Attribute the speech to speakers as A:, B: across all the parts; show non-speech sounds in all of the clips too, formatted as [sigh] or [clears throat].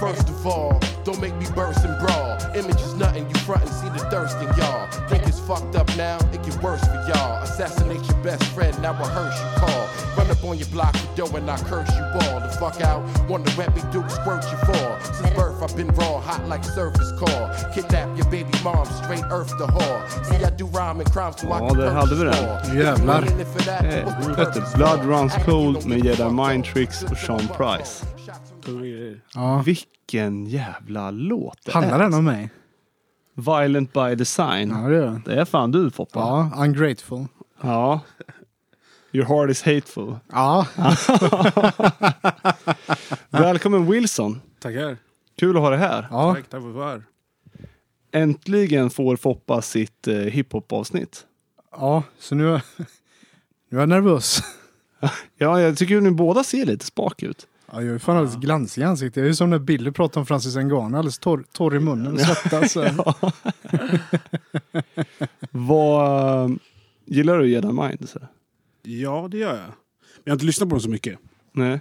A: First of all, don't make me burst and brawl. Image is nothing, you front and see the thirst in y'all. Think it's fucked up now, it get worse for y'all. Assassinate your best friend, now I hearse you call. Run up on your block of dough and I curse you all. The fuck out, wonder where me Duke squirt you for. Since birth, I've been raw, hot like surface core. Kidnap your baby mom, straight earth the whore. See, I do rhyme and crime so I
B: Ja,
A: can
B: där
A: curse
B: hade vi
A: you
B: den.
A: all. If you
C: Jävlar.
A: ain't in it for that,
B: Eh,
A: what's the
B: hette
A: purpose
B: Blood
A: for?
B: Runs Cold med Jedi
A: Fuck
B: Mind
A: up.
B: Tricks och Sean Price.
C: Ja.
B: Vilken jävla låt det
C: Handlar
B: är.
C: den om mig?
B: Violent by design.
C: Ja, det gör den.
B: Det är fan du Foppa.
C: Ja, ungrateful.
B: Ja. Your heart is hateful.
C: Ja,
B: Välkommen Wilson.
D: Tackar.
B: Kul att ha dig här.
C: ja.
D: Tack, tack för att vara här.
B: Äntligen får Foppa sitt eh, hiphop-avsnitt.
C: ja. så nu, [laughs] nu är jag nervös.
B: Ja, jag tycker ni båda ser lite spak ut.
C: Ja, jag är fan alldeles glansig i ansiktet. Jag är som när Billy pratade om Francis Ngannou, alldeles torr, torr i munnen och
D: [laughs]
C: svettas.
B: Vad... eh, Gillar du Jedi Mind? Så?
D: Ja, det gör jag. Men jag har inte lyssnat på dem så mycket.
B: Nej.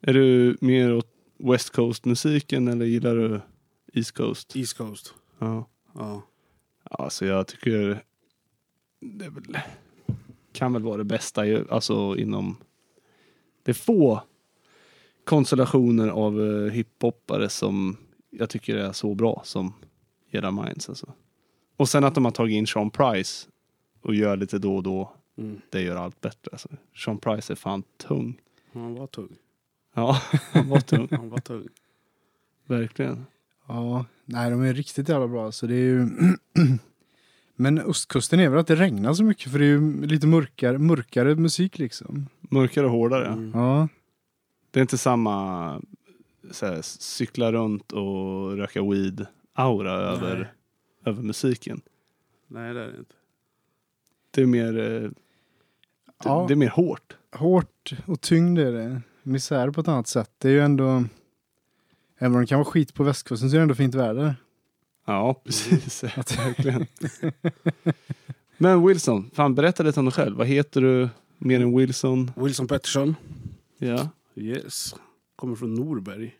B: Är du mer åt West Coast-musiken eller gillar du East Coast?
D: East Coast.
B: Ja.
D: Ja.
B: Alltså jag tycker det är väl, kan väl vara det bästa ju, alltså inom det är få konstellationer av eh, hiphoppare som jag tycker är så bra som Jedi Minds alltså. Och sen att de har tagit in Sean Price och gör lite då och då,
D: Mm.
B: det gör allt bättre. Alltså. Sean Price är fan tung.
D: Han var tung.
B: Ja, han var tung.
D: Han var tung.
B: [laughs] Verkligen.
C: Ja, nej de är riktigt jävla bra. Så det är ju... [clears throat] Men ostkusten är väl att det regnar så mycket för det är ju lite mörkare, mörkare musik liksom.
B: Mörkare och hårdare.
D: Mm.
C: Ja,
B: Det är inte samma så här, cykla runt och röka weed-aura över, över musiken.
D: Nej, det är det inte.
B: Det är mer, eh, det,
C: Ja.
B: det är mer hårt.
C: hårt och tyngd är det. Misär på ett annat sätt. Det är ju ändå... Även om det kan vara skit på västkusten så är det ändå fint väder.
B: Ja, precis. [laughs] Verkligen. Men Wilson, fan berätta lite om dig själv. Vad heter du mer än Wilson?
D: Wilson Pettersson.
B: Ja,
D: Yes. Kommer från Norberg.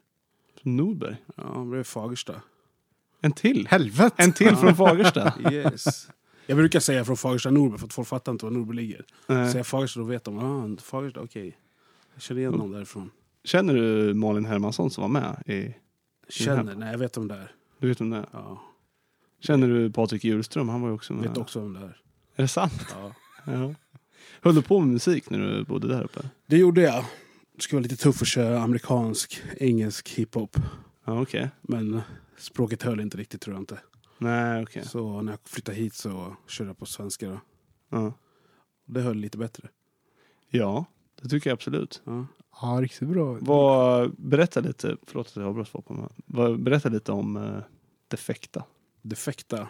B: från Norberg.
D: Ja, han blev Fagersta.
B: En till.
C: Helvete! [laughs]
B: En till från Fagersta.
D: [laughs] Yes. Jag brukar säga från Fagersta Norberg för att folk fattar inte var Norberg ligger.
B: Eh,
D: Säger jag Fagersta då vet de. Ah, Fagersta, okej. Jag känner igen någon därifrån.
B: Känner du Malin Hermansson som var med? I,
D: Känner? Nej, jag vet dem där.
B: du vet om det är.
D: Ja.
B: Känner du Patrik Hjulström? Han var ju också med.
D: Vet också vem det är.
B: Är det sant?
D: Ja.
B: Ja. Höll du på med musik när du bodde där uppe?
D: Det gjorde jag. Det skulle vara lite tufft att köra amerikansk, engelsk hiphop.
B: Ja, okej.
D: Men eh, språket höll inte riktigt tror jag inte.
B: Nej, okej.
D: Så när jag flyttade hit så körde jag på svenska då.
B: Ja.
D: Det höll lite bättre.
B: ja, det tycker jag absolut.
D: Ja.
C: Ja, riktigt bra.
B: Vad, berätta lite, förlåt att jag avbröt Foppa, men vad- berätta lite om eh, Defekta.
D: Defekta.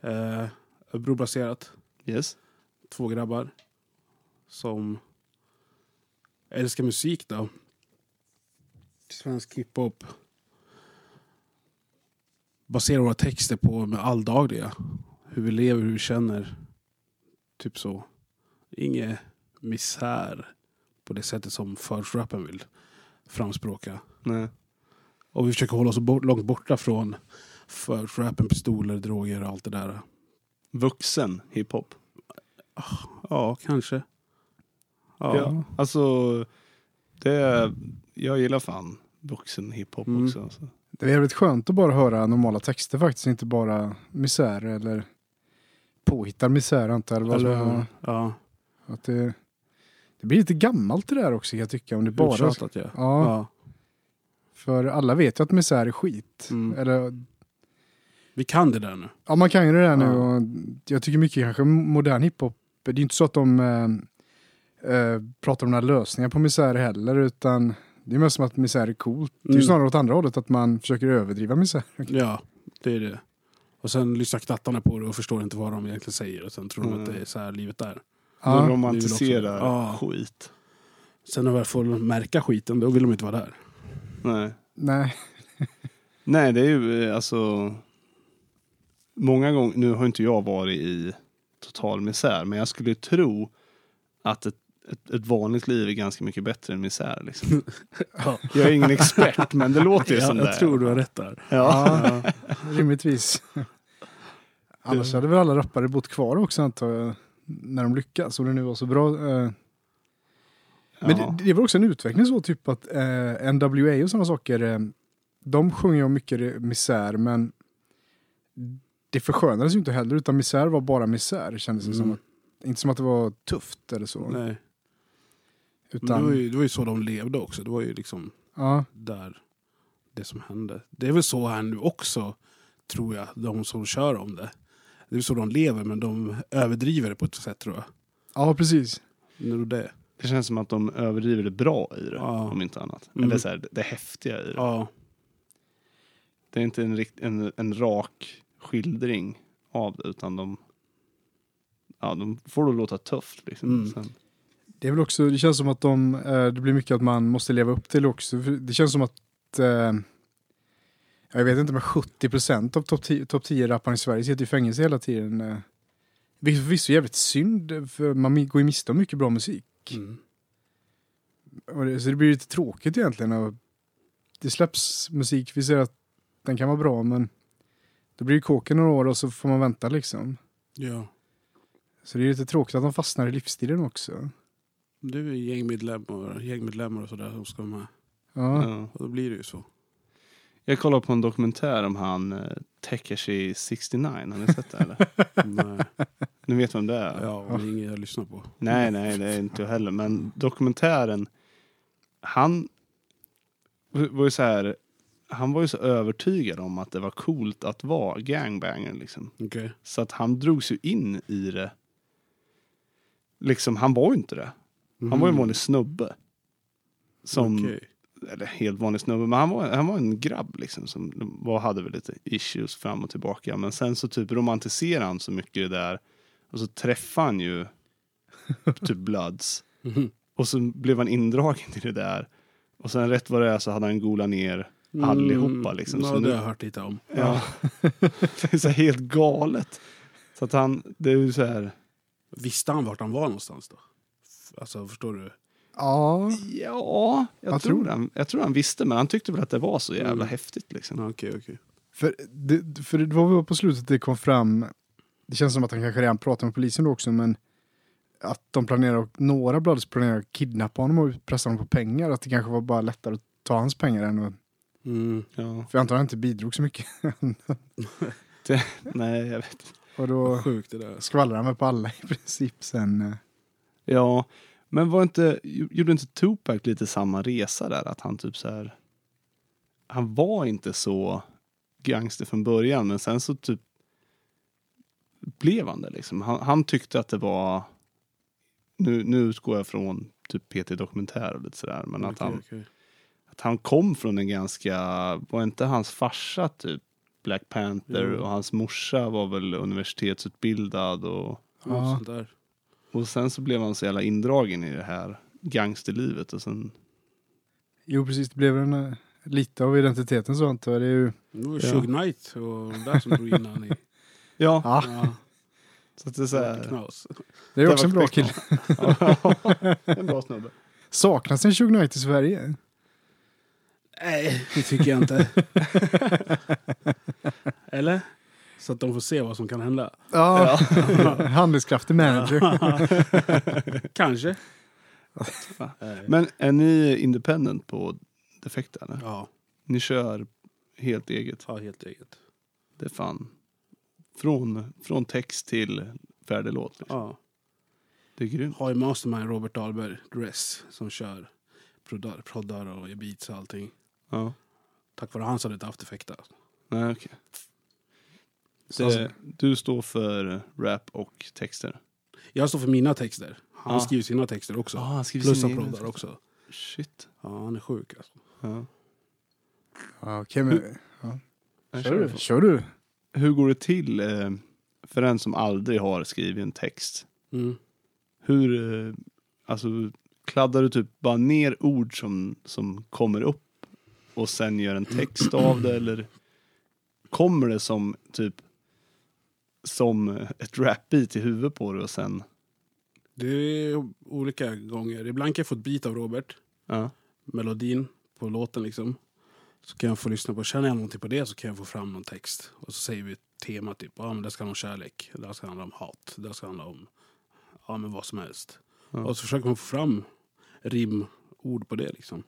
D: Eh, Örebrobaserat.
B: Yes.
D: Två grabbar. Som älskar musik då. Svensk hiphop. Baserar våra texter på med alldagliga. Hur vi lever, hur vi känner. Typ så. Inget misär på det sättet som förortsrappen vill framspråka.
B: Nej.
D: Och vi försöker hålla oss bort, långt borta från förortsrappen, pistoler, droger och allt det där.
B: Vuxen hiphop.
D: Ja, kanske.
B: Ja. ja. Alltså, det, jag gillar fan vuxen hiphop
D: Mm.
B: också. Alltså.
C: Det är jävligt skönt att bara höra normala texter faktiskt, inte bara misär eller påhittad misär antar jag.
D: Alltså,
C: Alltså, ja.
D: ja.
C: att det, det blir lite gammalt det där också kan jag tycka. Om det bara...
D: Bara att jag.
C: Ja,
D: Ja.
C: för alla vet ju att misär är skit.
D: Mm.
C: Eller,
D: Vi kan det där nu.
C: ja, man kan ju det där nu
D: Ja.
C: och jag tycker mycket kanske modern hiphop, det är ju inte så att de eh, eh, pratar om några lösningar på misär heller, utan det är mest som att misär är coolt. Det är ju
D: Mm.
C: snarare åt andra hållet, att man försöker överdriva misär.
D: Ja, det är det. Och sen lyssnar knattarna på det och förstår inte vad de egentligen säger. Och sen tror de
B: Mm.
D: att det är så här livet är.
B: De
C: Ja,
B: romantiserar
D: Ja.
B: skit.
D: Sen när väl får märka skiten, då vill de inte vara där.
B: Nej.
C: nej.
B: Nej, det är ju eh, alltså... Många gånger, nu har inte jag varit i total misär, men jag skulle tro att ett, ett, ett vanligt liv är ganska mycket bättre än misär.
D: [laughs]
B: Liksom. Jag är ingen expert, men det låter ju
D: jag,
B: som det.
D: jag tror du har rätt där.
B: Ja.
C: Ja, rimligtvis. Annars hade väl alla rappare bott kvar också antar jag. När de lyckas och det nu var så bra. eh. Men
B: Ja.
C: det, det var också en utveckling så typ att eh, NWA och sådana saker. Eh, de sjunger om mycket eh, misär men det förskönades ju inte heller utan misär var bara misär kändes det som.
D: Mm.
C: Att, inte som att det var tufft eller så.
D: Nej. Men det,
C: utan,
D: var ju, det var ju så de levde också. Det var ju liksom
C: ja,
D: där det som hände. Det är väl så här nu också, tror jag, de som kör om det. Det är så de lever, men de överdriver det på ett sätt tror jag.
C: ja, precis.
D: Det är nog det.
B: Det känns som att de överdriver det bra i det,
D: Ja.
B: om inte annat.
D: Mm.
B: Eller så här, det, det häftiga i det.
D: Ja,
B: Det är inte en, rikt, en, en rak skildring av det, utan de, ja, de får det låta tufft. Liksom.
D: Mm.
B: Sen,
C: Det är väl också, det känns som att de, eh, det blir mycket att man måste leva upp till också. För Det känns som att, eh, jag vet inte men 70% av topp 10 topp 10-rapparna i Sverige sitter i fängelse hela tiden. eh. Vilket förvisso är jävligt synd, för man mi- går ju miste om mycket bra musik.
D: mm.
C: Och det, så det blir lite tråkigt egentligen. Och det släpps musik, vi ser att den kan vara bra men då blir det kåken några år och så får man vänta liksom.
D: ja.
C: Så det är lite tråkigt att de fastnar i livsstilen också.
D: Det är ju gängmedlemmar, gängmedlemmar och sådär som ska med.
C: Ja,
B: ja.
D: Och då blir det ju så.
B: Jag kollade på en dokumentär om han eh, Tekashi 69. Har ni sett det eller? [laughs]
D: [laughs] Nej,
B: Ni vet vem det är?
D: eh, ja, och det är inget jag lyssnar på.
B: Nej, nej, det är inte jag heller. Men dokumentären, han var ju så här, han var ju så övertygad om att det var coolt att vara gangbanger liksom.
D: [laughs] Okej.
B: Så att han drogs ju in i det. Liksom, han var ju inte det. Han var ju en vanlig snubbe. Som,
D: Mm. Okej.
B: eller helt vanlig snubbe, men han var, han var en grabb liksom som var, hade väl lite issues fram och tillbaka. Men sen så typ romantiserade han så mycket det där och så träffade han ju typ Bloods.
D: Mhm.
B: Och så blev han indragen i det där. Och sen rätt vad det är så hade han golat ner [laughs] allihopa liksom.
D: Mm, Ja,
B: Så
D: det har
B: nu,
D: jag hört lite om.
B: ja. [laughs] det är så här helt galet. Så att han, det är ju så här,
D: Visste han vart han var någonstans då? F- Alltså, förstår du?
C: ja.
B: ja, jag,
C: Vad tror
B: tror
C: du?
B: han, jag tror han visste men han tyckte väl att det var så jävla
D: Mm.
B: häftigt liksom.
D: Ja, Okej, okej.
C: För det, för det var väl på slutet det kom fram, det känns som att han kanske redan pratade med polisen då också, men att de planerar, att- några Bloods planerar att kidnappa honom och pressa honom på pengar, att det kanske var bara lättare att ta hans pengar än att,
D: Mm.
B: Ja.
C: för jag antar att han inte bidrog så mycket. [laughs]
B: Nej, jag vet inte.
C: och
D: Vad
C: då
D: sjukt det där.
C: skvallrade han väl på alla i princip sen. eh.
B: Ja, men var inte, gjorde inte Tupac lite samma resa där? Att han typ så här, han var inte så gangster från början, men sen så typ blev han det liksom. Han, han tyckte att det var, nu, nu utgår jag från typ PT Dokumentär och lite sådär, men att,
D: Okej,
B: han,
D: okej.
B: att han kom från en ganska, var inte hans farsa typ Black Panther
D: Jo.
B: och hans morsa var väl universitetsutbildad och
D: Ja,
C: Ja.
D: sånt där.
B: och sen så blev han så jävla indragen i det här gangsterlivet och sen...
C: Jo, precis, det blev en, eh, lite av identiteten så antar jag. Det är ju,
D: Det var ju
B: Ja.
D: Shug Knight och de där som drog
B: [laughs]
D: in han i.
B: Ja,
C: ja,
D: Ja,
B: så att det är så
D: det var
B: Ah, här...
D: knas.
C: det är också en bra kille.
B: Ja,
D: [laughs]
B: en bra snubbe.
C: Saknas en Shug Knight i Sverige?
D: Nej, det tycker
B: [laughs]
D: jag inte. Eller? Så att de får se vad som kan hända.
C: Ja, [laughs] handlingskraftig manager.
D: [laughs] Kanske.
B: Fan.
D: Nej.
B: Men är ni independent på Defekt eller?
D: Ja,
B: Ni kör helt eget?
D: ta helt eget.
B: Det är fan... Från, från text till färdig låt. Liksom.
D: Ja.
B: Det är grymt.
D: Har ju mastermind Robert Dahlberg, Dress, som kör proddar, proddar och gör beats och allting.
B: Ja.
D: Tack vare han så hade jag inte haft effekt alltså.
B: Nej, okej.
C: Så-
B: Det- Du står för rap och texter?
D: Jag står för mina texter. Han
B: Ja.
D: skriver sina texter också.
B: han skriver
D: Plus han proddar också.
B: Shit.
D: Ja, han är sjuk alltså.
B: Ja.
C: Ja, Okej, men...
B: Jag
C: Kör
B: på.
C: du? Kör du?
B: Hur går det till eh, för en som aldrig har skrivit en text?
D: Mm.
B: Hur, eh, alltså, kladdar du typ bara ner ord som, som kommer upp och sen gör en text av det eller kommer det som typ som ett rap-beat i huvudet på dig och sen
D: Det är olika gånger. Ibland kan jag få ett bit av Robert,
B: Ja.
D: melodin på låten liksom. Så kan jag få lyssna på, känner jag någonting på det så kan jag få fram någon text. Och så säger vi ett tema typ, ja men det ska handla om kärlek, det här ska handla om hat, det här ska handla om, ja men vad som helst.
B: Ja.
D: Och så försöker man få fram rim, ord på det liksom.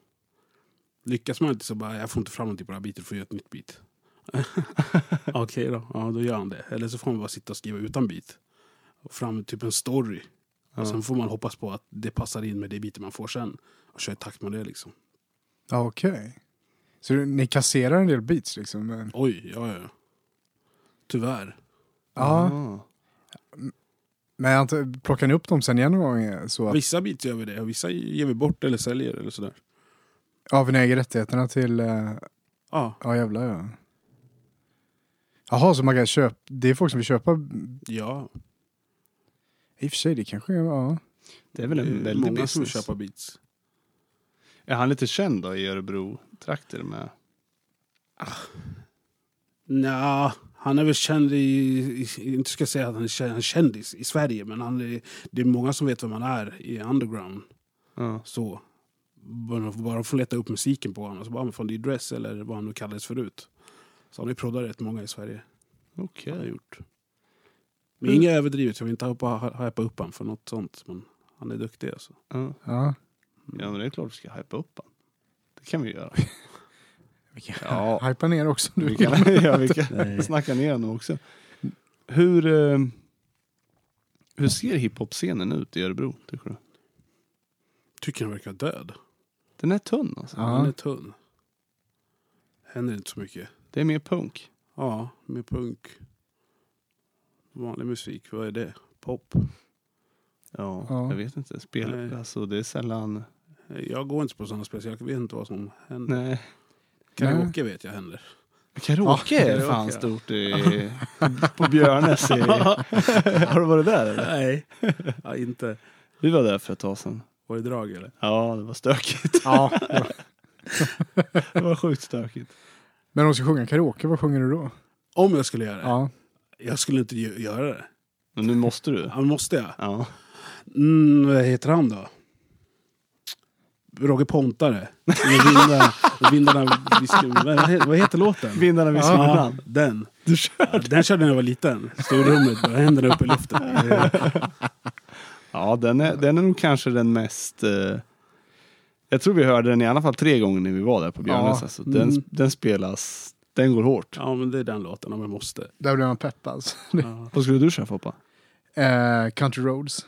D: Lyckas man inte så bara, jag får inte fram någonting på det här bitet, får jag göra ett
B: [laughs]
D: nytt bit. Okej då, ja då gör han det. Eller så får man bara sitta och skriva utan bit. Och fram typ en story.
B: Ja.
D: Och sen får man hoppas på att det passar in med det biten man får sen. Och köra i takt med det liksom.
C: Ja, okej. Så du- ni kasserar en del beats liksom? Men...
D: Oj, ja, ja. Tyvärr.
C: Ja,
B: Ah.
C: men jag antar- plockar ni upp dem sen igen någon gång? eh, Så att...
D: Vissa bitar gör vi det och vissa ger vi bort eller säljer eller sådär.
C: Ja, för ni äger rättigheterna till... eh,
D: Ja,
C: Ja, jävlar ja. Jaha, så man kan köpa... Det är folk som vill köpa...
D: ja.
C: I och för sig, det kanske är... Ja.
B: Det är väl
D: Det
B: en
D: är
B: väldig
D: många
B: business.
D: som köper beats.
B: Är han lite känd då i Örebro-trakter med?
D: Nja, han är väl känd i, i, inte ska jag säga att han är kä- en kändis i Sverige, men han är, det är många som vet vem han är i underground.
B: Ja.
D: Så. Bara, bara få leta upp musiken på honom, så bara, "Ah, men fan det är Dress eller vad han nu kallades förut. Så han har ju proddat rätt många i Sverige.
B: Okej.
D: Det har jag gjort. Men inget överdrivet, jag vill inte hypa hypa upp honom för något sånt, men han är duktig alltså.
B: Ja.
C: ja.
B: ja, men det är klart vi ska hypa upp han. Det kan vi göra.
C: Vi kan
B: Ja.
C: [laughs] hypa ner också om du
B: Vi
C: vill.
B: kan, [laughs] ja, vi kan snacka ner honom också. Hur, eh, hur ser hiphop-scenen ut i Örebro, tycker du?
D: Tycker han verkar död.
B: Den är tunn alltså.
D: Han är
C: Ja.
D: tunn. Händer inte så mycket.
B: Det är mer punk.
D: Ja, med punk. Vanlig musik, vad är det? Pop.
B: Ja,
C: Ja.
B: jag vet inte. Spel,
D: Nej.
B: alltså det är sällan...
D: Jag går inte på sådana speciella, jag vet inte vad som händer.
B: Nej.
D: Karaoke vet jag händer.
B: Karaoke
D: Ja,
B: är
D: karaoke,
B: fan
D: ja.
B: stort i, [laughs] på Björnes. I, har du varit där eller?
D: Nej, [laughs] ja, inte.
B: Vi var där för ett tag sedan.
D: Var det drag eller?
B: Ja, det var stökigt.
C: ja.
B: Det var sjukt stökigt.
C: [laughs] Men om du ska sjunga karaoke, vad sjunger du då?
D: Om jag skulle göra det?
C: Ja.
D: Jag skulle inte gö- göra det.
B: Men nu måste du.
D: Ja, men måste jag?
B: Ja.
D: Mm, vad heter han då? Roger Pontare. Med vindarna, vindarna viskar, vad, heter, vad heter låten?
B: Vindarna viskar
D: Ja,
B: ibland.
D: Den. Du körde. Den körde jag när jag var liten. Stod i rummet med händerna uppe i luften.
B: Ja, den är, den är nog kanske den mest... Eh, jag tror vi hörde den i alla fall tre gånger när vi var där på Björnes.
C: Ja.
B: Alltså, den,
D: Mm.
B: den spelas... Den går hårt.
D: Ja, men det är den låten om jag måste.
C: Där blir man peppad. Alltså.
D: Ja.
B: Vad skulle du köra Foppa?
C: Eh, Country Roads.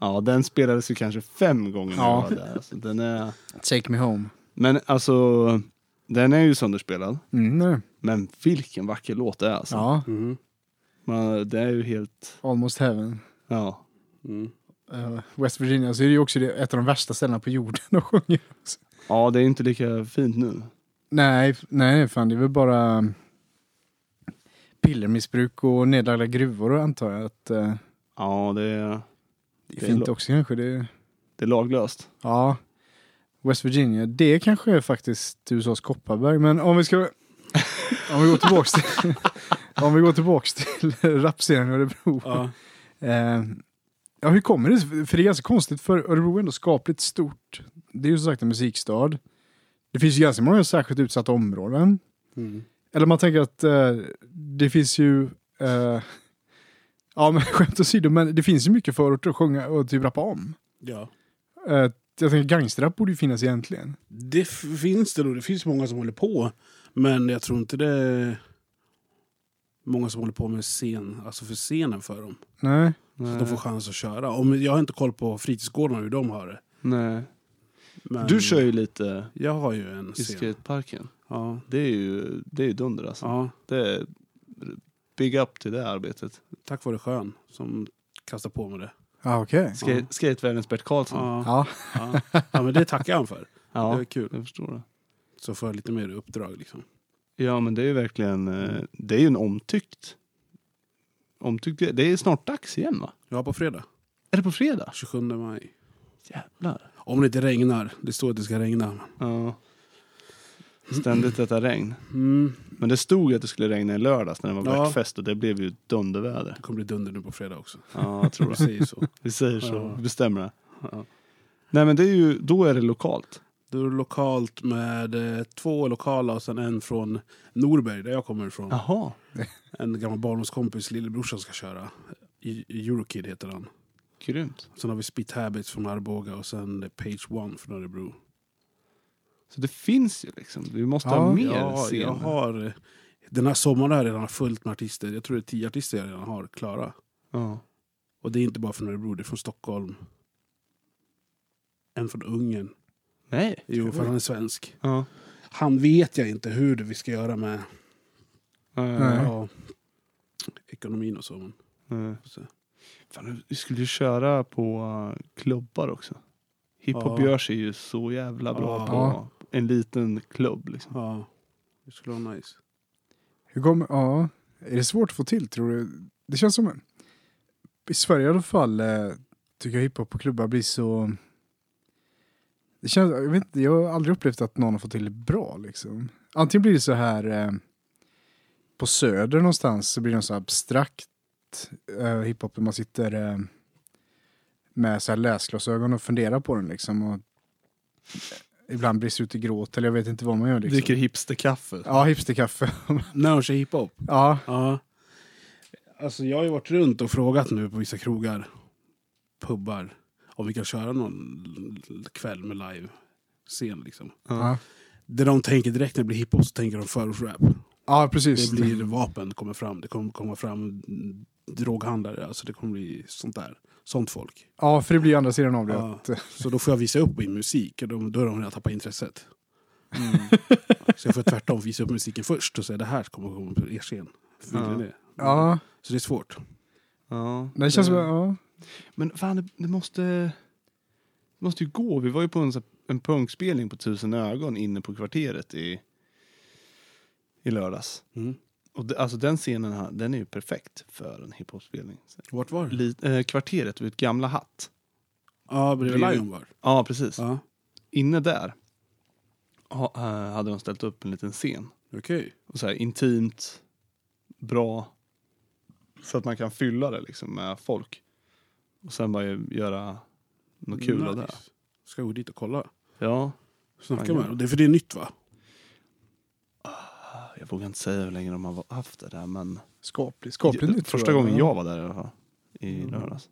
B: Ja, den spelades ju kanske fem gånger när
C: Ja.
B: vi var där. Alltså, den är...
C: Take me home.
B: Men alltså, den är ju sönderspelad.
C: Mm, nej.
B: Men vilken vacker låt det är alltså.
C: Ja,
D: Mm.
B: Man, det är ju helt...
C: Almost Heaven.
B: Ja.
D: Mm.
C: Eh, West Virginia så är det ju också det, ett av de värsta ställena på jorden att sjunga. också.
B: ja, det är inte lika fint nu.
C: Nej, f- nej fan det är väl bara um, pillermissbruk och nedlagda gruvor antar jag att eh,
B: Ja, det är,
C: det är
B: Det är
C: fint
B: lo-
C: också kanske. Det är,
B: det är laglöst.
C: ja, West Virginia, det kanske är faktiskt USAs Kopparberg men om
B: [laughs]
C: vi ska om vi går tillbaks till om vi går tillbaks till rapscenen i Örebro.
D: Ja.
C: Eh, ja, hur kommer det sig? För det är ganska konstigt, för Örebro är ändå skapligt stort. Det är ju som sagt en musikstad. Det finns ju ganska många särskilt utsatta områden.
D: Mm.
C: Eller man tänker att eh, det finns ju... Eh, [laughs] ja, men skämt åsido, men det finns ju mycket förorter att sjunga och typ rappa om.
D: ja.
C: Eh, jag tänker gangsterrap borde ju finnas egentligen.
D: Det f- finns det då. Det finns många som håller på. Men jag tror inte det är många som håller på med scen, alltså för scenen för dem.
C: Nej.
D: Så att de får
B: Nej.
D: chans att köra. Om, jag har inte koll på fritidsgårdarna hur de har det.
B: Nej.
D: Men
B: Du kör ju lite
D: Jag har ju en
B: i
D: scen.
B: skateparken.
D: Ja.
B: Det är ju det är ju dunder alltså.
D: ja,
B: Det är big up till det arbetet.
D: tack vare Skön som kastar på med det.
C: Ja, ah, okej.
B: Ska,
D: Ja.
B: Skatevärldens Bert Karlsson. Ja,
D: Ja,
C: Ja,
D: ja. ja, men det tackar han för. Det är kul.
B: jag förstår det.
D: Så får jag lite mer uppdrag liksom.
B: Ja, men det är ju verkligen, eh, det är ju en omtyckt. Omtyckt, det är snart dags igen va?
D: Ja, på fredag.
B: Är det på fredag?
D: 27 maj.
B: Jävlar.
D: Om det inte regnar. Det står att det ska regna.
B: Ja. Ständigt detta regn.
D: Mm.
B: Men det stod ju att det skulle regna i lördags när det var
D: Ja.
B: blackfest och det blev ju dunderväder.
D: Det kommer bli dunder nu på fredag också.
B: Ja, [laughs] jag tror
D: Vi
B: det.
D: säger så.
B: Vi säger så.
D: Ja.
B: Vi bestämmer det.
D: Ja.
B: Nej men det är ju, då är det lokalt.
D: Då är det lokalt med eh, två lokala och sen en från Norberg, där jag kommer ifrån.
B: Jaha.
D: En gammal barndomskompis, lillebrorsan, ska köra. I- I- Eurokid heter han.
B: Grymt.
D: Sen har vi Spit Habits från Arboga och sen eh, Page One från Örebro.
B: Så det finns ju liksom. Du måste
C: Ja,
B: ha mer
D: Ja, jag
B: scener.
D: har... Den här sommaren har jag redan fullt med artister. Jag tror det är tio artister jag redan har klara.
B: Ja.
D: Och det är inte bara från Örebro, det är från Stockholm. En från Ungern.
B: Nej.
D: Jo, för han är svensk.
B: Ja.
D: Han vet jag inte hur det vi ska göra med
B: Ja, ja,
C: Nej.
B: ja.
D: ja, ekonomin och så. Men,
B: Nej.
D: får se.
B: Fan, vi skulle ju köra på eh, klubbar också. Hiphop
D: Ja.
B: gör sig ju så jävla bra
D: Ja.
B: på en liten klubb liksom.
D: ja, det skulle vara nice.
C: Hur kommer, ja, är det svårt att få till tror du? Det känns som, i Sverige i alla fall, eh, tycker jag hiphop på klubbar blir så... Det känns, jag, vet inte, jag har aldrig upplevt att någon har fått till det bra liksom. Antingen blir det så här, eh, på söder någonstans så blir det något så här abstrakt eh, hiphop där man sitter eh, med så här läsglasögon och funderar på den liksom. Och, eh, Ibland brister ut i gråt eller jag vet inte vad man gör. Liksom.
B: Dricker hipsterkaffe.
C: Ja, hipsterkaffe. [laughs]
D: När de kör hiphop?
C: ja,
D: Ja. Alltså jag har ju varit runt och frågat nu på vissa krogar, pubbar, om vi kan köra någon l- kväll med live-scen liksom.
C: Ja.
D: Det de tänker direkt när det blir hiphop så tänker de förortsrap.
C: ja precis.
D: Det blir vapen kommer fram, det kommer komma fram droghandlare, alltså det kommer bli sånt där. Sånt folk.
C: Ja, för det blir ju andra sidan av det.
D: Ja.
C: Att, eh,
D: Så då får jag visa upp min musik och då, då har de redan tappat intresset. Mm. Så jag får tvärtom visa upp musiken först och säga det här kommer komma på er scen. Vill ni
B: Ja.
D: det?
C: ja,
D: Så det är svårt.
B: Ja.
C: det känns som, ja.
B: Men fan, det, det måste... Det måste ju gå. Vi var ju på en, så- en punkspelning på Tusen ögon inne på kvarteret i, i lördags.
D: Mm.
B: Och det, alltså den scenen här, den är ju perfekt för en hiphopspelning. Så-
D: Vart var det?
B: Li- eh, Kvarteret vid Gamla Hatt.
D: Ja, bredvid
B: Bredvid.
D: Lion var.
B: Ja, precis.
D: Ja,
B: Inne där ha, eh, hade de ställt upp en liten scen.
D: okej.
B: Och så här, intimt, bra, så att man kan fylla det liksom med folk. Och sen bara ju- göra något kul av det.
D: Ska gå dit och kolla.
B: Ja,
D: Snacka
B: Ja,
D: med
B: ja.
D: dem. Det är för det är nytt va?
B: jag vågar inte säga hur länge de har haft det där men
C: Skapligt, skapligt nytt.
B: första
C: tror
B: gången jag var där i alla fall, i lördags.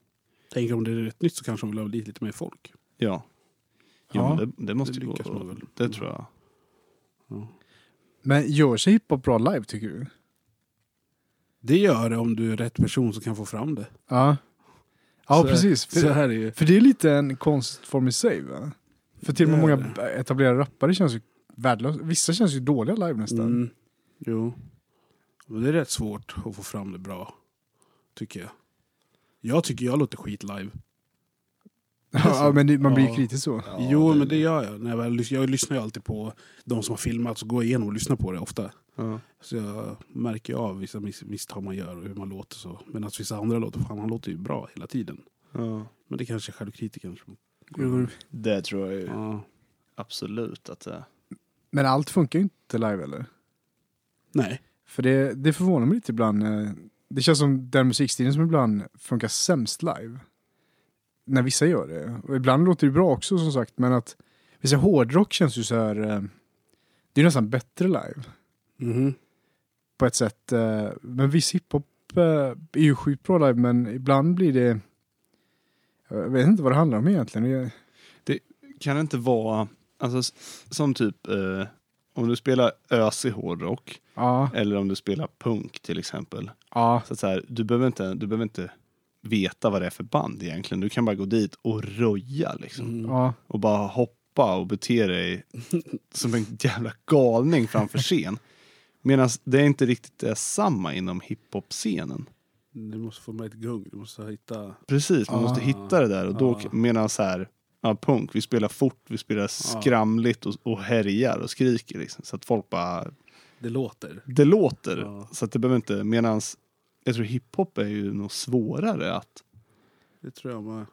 D: Tänker om det är rätt nytt så kanske de vill ha dit lite mer folk.
B: Ja. Jo,
C: Ja,
B: men det, det måste
D: det
B: ju
D: lyckas man
B: gå.
D: väl.
B: Det tror jag.
C: Men gör sig hiphop bra live tycker du?
D: Det gör det om du är rätt person som kan få fram det.
C: Ja. Ja,
D: Så-
C: precis.
D: Så
C: För,
D: här är ju...
C: för det är lite en konstform i sig va? För till och med
D: Det är
C: många b- etablerade rappare känns ju värdelösa. Vissa känns ju dåliga live nästan.
D: Mm. Jo. Men det är rätt svårt att få fram det bra. Tycker jag. Jag tycker jag låter skit live.
C: [laughs] Ja, men det, man blir ju
D: Ja.
C: kritisk så.
B: Ja,
D: jo,
B: det-
D: men det gör jag. När jag, väl, lys- jag lyssnar ju alltid på de som har filmat och går igenom och lyssnar på det ofta.
B: Ja.
D: Så jag märker ju av vissa mis- misstag man gör och hur man låter så. Medan vissa andra låter, fan han låter ju bra hela tiden.
B: Ja.
D: Men det kanske är självkritiken som...
B: Det tror jag ju
D: Ja.
B: absolut att eh, det
C: Men allt funkar ju inte live eller?
D: Nej.
C: För det, det förvånar mig lite ibland. eh, Det känns som den musikstilen som ibland funkar sämst live. När vissa gör det. Och ibland låter det bra också som sagt. Men att vissa hårdrock känns ju så här. eh, Det är ju nästan bättre live.
D: Mhm.
C: På ett sätt. eh, Men viss hiphop eh, är ju sjukt bra live. Men ibland blir det. Jag vet inte vad det handlar om egentligen. Det-
B: kan det inte vara, alltså s- som typ eh, om du spelar ösig hårdrock
C: Ja,
B: eller om du spelar punk till exempel.
C: ja,
B: Så att så här, du, behöver inte, du behöver inte veta vad det är för band egentligen. Du kan bara gå dit och röja liksom.
C: ja.
B: och bara hoppa och bete dig som en jävla galning framför scen. Medan det är inte riktigt är samma inom hiphop-scenen.
D: Du måste få med ett gung. Du måste hitta...
B: Precis, man måste
D: Ah.
B: hitta det där och då
D: Ah.
B: medan så här, ja, punk, vi spelar fort, vi spelar skramligt och, och härjar och skriker liksom. Så att folk bara,
D: Det låter.
B: det låter.
D: Ah.
B: Så att det behöver inte, medan jag tror hiphop är ju nog svårare att,
D: Det tror jag med.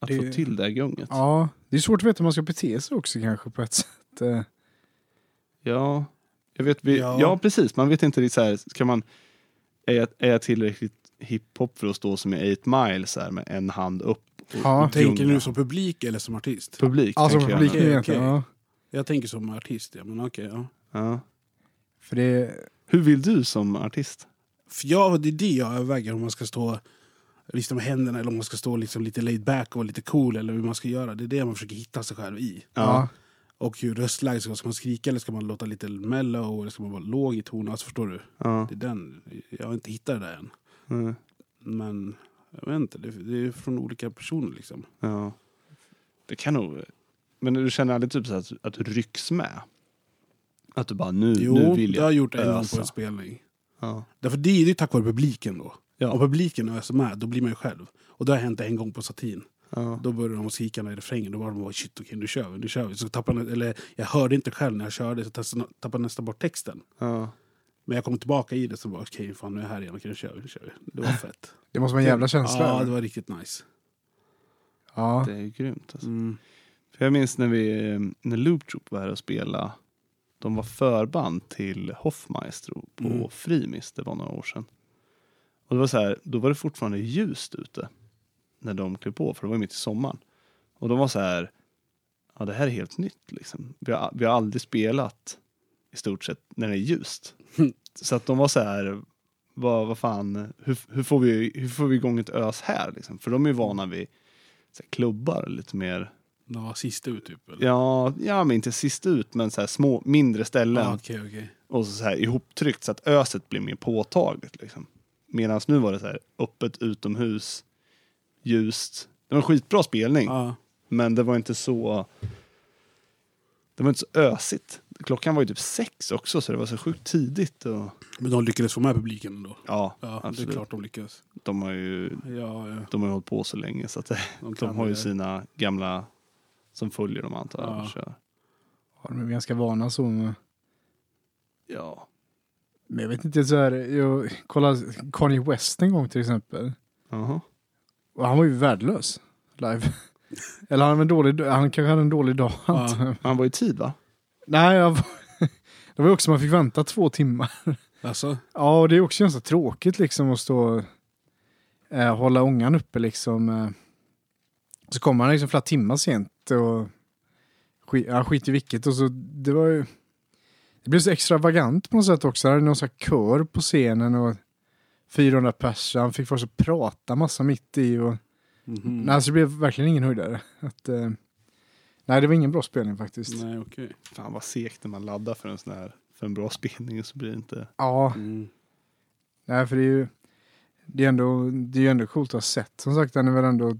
B: att
C: Det-
B: få till det här gunget.
C: ja. Det är svårt att veta hur man ska bete sig också kanske på ett sätt. eh, inte...
B: Ja, jag vet, vi, ja.
D: Ja.
B: precis. Man vet inte riktigt så här, ska man, är jag, är jag tillräckligt hiphop för att stå som i 8 Mile så här med en hand upp? Och
C: Ja.
D: Tänker du
B: gunga?
D: nu som publik eller som artist?
B: publik?
C: Alltså
B: tänker jag
C: publiken
B: nu.
D: Okej,
C: egentligen.
D: okej.
C: Ja.
D: Jag tänker som artist, ja. Men okej, ja.
B: Ja.
C: För det...
B: Hur vill du som artist?
D: För jag, det är det jag överväger, om man ska stå liksom med händerna eller om man ska stå liksom lite laid back och vara lite cool eller hur man ska göra. Det är det man försöker hitta sig själv i.
C: Ja.
D: Och hur röstläget ska vara. Ska man skrika eller ska man låta lite mellow eller ska man vara låg i tonen? Alltså förstår du?
B: Ja.
D: Det är den. Jag har inte hittat det där än.
B: Mm.
D: Men jag vet inte, det, det är från olika personer liksom.
B: ja. Det kan nog... Men du känner aldrig typ så här att, att du rycks med? Att du bara, nu,
D: Jo,
B: nu vill
D: det
B: jag. Alltså.
D: har jag gjort en gång på
B: ösa.
D: en spelning.
B: Ja.
D: Därför det är ju tack vare publiken då.
B: Ja.
D: Om publiken öser med, då blir man ju själv. Och det har hänt en gång på Satin.
B: Ja.
D: Då började de skrika i refrängen. Då var de bara shit okej nu kör vi, nu kör vi. Så tappade, jag- eller jag hörde inte själv när jag körde så tas- tappade jag nästan bort texten.
B: Ja.
D: Men jag kom tillbaka i det så bara okej fan nu är jag här igen, okej nu kör vi, nu kör vi.
B: [laughs]
D: Det var fett.
C: Det måste vara en jävla känsla.
D: Ja det
C: Ja.
D: var riktigt nice.
C: ja.
B: Det är ju grymt alltså.
D: Mm.
B: För jag minns när, vi, eh, när Loop Troop var här och spelade. De var förband till Hoffmaestro på
D: Mm.
B: Frimis, det var några år sedan. Och det var så här, då var det fortfarande ljust ute när de klev på, för det var ju mitt i sommaren. Och de var så här, ja det här är helt nytt liksom. Vi har, vi har aldrig spelat i stort sett när det är ljust. så att de var så här, vad, vad fan, hur, hur, får vi, hur får vi igång ett ös här liksom? För de är ju vana vid så här, klubbar lite mer
D: Det var sist ut typ? Eller?
B: Ja, ja men inte sist ut, men så här små, mindre ställen.
D: ah, okej okej.
B: Och så, så här ihoptryckt så att öset blir mer påtagligt. Liksom. Medan nu var det så här öppet utomhus, ljust. Det var en skitbra spelning,
D: Ja.
B: men det var inte så... Det var inte så ösigt. Klockan var ju typ sex också, så det var så sjukt tidigt. Och,
D: Men de lyckades få med publiken ändå.
B: ja,
D: Ja,
B: absolut.
D: det är klart de lyckades.
B: De har ju
D: Ja, ja.
B: de har ju hållit på så länge, så att eh, de,
D: kan
B: har ju
D: det.
B: sina gamla som följer dem antar jag.
D: Ja.
B: och kör.
C: Ja, De är ganska vana så. Men...
B: Ja.
C: Men jag vet inte, så här, jag kollade Kanye West en gång till exempel.
B: Jaha.
C: Och han var ju värdelös live. [laughs] Eller han, hade en dålig, han kanske hade en dålig dag.
D: Ja.
C: [laughs] antar jag.
B: Han var i tid va?
C: Nej, jag var, [laughs] det var ju också man fick vänta två timmar.
D: Alltså,
C: Ja, och det är också ganska tråkigt liksom att stå eh, hålla ångan uppe liksom. Eh. Så kommer han liksom flera timmar sent och skit, ja, skit i vilket. Och så, det var ju... Det blev så extravagant på något sätt också. Han hade någon sån här kör på scenen och 400 pers. Han fick först att prata massa mitt i och...
D: mhm.
C: Nej, så det blev verkligen ingen höjdare. Att, eh, nej, det var ingen bra spelning faktiskt.
D: Nej, okej.
B: Fan vad segt när man laddar för en sån här, för en bra [laughs] spelning och så blir det inte...
C: Ja,
D: Mm.
C: nej, för det är ju det är ändå, det är ju ändå coolt att ha sett. Som sagt, den är väl ändå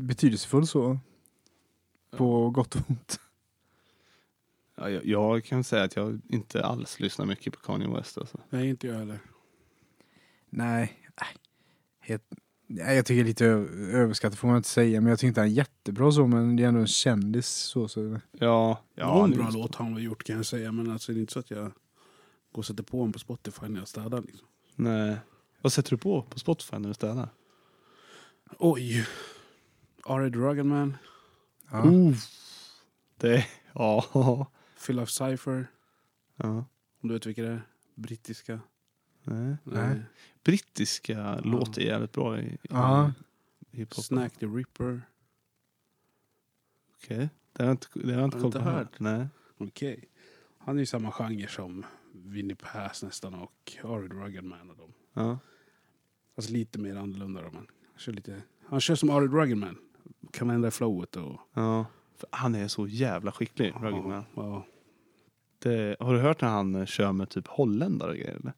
C: betydelsefull så. På gott och ont. [laughs]
B: Ja, jag, jag kan säga att jag inte alls lyssnar mycket på Kanye West alltså.
D: Nej, inte jag heller.
C: Nej, nej. helt, nej jag tycker det är lite ö- överskattat får man inte säga. Men jag tycker inte han är jättebra så, men det är ändå en kändis så. så.
B: Ja,
D: Ja, det var
B: ja
D: en
B: nu-
D: bra låt han har gjort kan jag säga, men alltså, det är inte så att jag går och sätter på honom på Spotify när jag städar. Liksom.
B: Nej. Vad sätter du på på Spotify när du städar?
D: Oj! Are Dragon Man,
C: Ja.
B: Mm. Det, [laughs] ja.
D: Phil of Cypher,
B: ja.
D: om du vet vilka det är. Brittiska. eh,
B: Nej.
C: Nej.
B: Brittiska låter jävligt bra i, i
C: Ja.
B: hiphop.
D: Snack the Ripper.
B: Okej. Det har jag inte, det har jag inte
D: Har du
B: koll
D: inte
B: på. här.
D: hört?
B: Nej.
D: Okej. Han är ju samma genre som Winnie Pass nästan och Are Dragon Man och dem.
B: Ja.
D: Alltså lite mer annorlunda då, men han kör lite... Han kör som Are Dragon Man. Kan ändra flowet och...
B: ja. För han är så jävla skicklig, Rugged Man.
D: Ja,
B: Det, har du hört när han eh, kör med typ holländare och grejer? Eller?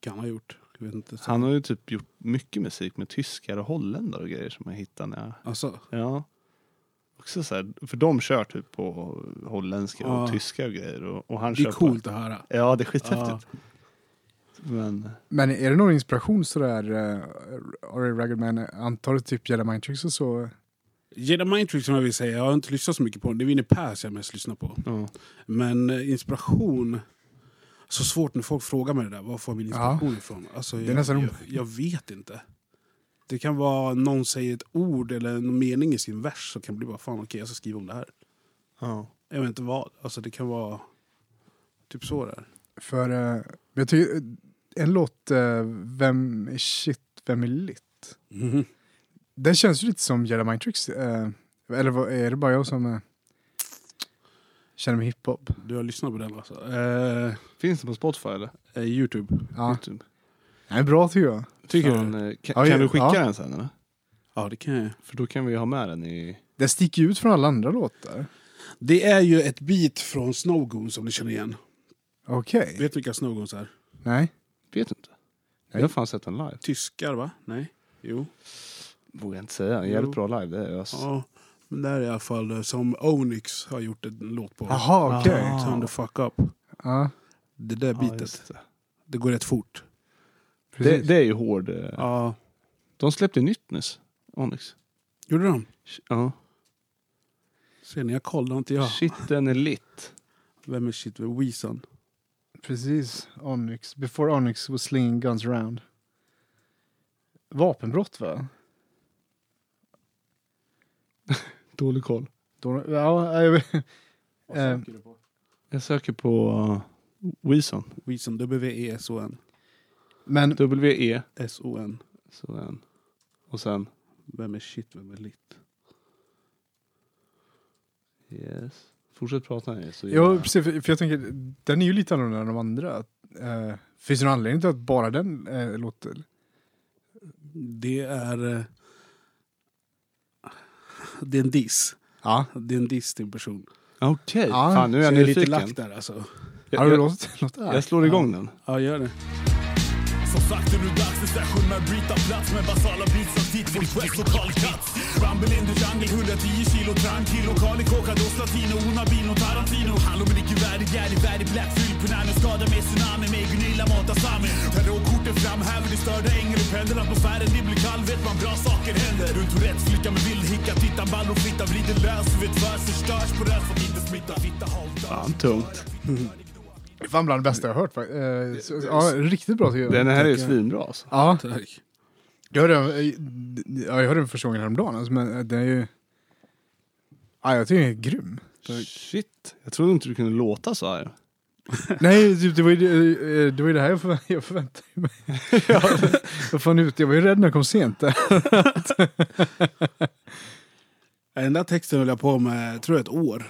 D: kan ha gjort. Jag vet inte.
B: Han har ju typ gjort mycket musik med tyskar och holländare och grejer som jag hittar när
D: Alltså,
B: jag... Ja. Också så här, för de kör typ på holländska och
D: Ja.
B: tyska och grejer. Och, och han
D: det
B: kör
D: är coolt att höra.
B: På, ja, det är skithäftigt. Men
C: Men är det någon inspiration sådär, uh, Ari Ragged Man, antar det typ Jedi Mind Tricks och så?
D: Jedi Mind Trick som jag vill säga, jag har inte lyssnat så mycket på den. Det är Winnie Pass jag mest lyssnar på.
B: ja.
D: Men eh, inspiration... Så svårt när folk frågar mig det där. Var får jag min inspiration ifrån? Alltså,
C: är
D: jag,
C: nästan
D: jag, jag vet inte. Det kan vara någon säger ett ord eller en mening i sin vers som kan bli bara fan okej jag ska skriva om det här.
B: Ja.
D: Jag vet inte vad. Alltså det kan vara typ så där.
C: För eh, men jag tycker, eh, en låt, eh, Vem är shit, vem är lit? Mhm. Den känns ju lite som Jedi Mind Tricks. Eh, eller vad, är det bara jag som eh, känner mig hiphop?
D: Du har lyssnat på den alltså? Eh,
B: Finns det på Spotify eller?
D: eh, Youtube.
C: Ja,
B: YouTube?
C: den är bra tycker jag.
B: Tycker
D: Fan.
B: du? den, eh, Kan,
C: Ja,
B: kan
C: ja,
B: du skicka
C: ja.
B: den sen eller?
D: Ja, det kan jag.
B: För då kan vi ha med den i...
C: Den sticker ut från alla andra låtar.
D: Det är ju ett beat från Snowgoons om ni känner igen.
C: Okej.
D: Vet ni vilka Snowgoons är?
C: Nej.
B: Vet inte. Jag har fan sett den live.
D: Tyskar va? Nej? Jo.
B: Vågar jag inte säga. En jävligt bra live, det är ös.
D: Ja. Men det här är i alla fall eh, som Onyx har gjort en låt på.
C: Jaha, okej.
B: Ah.
D: Turn the fuck up.
C: Ja,
D: Det där
B: Ja,
D: beatet.
B: just det.
D: Det går rätt fort.
B: Det,
C: precis.
B: det är ju hård... eh,
D: Ja.
B: De släppte nytt nyss, Onyx.
D: Gjorde de?
B: Ja.
D: Ser ni, jag kollade inte jag.
B: Shit, den är lit.
D: Vem är shit? Weezon?
C: precis. Onyx. Before Onyx was slinging guns around. Vapenbrott va?
B: Dålig koll.
C: Då, ja, jag vet- Eh,
B: Jag söker på uh, Weezon.
D: Weezon. E W-E-S-O-N.
C: men
B: W-E,
D: S-O-N.
B: E, så en. Och sen...
D: Vem är shit? Vem är lit?
B: Yes. Fortsätt prata nu. Så
C: Jo, precis, för, för jag tänker, den är ju lite annorlunda än de andra. Eh, finns det någon anledning till att bara den eh, låter?
D: Det är... eh, Det är en diss.
C: Ja.
D: Det är en diss till en person.
B: Okej.
C: Ja,
B: Fan, nu är jag
D: Så är lite
B: nyfiken.
D: lack där alltså.
C: Har du
B: Jag, jag,
C: låtit något där?
B: jag slår igång den.
D: Ja, gör det.
E: Som sagt är nu dags för session med bryta plats med basala beats av titt, full press och kall katt Rumble in the jungle, 110 kilo tranquilo Kali Kåkados, latino, Unabino, Tarantino Hallå men icke värdig, jävlig värdig black fyll Punani skada med tsunami, med Gunilla matar Sami Tarotkorten framhäver det störda änger och pendel Atmosfären, det blir kall, vet man bra saker händer Runt Tourettes, flicka med vild hicka, titta ball och flitta Vrider lös, huvudet förs, förstörs på röst för att inte smitta Fitta haltar,
B: Fan, tungt.
C: Det är fan bland det bästa jag har hört. faktiskt. Eh, så, ja, riktigt bra tycker jag.
B: Den här är ju svinbra alltså.
C: Ja,
D: Tack.
C: jag hörde, eh, d- ja, jag hörde den första gången häromdagen, alltså, men eh, den är ju... Ja, jag tycker den
B: [laughs]
C: är grym.
B: Shit. Jag trodde inte du kunde låta så här.
C: Nej, typ, det var ju det, eh, det, var ju det här jag, förvä- jag förväntade
B: [laughs]
C: mig. jag, fan ut, jag var ju rädd när jag kom sent. där.
D: Den där texten höll jag på med, tror jag, ett år.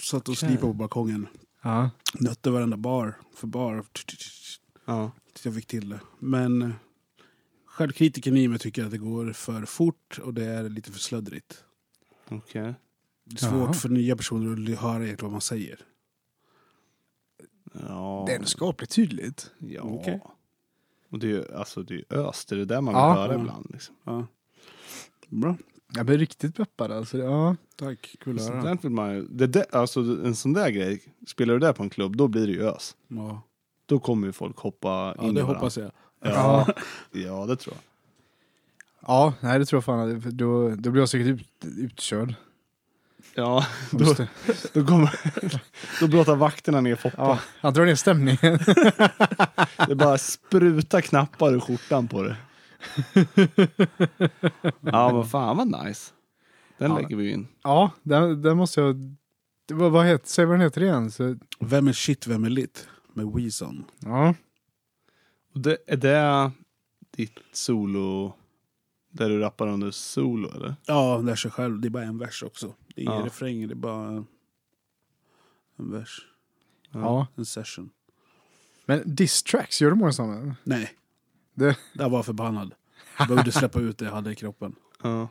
D: Satt och slipade på balkongen.
C: Ja.
D: Nötte varenda bar för bar.
B: Ja.
D: Tills jag fick till det. Men eh, självkritiken i mig tycker att det går för fort och det är lite för slöddrigt.
B: Okej.
D: Det är svårt
C: Jaha.
D: för nya personer att höra egentligen vad man säger.
B: Ja.
C: Det är ändå skapligt tydligt.
B: Ja.
D: Okej.
B: Och det är ju alltså, det är ju ös. Det är det där man vill
C: Ja.
B: höra
D: Ja.
B: ibland. Liksom.
D: Ja. Bra.
C: Jag blir riktigt peppad alltså. det- Ja.
D: Tack, kul att
B: Sånt
D: höra.
B: där vill man ju, det där, alltså, en sån där grej, spelar du det på en klubb, då blir det ju ös.
D: Ja,
B: Då kommer ju folk hoppa
D: ja
B: in i
D: det
B: varandra.
D: hoppas jag.
B: Ja. ja, det tror jag.
C: Ja, nej det tror jag fan. att- för Då, då blir jag säkert ut, utkörd.
B: Ja, då,
C: Just det.
B: då, kommer, [laughs] då blottar vakterna ner Foppa.
C: Ja, han drar ner stämningen.
B: Det bara sprutar knappar ur skjortan på det. [laughs] Ja, men fan vad nice. Den
C: Ja.
B: lägger vi ju in.
C: Ja, där, där måste jag... det var- Vad heter, säg vad den heter igen. Så,
D: Vem är shit, vem är lit? Med Weezon.
C: ja.
B: Och Det, är det ditt solo, där du rappar under solo eller?
D: Ja, lär sig själv. Det är bara en vers också. Det är ingen
B: Ja.
D: refräng, det är bara en vers.
C: ja.
D: En session.
C: Men diss tracks, gör du många sådana?
D: Nej.
C: Det-
D: Där var jag förbannad. Jag behövde släppa ut det jag hade i kroppen.
B: Ja.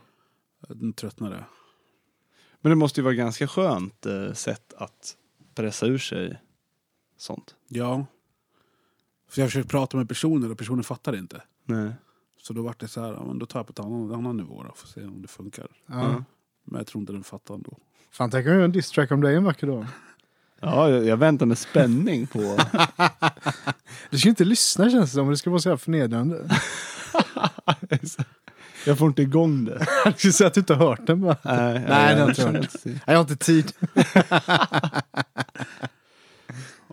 D: Den tröttnade.
B: Men det måste ju vara ganska skönt eh, sätt att pressa ur sig sånt.
D: Ja. För jag försökte prata med personer och personer fattade inte.
B: Nej.
D: Så då var det så här, ja, men då tar jag på ett annan, annan nivå då, får se om det funkar.
C: Ja.
B: Ja.
D: Men jag tror inte den fattar ändå.
C: Fan, tänk om jag gör en diss track om dig en vacker dag.
B: Ja, jag, jag väntar med spänning på...
C: Du ska inte lyssna känns det som, det ska vara så här [laughs] förnedrande.
B: jag får inte igång
C: [laughs]
B: det.
C: Du ska säga att du inte har hört den bara.
B: Nej,
C: Nej,
B: jag-
C: den tror jag
B: jag-
C: Nej, jag har inte tid.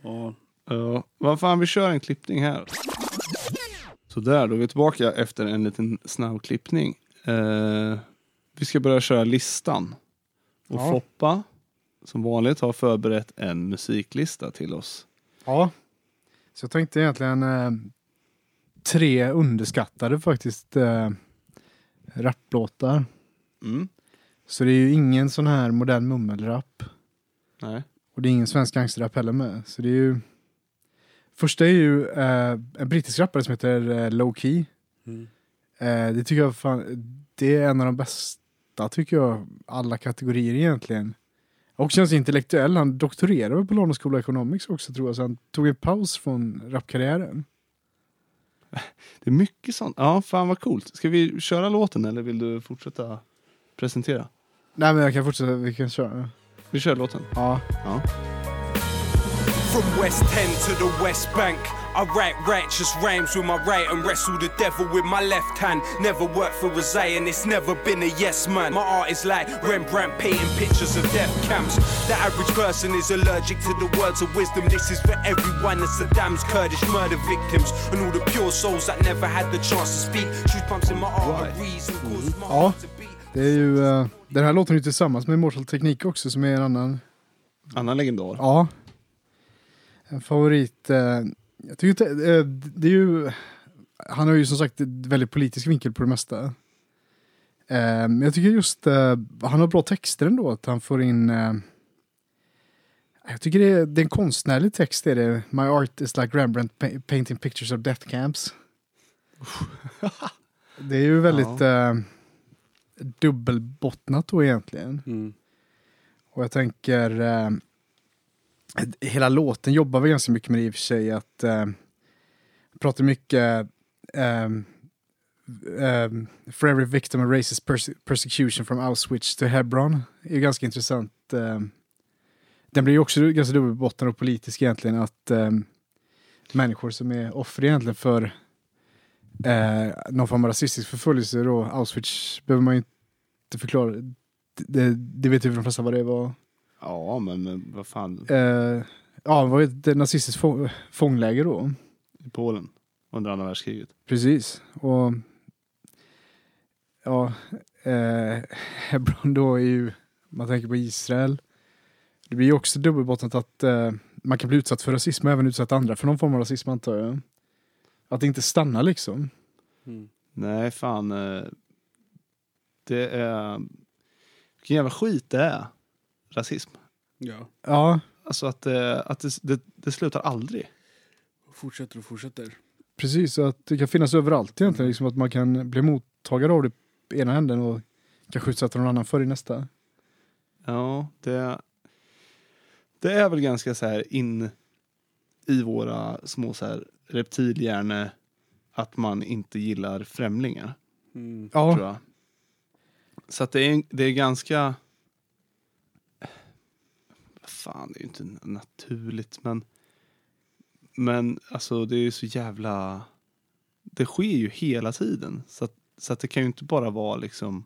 D: Ja,
B: Ja, vad fan, vi kör en klippning här. Sådär, då är vi tillbaka efter en liten snabb klippning. Eh, vi ska börja köra listan. Och
C: Ja.
B: Foppa som vanligt har förberett en musiklista till oss.
C: Ja. Så jag tänkte egentligen eh, tre underskattade faktiskt eh, rapplåtar.
B: Mm.
C: Så det är ju ingen sån här modern mummelrap.
B: Nej.
C: Och det är ingen svensk gangsterrap heller med. Så det är ju... Första är ju eh, en brittisk rappare som heter eh, Low Key.
D: Mm.
C: Eh, det tycker jag fan, det är en av de bästa tycker jag, alla kategorier egentligen. Och känns intellektuell, han doktorerade väl på London School of Economics också tror jag, så han tog en paus från rapkarriären.
B: Det är mycket sånt. Ja, fan vad coolt. Ska vi köra låten eller vill du fortsätta presentera?
C: Nej men jag kan fortsätta, vi kan köra.
B: Vi kör låten.
C: Ja.
B: Ja.
F: From West 10 to the West Bank. I write righteous rhymes with my right and wrestle the devil with my left hand. Never worked for a Zion, it's never been a yes man. My art is like Rembrandt painting pictures of death camps. The average person is allergic to the words of wisdom. This is for everyone that's Saddam's Kurdish murder victims. And all the pure souls that never had the chance to speak. Truth pumps in my arteries and causes my
C: Ja,
F: heart to beat.
C: det är ju, eh, den här låten är ju tillsammans med Immortal Teknik också som är en annan,
B: Annan legendar.
C: ja. En favorit, eh, jag tycker inte, eh, det är ju, han har ju som sagt ett väldigt politisk vinkel på det mesta. Eh, men jag tycker just, eh, han har bra texter ändå, att han får in, eh, jag tycker det är, det är en konstnärlig text är det. My art is like Rembrandt pa- painting pictures of death camps. det är ju väldigt eh, dubbelbottnat då egentligen.
D: Mm.
C: Och jag tänker, eh, hela låten jobbar väl ganska mycket med det i och för sig, att eh, pratar mycket eh, eh, For every victim of racist perse- persecution from Auschwitz to Hebron. Det är ju ganska intressant. Eh, den blir ju också ganska dubbelbottnad och politisk egentligen, att eh, människor som är offer egentligen för eh, någon form av rasistisk förföljelse då, Auschwitz behöver man ju inte förklara. Det, det vet ju de flesta vad det var.
B: Ja, men, men vad fan.
C: Eh, ja, det var ju ett nazistiskt få- fångläger då.
B: I Polen under andra världskriget.
C: Precis. Och ja, eh, [laughs] Hebron då är ju, man tänker på Israel. Det blir ju också dubbelbottnat att eh, man kan bli utsatt för rasism och även utsatt andra för någon form av rasism antar jag. Att det inte stannar liksom.
D: Mm.
B: Nej, fan. eh, Det är... Vilken jävla skit det är. Rasism.
D: Ja.
C: Ja,
B: Alltså att, eh, att det, det, det slutar aldrig.
D: Fortsätter och fortsätter.
C: Precis, så att det kan finnas överallt egentligen. Liksom att man kan bli mottagare av det i ena änden och kanske utsätta någon annan för i nästa.
B: Mm, Ja, det... Det är väl ganska så här in i våra små så här reptilhjärnor att man inte gillar främlingar.
D: Mm.
C: Ja,
B: tror jag. Så att det är, det är ganska... Fan, det är ju inte naturligt, men... Men alltså, det är ju så jävla... Det sker ju hela tiden, så att, så att det kan ju inte bara vara liksom...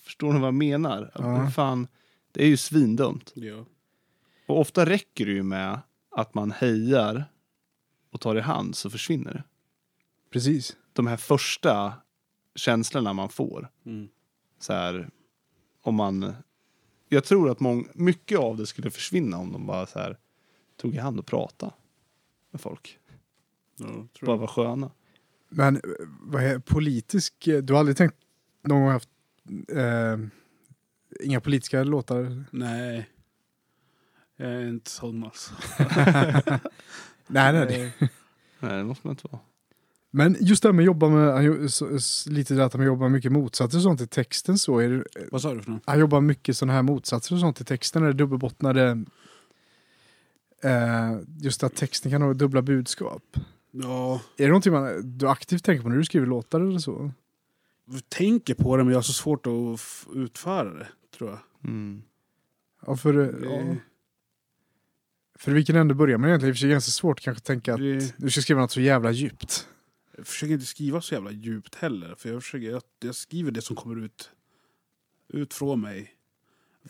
B: Förstår ni vad jag menar?
C: Ja.
B: Fan, det är ju svindumt.
D: Ja.
B: Och ofta räcker det ju med att man hejar och tar i hand så försvinner det
C: precis.
B: de här första känslorna man får.
D: Mm.
B: Så här, om man... Jag tror att mång, mycket av det skulle försvinna om de bara så här, tog i hand och pratade med folk.
D: ja
B: Bara
D: tror
B: var sköna.
C: Men eh, vad är politisk? eh, Du har aldrig tänkt någon gång haft eh, inga politiska [laughs] låtar?
D: Nej. Jag är inte sån alltså.
C: Nej, nej. nej.
B: Nej, det måste man inte vara.
C: Men just det här med att jobba med, han jo- så- s- lite det att han jobbar mycket motsatser och sånt i texten så. Är det,
D: Vad sa du för något?
C: han jobbar mycket sådana här motsatser och sånt i texten, eller dubbelbottnade. Eh, just att texten kan ha dubbla budskap.
D: Ja,
C: Är det någonting man, du aktivt tänker på när du skriver låtar eller så?
D: jag tänker på det men jag har så svårt att f- utföra det, tror jag.
B: Mm.
C: Ja, för, eh, ja.
D: Det-
C: för vilken ände börjar man egentligen? Det är i och för sig ganska svårt kanske att tänka att
D: Det-
C: du ska skriva något så jävla djupt.
D: Jag försöker inte skriva så jävla djupt heller. För jag, försöker, jag, jag skriver det som kommer ut, ut från mig.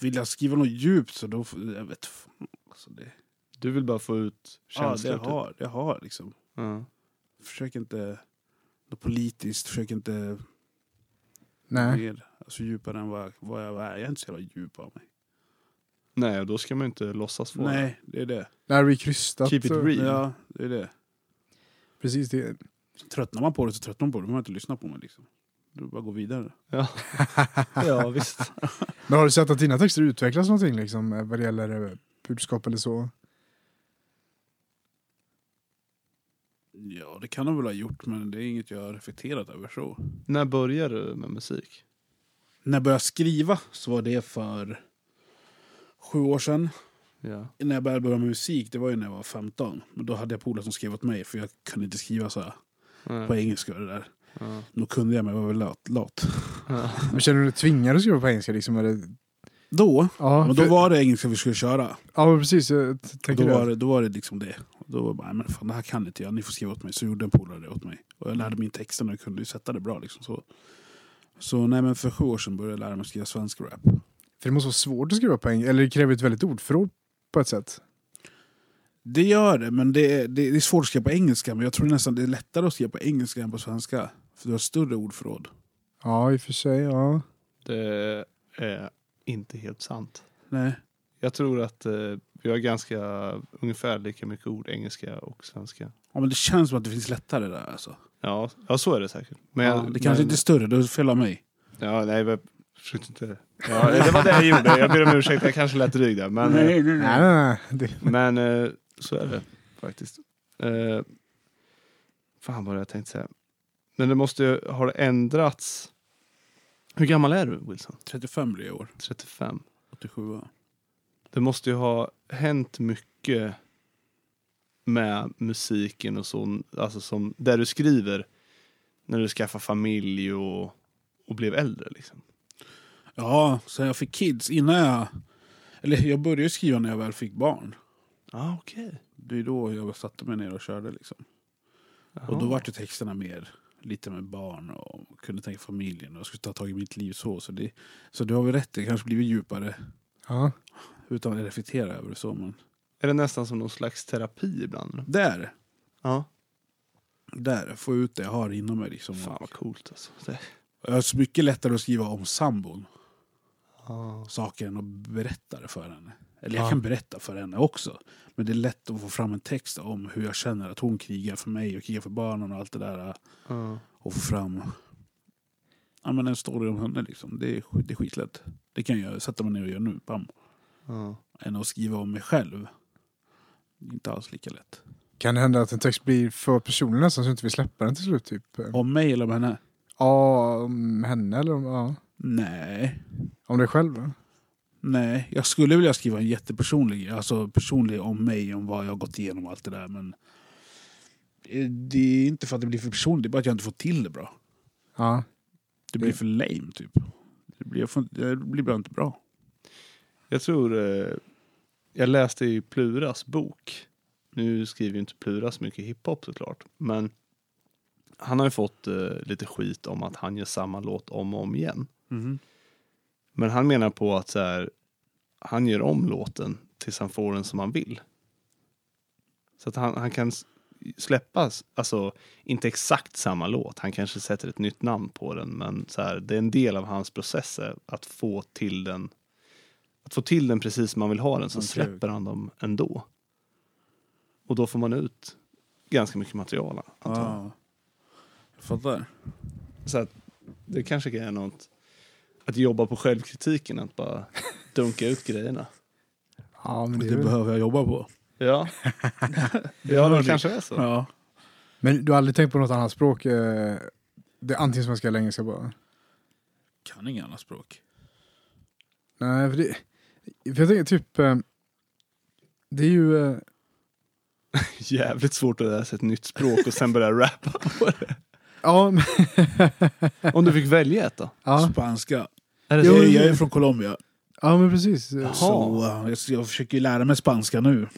D: Vill jag skriva något djupt så då... får- Jag vet fan, alltså det,
B: Du vill bara få ut
D: ja, det
B: känslor.
D: jag har, det jag har liksom.
B: typ. ja.
D: Försök inte... Något politiskt, försök inte
C: Nej.
D: mer, alltså djupare än vad, vad jag är. Jag är inte så jävla djup av mig.
B: Nej, och då ska man ju inte låtsas vara det.
D: Nej, det är det.
C: Det här blir krystat.
B: Keep it
C: så-
B: real.
D: Ja, det är det.
C: Precis, det,
D: Tröttnar man på det så tröttnar man på det. Då behöver man inte lyssna på mig liksom. Du bara gå vidare. [laughs]
B: Ja. ja, visst.
C: Men har du sett att dina texter utvecklas någonting liksom, eh, vad det gäller eh, budskap eller så?
D: Ja, det kan de väl ha gjort, men det är inget jag har reflekterat över så.
B: När börjar du med musik?
D: När jag började skriva så var det för sju år sedan.
B: Ja.
D: När jag började börja med musik, det var ju när jag var 15. Men då hade jag polare som skrev åt mig, för jag kunde inte skriva så här på
B: Nej.
D: engelska och det där.
B: Ja.
D: Då kunde jag, men jag var väl lat. lat.
B: Ja.
C: Men känner du dig tvingad att skriva på engelska? Liksom, eller?
D: Då,
C: Ja,
D: men då
C: för-
D: var det engelska vi skulle köra.
C: ja, men precis. Jag t-
D: Då
C: tänker
D: var,
C: det.
D: det, då var det liksom det. Och Då var jag bara, "Nej, men fan det här kan inte jag, ni får skriva åt mig. Så gjorde en polare det åt mig. Och jag lärde mig texten och kunde ju sätta det bra. Liksom. Så, så nej, men för sju år sedan började jag lära mig att skriva svensk rap.
C: För det måste vara svårt att skriva på engelska, eller det kräver ett väldigt ordförråd på ett sätt.
D: Det gör det, men det, är- det, det är svårt att skriva på engelska. Men jag tror nästan det är lättare att skriva på engelska än på svenska. För du har större ordförråd.
C: Ja, i och för sig.
D: Mm.
C: Ja.
B: Det är inte helt sant.
D: Nej.
B: Jag tror att eh, vi har ganska ungefär lika mycket ord engelska och svenska.
D: Ja, men det känns som att det finns lättare där alltså.
B: Ja, ja så är det säkert. Men,
D: Ja,
B: jag-
D: det kanske
B: men-
D: inte är större, då är det fel av mig.
B: Ja, nej, jag försökte inte.
D: [laughs]
B: Ja, det var det jag gjorde. Jag ber om ursäkt, jag kanske lät dryg där. Men, eh,
C: Nej, nej, nej. Det,
B: men eh, så är det faktiskt. Eh, fan vad jag tänkte säga. Men det måste ju, har det ändrats? Hur gammal är du Wilson?
D: 35 blir jag i år,
B: 35.
D: 87.
B: Det måste ju ha hänt mycket med musiken och så, alltså som, där du skriver när du skaffar familj och, och blev äldre liksom.
D: Ja, så jag fick kids innan jag... Eller jag började skriva när jag väl fick barn.
B: Ah, okay.
D: Det är då jag satte mig ner och körde. Liksom. Och då var ju texterna mer lite med barn och kunde tänka familjen och skulle ta tag i mitt liv så. Så, det, så du har väl rätt, det kanske blivit djupare
C: ja.
D: utan att reflektera över det. Så, men
B: Är det nästan som någon slags terapi ibland?
D: där,
B: Ja.
D: där, få ut det jag har inom mig. Liksom.
B: Fan vad coolt alltså. Det.
D: Jag har så mycket lättare att skriva om sambon saker än att berätta det för henne. Eller jag
B: Ja.
D: kan berätta för henne också. Men det är lätt att få fram en text om hur jag känner att hon krigar för mig och krigar för barnen och allt det där. äh,
B: Ja.
D: och få fram ja, men en story om henne. Liksom. Det, är, sk- det är skitlätt. Det kan jag sätta mig ner och göra nu. Bam.
B: Ja.
D: Än att skriva om mig själv. Inte alls lika lätt.
B: Mm.
C: Kan det hända att en text blir för personlig nästan så du inte vill släppa den till slut? Typ.
D: Om mig eller om henne?
C: Ja, om henne eller om, ja.
D: Nej.
C: om dig själv? va?
D: Nej, jag skulle vilja skriva en jättepersonlig, alltså personlig om mig, om vad jag har gått igenom och allt det där. Men eh, det är inte för att det blir för personligt, det är bara att jag inte får till det bra.
C: Ja.
D: Det
C: Mm.
D: blir för lame typ. Det blir, jag får, inte- det blir bara inte bra.
B: Jag tror, eh, jag läste i Pluras bok, nu skriver ju inte Plura så mycket hiphop såklart, men han har ju fått eh, lite skit om att han gör samma låt om och om igen. Men han menar på att så här, han gör om låten tills han får den som han vill. Så att han, han kan s- släppa, s- alltså inte exakt samma låt, han kanske sätter ett nytt namn på den, men så här, det är en del av hans process är att få till den att få till den precis som man vill ha den, så
D: Okej.
B: släpper han dem ändå. Och då får man ut ganska mycket material. antar jag.
D: Ja. Jag fattar.
B: Så att det kanske är något att jobba på självkritiken, att bara dunka ut grejerna.
C: Ja, men,
D: Det,
C: det är väl...
D: behöver jag jobba på.
B: [laughs] Ja, ja det kanske är så.
D: Ja.
C: men du har aldrig tänkt på något annat språk? eh, Det är antingen svenska eller engelska bara?
D: Kan inga andra språk.
C: Nej, för det... För jag tänker typ... eh, Det är ju... eh,
B: Jävligt svårt att lära sig ett nytt språk och sen börja rappa.
C: Ja, [laughs] men...
B: Om du fick välja ett då?
C: Ja,
D: Spanska.
B: Är det
D: Jag,
B: så?
C: Jo,
D: jag är från Colombia.
C: ja men precis.
D: Så eh, jag, jag försöker ju lära mig spanska nu.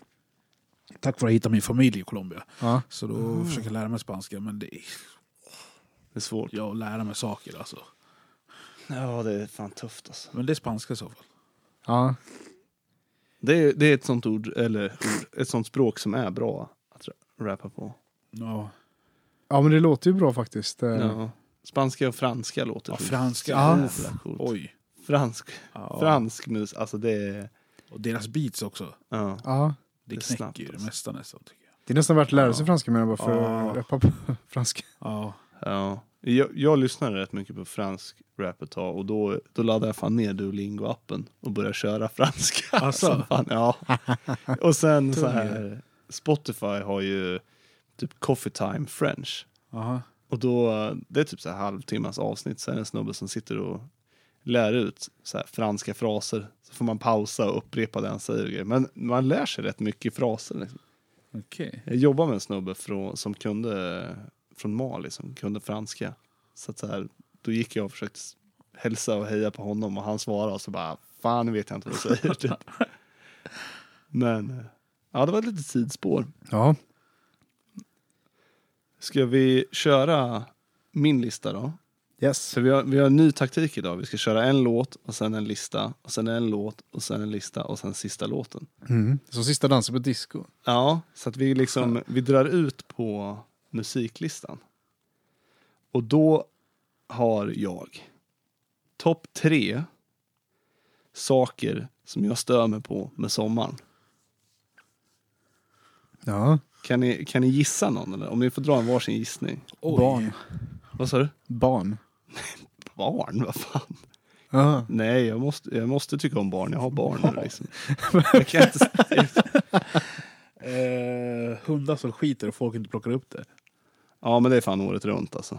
D: Tack vare att jag hittade min familj i Colombia.
C: Ja.
D: Så då
C: Ah.
D: försöker jag lära mig spanska. Men det är,
B: Det är svårt.
D: jag lära mig saker alltså.
B: Ja, det är fan tufft alltså.
D: Men det är spanska i så fall.
C: Ja.
B: Det är, det är ett sånt ord, eller ord, ett sånt språk som är bra att ra- rappa på.
D: Ja,
C: ja, men det låter ju bra faktiskt. eh.
B: Ja. Spanska och franska låter
D: ja
B: sjukt.
D: franska. Ah.
C: Ja.
B: Jävla coolt.
D: Oj.
B: Fransk,
D: Ja.
B: fransk mus, alltså det är...
D: Och deras beats också.
B: Ja.
C: Ja.
D: Det,
B: Det är snabbt,
D: knäcker ju det
B: alltså.
D: mesta nästan tycker jag.
C: Det är nästan värt att lära sig franska menar jag bara för
D: Ja.
C: att rappa på [laughs] franska.
D: Ja,
B: Ja. Jag, jag lyssnade rätt mycket på fransk rap ett tag och då, då laddade jag fan ner Duolingo-appen och började köra franska. [laughs]
D: Asså?
B: Som fan, ja. Och sen så här, Spotify har ju typ Coffee Time French.
D: aha.
B: Och då, det är typ så här halvtimmars avsnitt, så är det en snubbe som sitter och lär ut så här franska fraser. Så får man pausa och upprepa det han säger. och grejer. Men man lär sig rätt mycket fraser. Liksom.
D: okej.
B: Jag jobbade med en snubbe från, som kunde, från Mali som kunde franska. Så, att så här, då gick jag och försökte s- hälsa och heja på honom och han svarade och så bara fan vet jag inte vad du säger. typ. Men eh, ja, det var ett litet sidospår.
C: Ja.
B: Ska vi köra min lista då?
C: Yes.
B: Så vi har, vi har en ny taktik idag. Vi ska köra en låt och sen en lista och sen en låt och sen en lista och sen sista låten.
C: Mm. Som sista dansen på disco.
B: Ja, så att vi liksom vi drar ut på musiklistan. Och då har jag topp tre saker som jag stör mig på med sommaren.
C: Ja.
B: Kan ni, kan ni gissa någon eller? Om ni får dra en varsin gissning.
C: Barn.
B: Vad sa du?
C: Barn.
B: Barn, vad fan?
C: Ja.
B: Nej, jag måste, jag måste tycka om barn. Jag har barn nu [laughs] liksom. Jag kan inte,
D: Eh, hundar som skiter och folk inte plockar upp det.
B: Ja, men det är fan året runt alltså.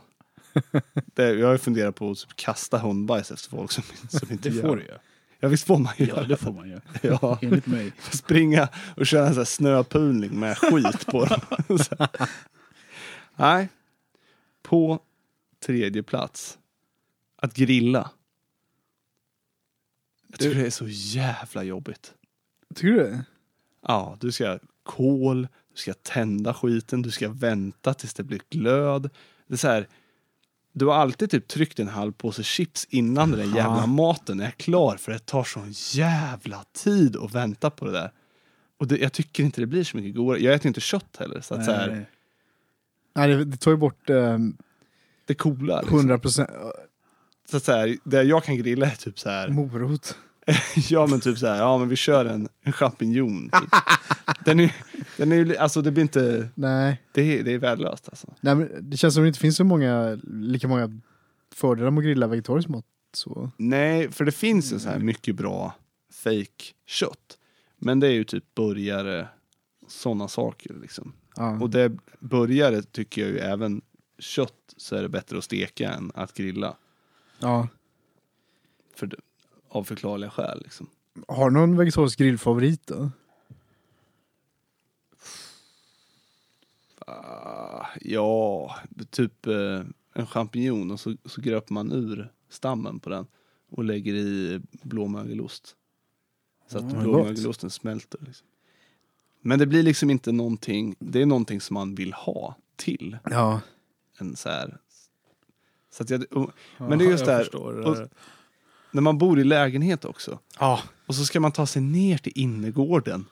B: Det, jag har ju funderat på att typ kasta hundbajs efter folk som, som inte
D: Det
B: gör
D: får du ju.
B: Ja, visst får man ju
D: Ja, det får man ju.
B: Ja.
D: [laughs] Enligt [laughs] mig.
B: Springa och köra en sån här snöpulning med skit på dem.
D: [laughs]
B: Så här. Nej. På tredje plats. Att grilla. Jag tycker det är så jävla jobbigt.
C: Tycker du det?
B: Ja, du ska ha kol, du ska tända skiten, du ska vänta tills det blir glöd. Det är så här, du har alltid typ tryckt en halv påse chips innan den där jävla maten är klar för det tar sån jävla tid att vänta på det där. Och det, jag tycker inte det blir så mycket godare. Jag äter inte kött heller, så att så här,
D: Nej.
C: Nej, det, det tar ju bort eh,
B: det coola. Liksom.
C: 100 procent
B: Så att så här, det jag kan grilla är typ så här, [laughs]
C: morot.
B: ja men typ så här, ja men vi kör en, en champinjon. Typ. Den är, den är ju, alltså det blir inte,
C: Nej.
B: det är, det är värdelöst alltså.
C: Nej, men det känns som det inte finns så många, lika många fördelar med att grilla vegetariskt mat. Så.
B: Nej, för det finns ju så här mycket bra fake kött Men det är ju typ burgare, sådana saker liksom.
C: Ja.
B: Och det, burgare tycker jag ju även kött så är det bättre att steka än att grilla.
C: ja.
B: För, av förklarliga skäl liksom.
C: Har du någon vegetarisk grillfavorit då?
B: Ah, ja, typ eh, en champinjon och så, så gröper man ur stammen på den och lägger i blåmögelost. Så
D: Ah,
B: att
C: Mm,
B: blåmögelosten smälter. Liksom. Men det blir liksom inte någonting, det är någonting som man vill ha till
C: Ja.
B: en så här. Så att jag, och, men det är just
D: jag
B: det här,
D: förstår det
B: och-
D: där.
B: när man bor i lägenhet också
C: Ja.
B: och så ska man ta sig ner till innergården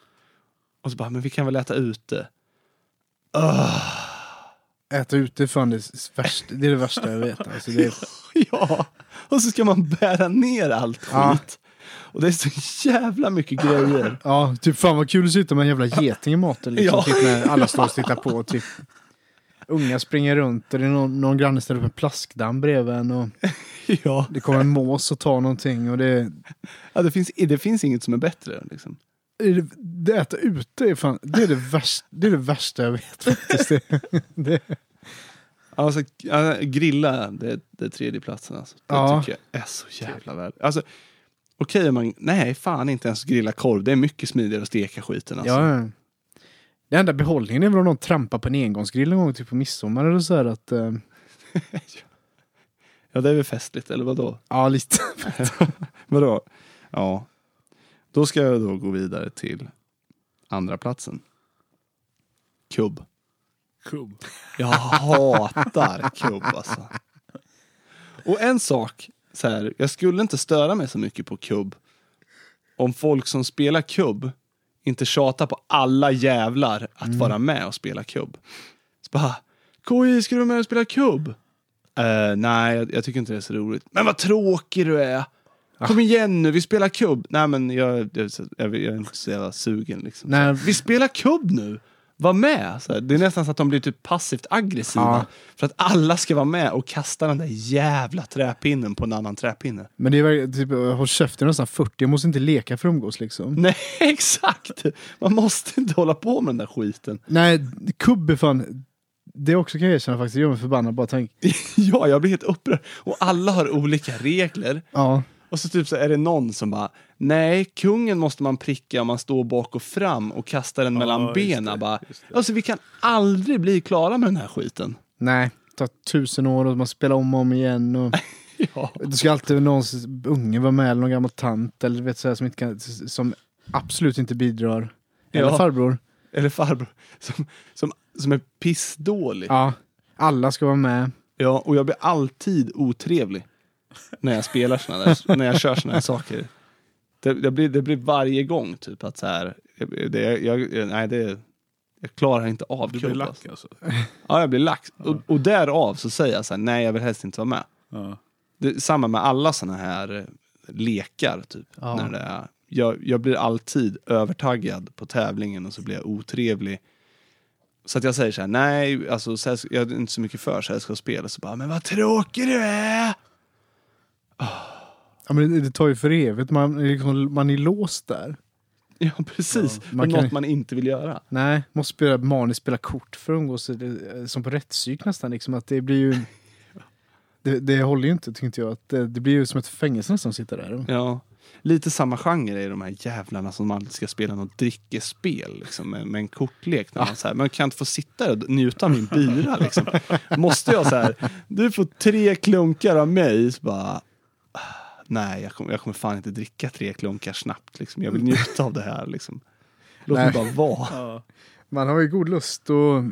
B: och så bara, men vi kan väl äta ute.
C: Äta ute är fan det, s- värst, det är det värsta jag vet. Alltså det är,
B: [laughs] Ja, och så ska man bära ner allt
C: Ja.
B: skit. Och det är så jävla mycket
C: [laughs]
B: grejer.
C: ja, typ fan vad kul att sitta med en jävla geting i maten liksom,
B: Ja.
C: typ när alla står och tittar på. Typ. Unga springer runt och det är någon, någon granne ställer upp en plaskdamm bredvid en och
B: Ja,
C: det kommer en mås och tar någonting. Och det,
B: ja det, finns, det finns inget som är bättre. Liksom.
C: är det, det äta ute är fan, det är det, värst, det är det värsta jag vet faktiskt. Det, det,
B: Alltså, ja, grilla, det, det är tredje platsen. Alltså. Det
C: Ja.
B: tycker jag är så jävla väl. Alltså, Okej om man, nej fan inte ens grilla korv. Det är mycket smidigare att steka skiten. Alltså.
C: Ja, ja. Den enda behållningen är väl om någon trampar på en engångsgrill en gång typ på midsommar eller så här att... eh,
B: ja, det är väl festligt, eller vadå?
C: ja, lite. [laughs]
B: Vadå? Ja. Då ska jag då gå vidare till andra platsen. Kubb.
D: Kubb.
B: Jag hatar kubb alltså. Och en sak, så här, jag skulle inte störa mig så mycket på kubb om folk som spelar kubb inte tjatar på alla jävlar att vara med och spela kubb. Så bara, KJ, ska du vara med och spela kubb? Eh, nej, jag, jag tycker inte det är så roligt. Men vad tråkig du är! Kom igen nu, vi spelar kubb. Nej men jag, jag, jag, jag är inte så jävla sugen liksom.
C: Nej.
B: Vi spelar kubb nu! Var med! Så här, det är nästan så att de blir typ passivt aggressiva.
C: Ja.
B: För att alla ska vara med och kasta den där jävla träpinnen på en annan träpinne. [laughs]
C: Men det är verkligen, typ, håll käften nästan 40, jag måste inte leka för att umgås liksom.
B: Nej, exakt! Man måste inte hålla på med den där skiten.
C: Nej, kubb är fan, det också kan jag erkänna faktiskt, det gör mig förbannad bara tänk.
B: Ja, jag blir helt upprörd. Och alla har olika regler.
C: Ja,
B: Och så typ så är det någon som bara, nej, kungen måste man pricka om man står bak och fram och kastar den mellan
D: just det,
B: benen. Bara, alltså vi kan aldrig bli klara med den här skiten.
C: nej, det tar tusen år och man spelar om och om igen och
B: Ja.
C: det ska alltid någon unge vara med eller någon gammal tant eller vet sådär som, inte kan, som absolut inte bidrar. Eller
B: Ja.
C: farbror.
B: Eller farbror, [laughs] som, som, som är pissdålig.
C: Ja, alla ska vara med.
B: Ja, och jag blir alltid otrevlig när jag spelar såna där, [laughs] när jag kör såna här saker. Det, det, blir, det blir varje gång typ att så här, det, jag, jag- nej det, jag klarar inte av
D: Du blir
B: kubb,
D: lack
B: alltså.
D: alltså.
B: Ja, jag blir lax. Och, och därav så säger jag så här, nej jag vill helst inte vara med.
D: Ja.
B: Det, är samma med alla såna här eh, lekar typ. När det är, jag, jag blir alltid övertaggad på tävlingen och så blir jag otrevlig. Så att jag säger så här, nej, alltså, så här, jag är inte så mycket för sällskapsspel. Och så bara, men vad tråkig du är! [laughs]
C: Ja, men det, det tar ju för evigt, man, är liksom, man är låst där.
B: Ja, precis.
C: man
B: det är
C: kan-
B: något man inte vill göra.
C: Nej, måste spela maniskt spela kort för att umgås, det- som på rättspsyk nästan. Liksom, att det blir ju... [laughs] Det, det håller ju inte, tänkte jag. Att det, det blir ju som ett fängelse nästan att sitta där.
B: Ja. Lite samma genre är de här jävlarna som alltid ska spela något drickespel liksom, med, med en kortlek. När man, så här, man kan jag inte få sitta där och njuta av min bira. Liksom. Måste jag så här, du får tre klunkar av mig. Så bara, "Ah, nej, jag kommer, jag kommer fan inte dricka tre klunkar snabbt. Liksom. Jag vill njuta av det här. Liksom. Låt mig
C: Nej.
B: bara vara.
C: Man har ju god lust att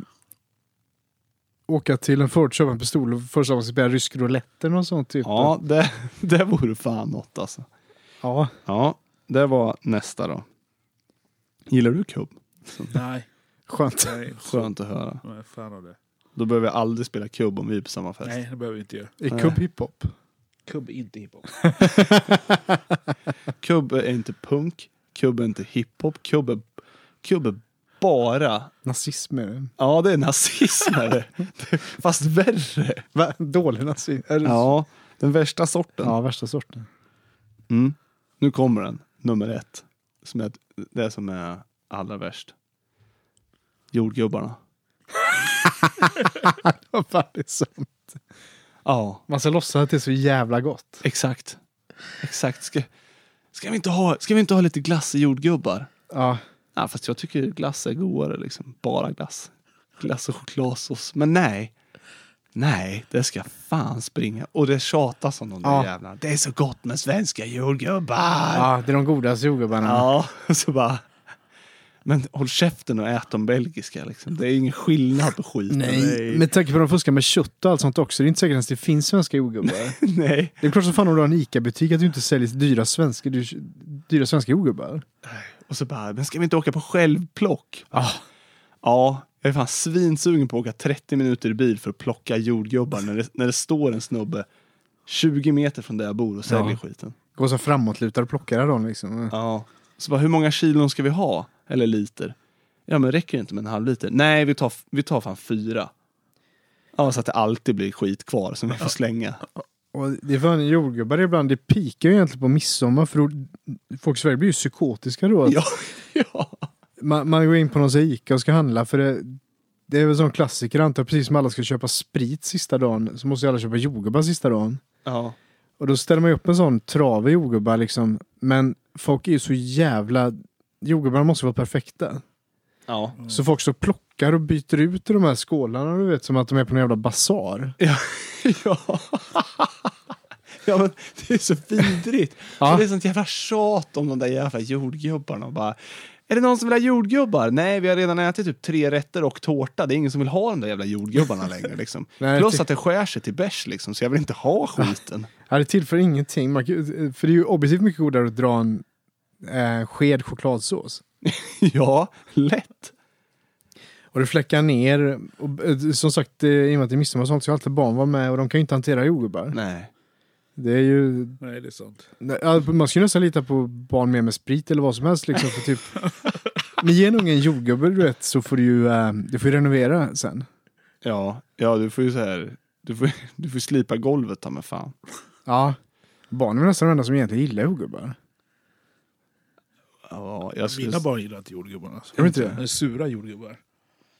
C: åka till en Ford, köpa en pistol och första gången spela rysk roulette eller något sånt. Typ.
B: Ja, det, det vore fan något alltså.
C: ja.
B: Ja, det var nästa då. Gillar du kubb?
D: Nej,
C: Skönt.
D: jag är
B: Skönt att höra.
D: jag är fan av det.
B: Då behöver jag aldrig spela kubb om vi är på samma fest.
D: Nej, det behöver vi inte göra.
C: Är kubb hiphop?
D: Kubb inte hiphop.
B: Kubb är inte punk, kubb är inte hiphop, kubb är, kubb är bara...
C: Nazism är det.
B: Ja, det är nazism är det. Det- [laughs] Fast värre.
C: Va? Dålig nazism? Är det-
B: Ja, den värsta sorten.
C: ja, värsta sorten.
B: Mm. Nu kommer den, nummer ett. Som är det som är allra värst. Jordgubbarna.
C: Ja, fan, det är sant.
B: Ja,
C: Man ska låtsas att det är så jävla gott.
B: exakt. Exakt. Ska, ska, vi, inte ha, ska vi inte ha lite glass i jordgubbar?
C: Ja.
B: Ja, fast jag tycker glass är godare liksom. Bara glass. Glass och chokladsås. Men nej. Nej, det ska fan springa. Och det tjatas om de där
C: Ja.
B: jävlarna. Det är så gott med svenska jordgubbar! Ja.
C: ja, det är de godaste jordgubbarna.
B: och [laughs] så bara... Men håll käften och ät de belgiska liksom. Det är ingen skillnad på skiten.
C: Nej, med tanke på att de fuskar med kött och allt sånt också. Det är inte säkert ens det finns svenska jordgubbar.
B: [laughs] nej.
C: Det är klart som fan om du har en ICA-butik att du inte säljer dyra svenska, du, dyra svenska jordgubbar.
B: Och så bara, men ska vi inte åka på självplock? Ja, jag är fan svinsugen på att åka 30 minuter i bil för att plocka jordgubbar när det, när det står en snubbe 20 meter från där jag bor och säljer
C: Ja.
B: skiten.
C: Går så framåtlutad och plockar dem liksom.
B: Ja. Så bara, hur många kilon ska vi ha? Eller liter? Ja, men räcker det inte med en halv liter? Nej, vi tar, vi tar fan fyra. Ja, så att det alltid blir skit kvar som vi får slänga.
C: Och det är fan jordgubbar ibland, det pikar ju egentligen på midsommar för då, folk i Sverige blir ju psykotiska då. att
B: Ja, ja.
C: Man, man går in på någon sån här ICA och ska handla för det, det är väl sån klassiker antar jag, precis som alla ska köpa sprit sista dagen så måste ju alla köpa jordgubbar sista dagen.
B: ja.
C: Och då ställer man ju upp en sån trave jordgubbar liksom. Men folk är ju så jävla... Jordgubbarna måste vara perfekta.
B: ja.
C: Så folk så plockar och byter ut i de här skålarna, du vet, som att de är på någon jävla basar.
B: Ja. ja. Ja, men det är så vidrigt.
C: Ja.
B: Och Det är sånt jävla tjat om de där jävla jordgubbarna. Och bara, är det någon som vill ha jordgubbar? Nej, vi har redan ätit typ tre rätter och tårta. Det är ingen som vill ha de där jävla jordgubbarna längre. Liksom.
C: Nej,
B: Plus
C: det-
B: att det skär sig till bärs, liksom, så jag vill inte ha skiten.
C: Ja, det tillför ingenting. Man, kan- för det är ju objektivt mycket godare att dra en eh, sked chokladsås.
B: ja, lätt.
C: Och det fläckar ner. Och, eh, som sagt, eh, i och med att det är midsommar och sånt så har alltid barn var med och de kan ju inte hantera jordgubbar.
B: Nej.
C: Det är ju...
D: Nej, det är sant.
C: nej, ja, Man skulle nästan lita på barn med med sprit eller vad som helst liksom. För typ, men ge en unge en jordgubbe du vet så får du ju eh, du får ju renovera sen.
B: Ja, ja du får ju så här. Du får, du får slipa golvet ta mig fan.
C: Ja. Barnen är nästan de enda som egentligen gillar jordgubbar.
B: Ja, jag skulle...
D: Mina barn gillar inte jordgubbarna. Alltså.
C: Gör de inte det?
D: är sura jordgubbar.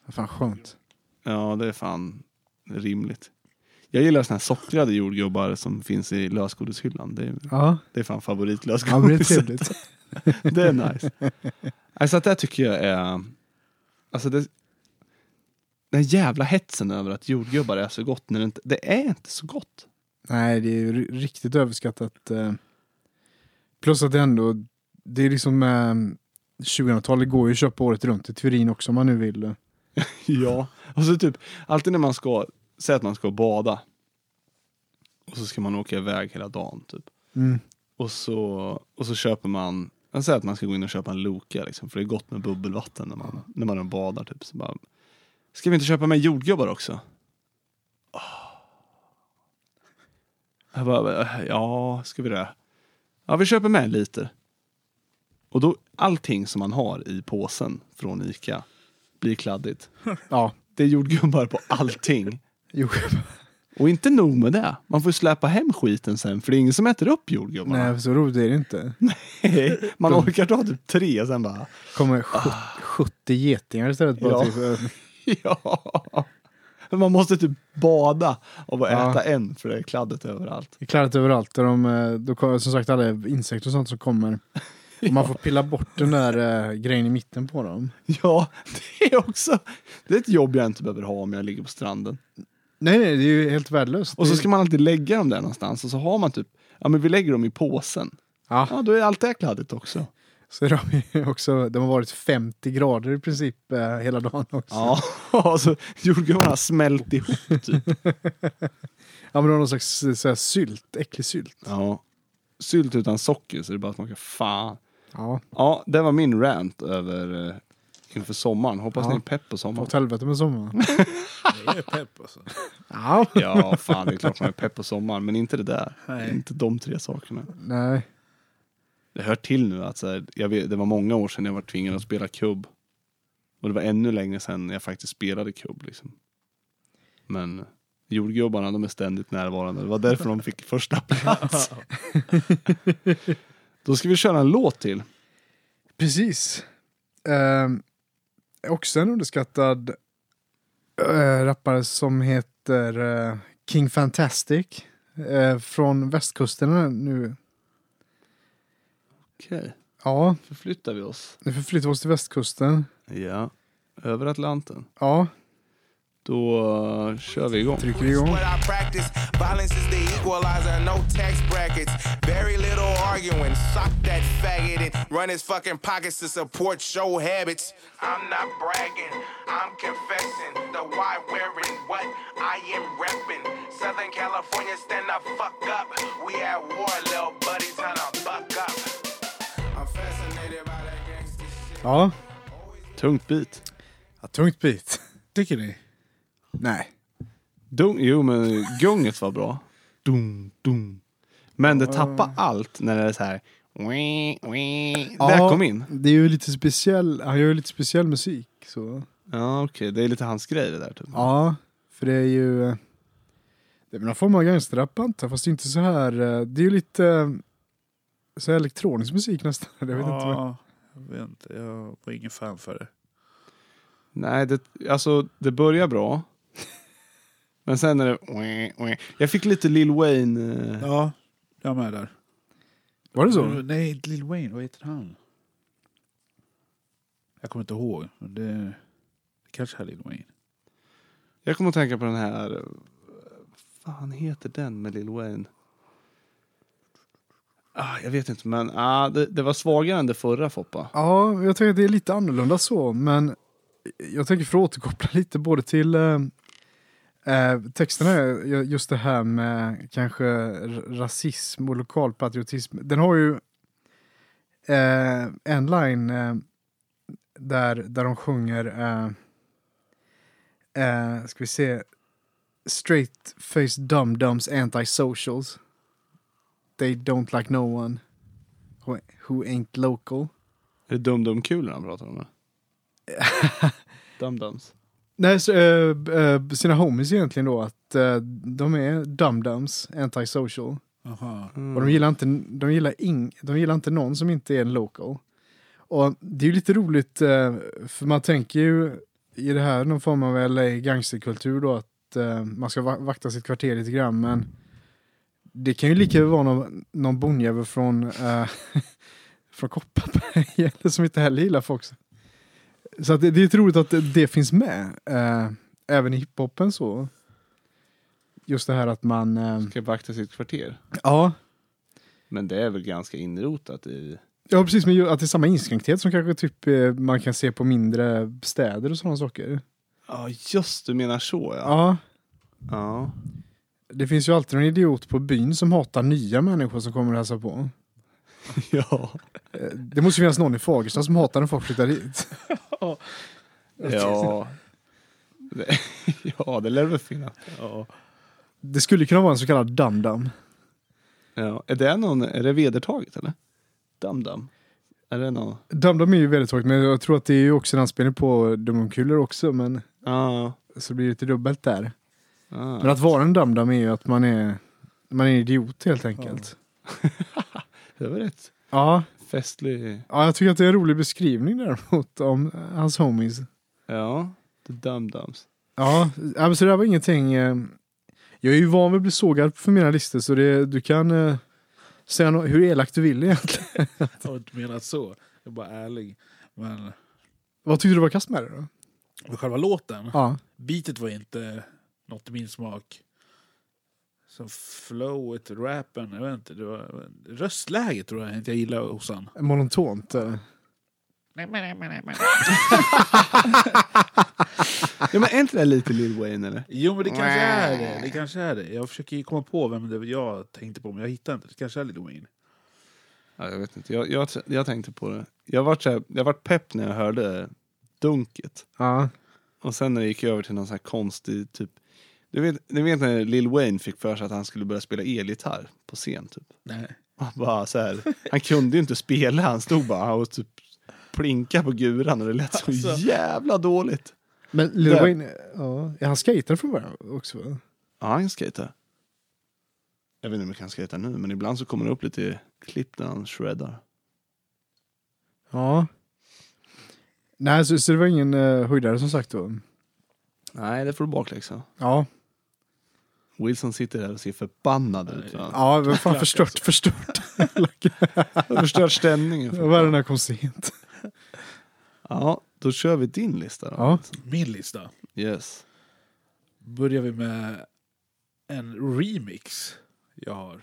C: Fan skönt.
B: Ja, det är fan rimligt. Jag gillar såna här sockrade jordgubbar som finns i lösgodishyllan. Det är,
C: Ja,
B: det är fan
C: ja [laughs] men det är
B: favoritlösgodis.
C: trevligt.
B: [laughs] det är nice. Alltså att det här tycker jag är... Alltså det... Den jävla hetsen över att jordgubbar är så gott när det inte... Det är inte så gott.
C: Nej, det är ju ri- riktigt överskattat. eh. Plus att det ändå, det är liksom eh, 2000-talet går ju att köpa året runt i Turin också om man nu vill. eh.
B: Ja, och så typ alltid när man ska, säg att man ska bada. Och så ska man åka iväg hela dagen typ.
C: Mm.
B: Och så, och så köper man, jag säger att man ska gå in och köpa en Loka liksom, för det är gott med bubbelvatten när man, när man badar typ. Så bara, ska vi inte köpa med jordgubbar också? Åh. Jag bara, eh, ja, ska vi det? Ja, vi köper med en liter. Och då, allting som man har i påsen från Ica blir kladdigt.
C: Ja,
B: Det är jordgubbar på allting.
C: jordgubbar.
B: Och inte nog med det, man får ju släpa hem skiten sen för det är ingen som äter upp jordgubbarna.
C: Nej, så roligt är det inte.
B: Nej. Man orkar ta typ tre sen bara,
C: Kommer sjut- 70 getingar istället bara
B: Ja.
C: typ. eh.
B: ja. Man måste typ bada och bara
C: Ja.
B: äta en för det är kladdet överallt.
C: Det är kladdigt överallt. Där de, eh, då kommer, som sagt alla insekter och sånt
B: [laughs]
C: som kommer. Och man får pilla bort den där eh, grejen i mitten på dem.
B: Ja, det är också, det är ett jobb jag inte behöver ha om jag ligger på stranden.
C: Nej, nej, det är ju helt värdelöst.
B: Och så ska man alltid lägga dem där någonstans och så har man typ, ja men vi lägger dem i påsen.
C: Ja.
B: Ja, då är allt det här kladdigt också.
C: Så är de, ju också, de har varit 50 grader i princip eh, hela dagen också.
B: [laughs] Ja, alltså jordgubbarna har smält ihop typ.
C: Ja, men det var någon slags eh, så här, sylt, äcklig sylt.
B: Ja. Sylt utan socker så det bara smakar fan.
C: Ja,
B: Ja, det var min rant över eh, inför sommaren. Hoppas
C: Ja.
B: ni är pepp på sommaren.
C: åt helvete med sommaren.
D: Jag är pepp alltså.
C: Ja.
B: [laughs] Ja, fan det är klart man är pepp på sommaren, men inte det där.
D: Nej.
B: Inte de tre sakerna.
C: Nej.
B: Det hör till nu att så här, jag vet, det var många år sedan jag var tvingad att spela kubb. Och det var ännu längre sedan jag faktiskt spelade kubb. Liksom. Men jordgubbarna, de är ständigt närvarande. Det var därför de fick första plats. Då ska vi köra en låt till.
C: Precis. Ehm, också en underskattad eh, rappare som heter eh, King Fantastic. eh, från västkusten nu.
B: Okej,
C: Ja,
B: förflyttar vi oss.
C: nu förflyttar vi oss till västkusten.
B: Ja, över Atlanten.
C: Ja,
B: Då eh, kör vi igång.
C: trycker igång.
G: What I practice, violence is the equalizer, no tax brackets. Very little arguing, sock that faggot and run his fucking pockets to support show habits. I'm not bragging, I'm confessing the why, where, and what I am repping. Southern California, stand the fuck up. We at war, little buddy, time to buck up. I'm fascinated by that gangster shit.
C: Ja,
B: Tungt bit.
C: ja tungt bit.
D: Tycker ni?
C: Nej.
B: Dun, jo, men gunget var bra. Dun, dun. Men det tappar allt när det är så här... Wii, wii. Där
C: Ja,
B: kom in.
C: Det är ju lite speciell, han gör ju lite speciell musik. Så.
B: Ja, okej. Det är lite hans grej det där. Typ.
C: Ja, för det är ju... eh, Det är väl någon form av gangsterrap antar jag, fast det är inte så här... eh, Det är ju lite... eh, Så här elektronisk musik nästan. [laughs] Jag vet inte. vad-
D: ja, jag vet inte. Jag var ingen fan för det.
B: Nej, det, alltså det börjar bra. Men sen är det... wii, wii. Jag fick lite Lil Wayne... eh,
D: Ja, jag med där. Mm,
C: Var det så?
D: Nej, inte Lil Wayne. Vad heter han? Jag kommer inte ihåg. Men det, det kanske är Lil Wayne.
B: Jag kommer att tänka på den här... eh, Vad fan heter den med Lil Wayne? Ah, jag vet inte, men ah, det, det var svagare än det förra Foppa.
C: Ja, jag tänker att det är lite annorlunda så, men jag tänker för att återkoppla [laughs] lite både till eh, eh, texterna, ju- just det här med kanske r- rasism och lokalpatriotism. Den har ju eh, en line eh, där, där de sjunger, eh, eh, ska vi se, straight face dum-dums antisocials. They don't like no one who, who ain't local.
B: Är det dum-dum-kulorna han pratar om? eller? Dum-dums.
C: Nej, så, eh, b- eh, sina homies egentligen då, att eh, de är dum-dums, antisocial.
D: Aha.
B: Mm.
C: Och de gillar, inte, de, gillar ing, de gillar inte någon som inte är en local. Och det är ju lite roligt, eh, för man tänker ju i det här någon form av LA gangsterkultur då, att eh, man ska va- vakta sitt kvarter lite grann, men det kan ju lika väl vara någon, någon bondjävel från, eh, [laughs] från Kopparberg [laughs] eller som inte heller gillar folk. Så att det, det är lite roligt att det, det finns med, eh, även i hiphopen så. Just det här att man... Eh,
B: Ska vakta sitt kvarter.
C: ja.
B: Men det är väl ganska inrotat i...
C: Ja, precis. Men ju att det är samma inskränkthet som kanske typ eh, man kan se på mindre städer och sådana saker.
B: Ja, just du menar så ja.
C: Ja,
B: Ja.
C: det finns ju alltid en idiot på byn som hatar nya människor som kommer och hälsar på.
B: [laughs] Ja.
C: Eh, Det måste ju finnas någon i Fagersta som hatar när folk flyttar dit.
B: Ja. Det, [laughs] ja, det lär väl finnas. Ja.
C: Det skulle kunna vara en så kallad dum-dum.
B: ja. Är det någon, är det vedertaget eller? Dum-dum? Är det någon?
C: Dum-dum är ju vedertaget, men jag tror att det är ju också en anspelning på dumdumkulor också, men
B: Ja.
C: så blir det lite dubbelt där. Men
B: ja.
C: att vara en dum-dum är ju att man är, man är en idiot helt enkelt.
B: Det var rätt
C: Ja.
B: festlig.
C: ja, jag tycker att det är en rolig beskrivning däremot om eh, hans homies.
B: Ja. The dum-dums.
C: Ja, ja, men så det där var ingenting. eh, Jag är ju van vid att bli sågad för mina listor så det, du kan eh, säga no- hur elak du vill egentligen.
D: Jag har inte menat så. Jag är bara ärlig. Men
C: Vad tyckte du var kast med det då?
D: själva låten,
C: Ja.
D: beatet var inte något i min smak. Så flowet, rappen, jag vet inte. Det var, röstläget tror jag inte jag gillar hos han.
C: Monotont. eh.
B: Ja, men är inte det lite Lil Wayne eller?
D: Jo men det kanske är det. Det kanske är det. Jag försöker ju komma på vem det var jag tänkte på men jag hittar inte. Det kanske är Lil Wayne.
B: Ja, jag vet inte. Jag, jag, jag tänkte på det. Jag vart, så här, jag vart pepp när jag hörde dunket.
C: Ja.
B: Och sen när det gick över till någon sån här konstig typ... Du vet, du vet när Lil Wayne fick för sig att han skulle börja spela elgitarr på scen typ.
D: Nej.
B: Han, bara så här, han kunde ju inte spela, han stod bara och typ plinka på guran och det lät så jävla dåligt.
C: Men Lil
B: Där.
C: Wayne, ja, är han skejtare från början också? va?
B: Ja, han skejtar. Jag vet inte om jag kan skejta nu, men ibland så kommer det upp lite klipp där han shreddar.
C: Ja. Nej, så, så det var ingen uh, höjdare som sagt då?
B: Nej, det får du bakläxa.
C: Ja.
B: Wilson sitter där och ser förbannad ut. va?
C: Ja, vad fan förstört, [laughs] förstört.
B: Han har förstört stämningen.
C: Vad är det när jag kom sent?
B: Ja, då kör vi din lista då.
C: Ja.
D: Min lista.
B: Yes.
D: Börjar vi med en remix jag har.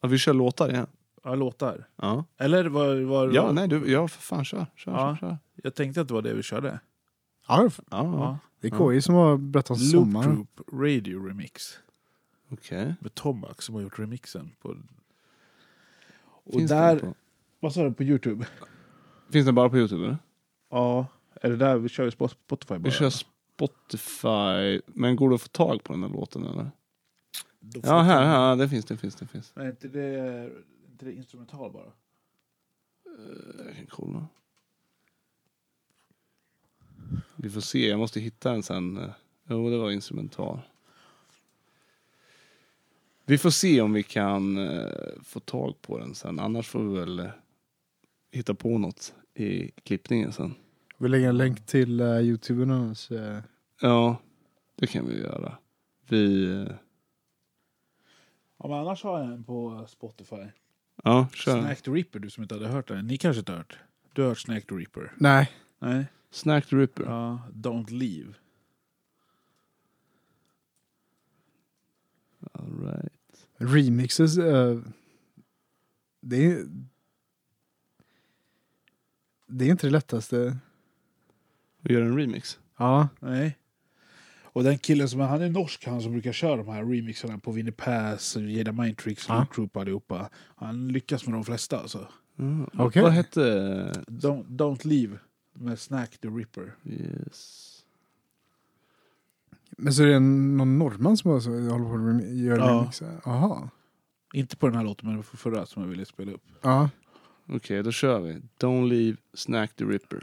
B: Ja, vi kör låtar igen.
D: Ja, låtar.
B: Ja,
D: Eller var, var,
B: ja nej, du, ja för fan kör. kör,
D: Ja.
B: kör, kör.
D: Jag tänkte att det var det vi körde.
C: Ja,
B: Ja,
D: Ja.
C: det är KI som har berättat om
D: Loop
C: sommaren.
D: Troop Radio Remix.
B: okej.
D: Med Tomax som har gjort remixen. På... Och
B: Finns den
D: där...
B: på-
D: Vad sa du? På Youtube?
B: Finns den bara på Youtube? Eller?
D: Ja. Är det där vi kör vi på Spotify bara?
B: Vi kör Spotify. Men går det att få tag på den här låten eller?
D: Då får
B: Ja,
D: vi-
B: här, här. Det finns, det finns, det finns.
D: Men är inte det, är inte det instrumental bara?
B: Jag kan kolla. Vi får se, jag måste hitta en sen. eh. Jo, det var instrumental. Vi får se om vi kan eh, få tag på den sen. Annars får vi väl eh, hitta på något i klippningen sen.
C: Vi lägger en länk till uh, Youtube annars. eh.
B: Ja, det kan vi göra. Vi... eh,
D: Ja, men annars har jag en på Spotify.
B: Ja, kör. Snack,
D: Snack the Ripper, du som inte hade hört den. Ni kanske inte har hört? Du har hört Snack the Ripper?
C: Nej.
D: Nej.
B: Snack the Ripper.
D: Ja, Don't Leave.
B: All right.
C: Remixes, eh, det är... Det är inte det lättaste.
B: Vi gör en remix.
C: Ja.
D: Nej. Och den killen som han är norsk, han som brukar köra de här remixarna på Winnie Pass, Jada Mind Tricks,
C: Ja.
D: Loop Troop allihopa. Han lyckas med de flesta alltså.
B: Mm.
C: Okej.
B: Vad hette... eh,
D: Don't, don't Leave med Snack the Ripper.
B: Yes.
C: Men så är det någon norrman som också håller på att rem- göra
D: Ja.
C: remixer? Jaha.
D: Inte på den här låten, men på förra som jag ville spela upp.
C: Ja.
B: Okej, då kör vi. Don't leave, snack the ripper.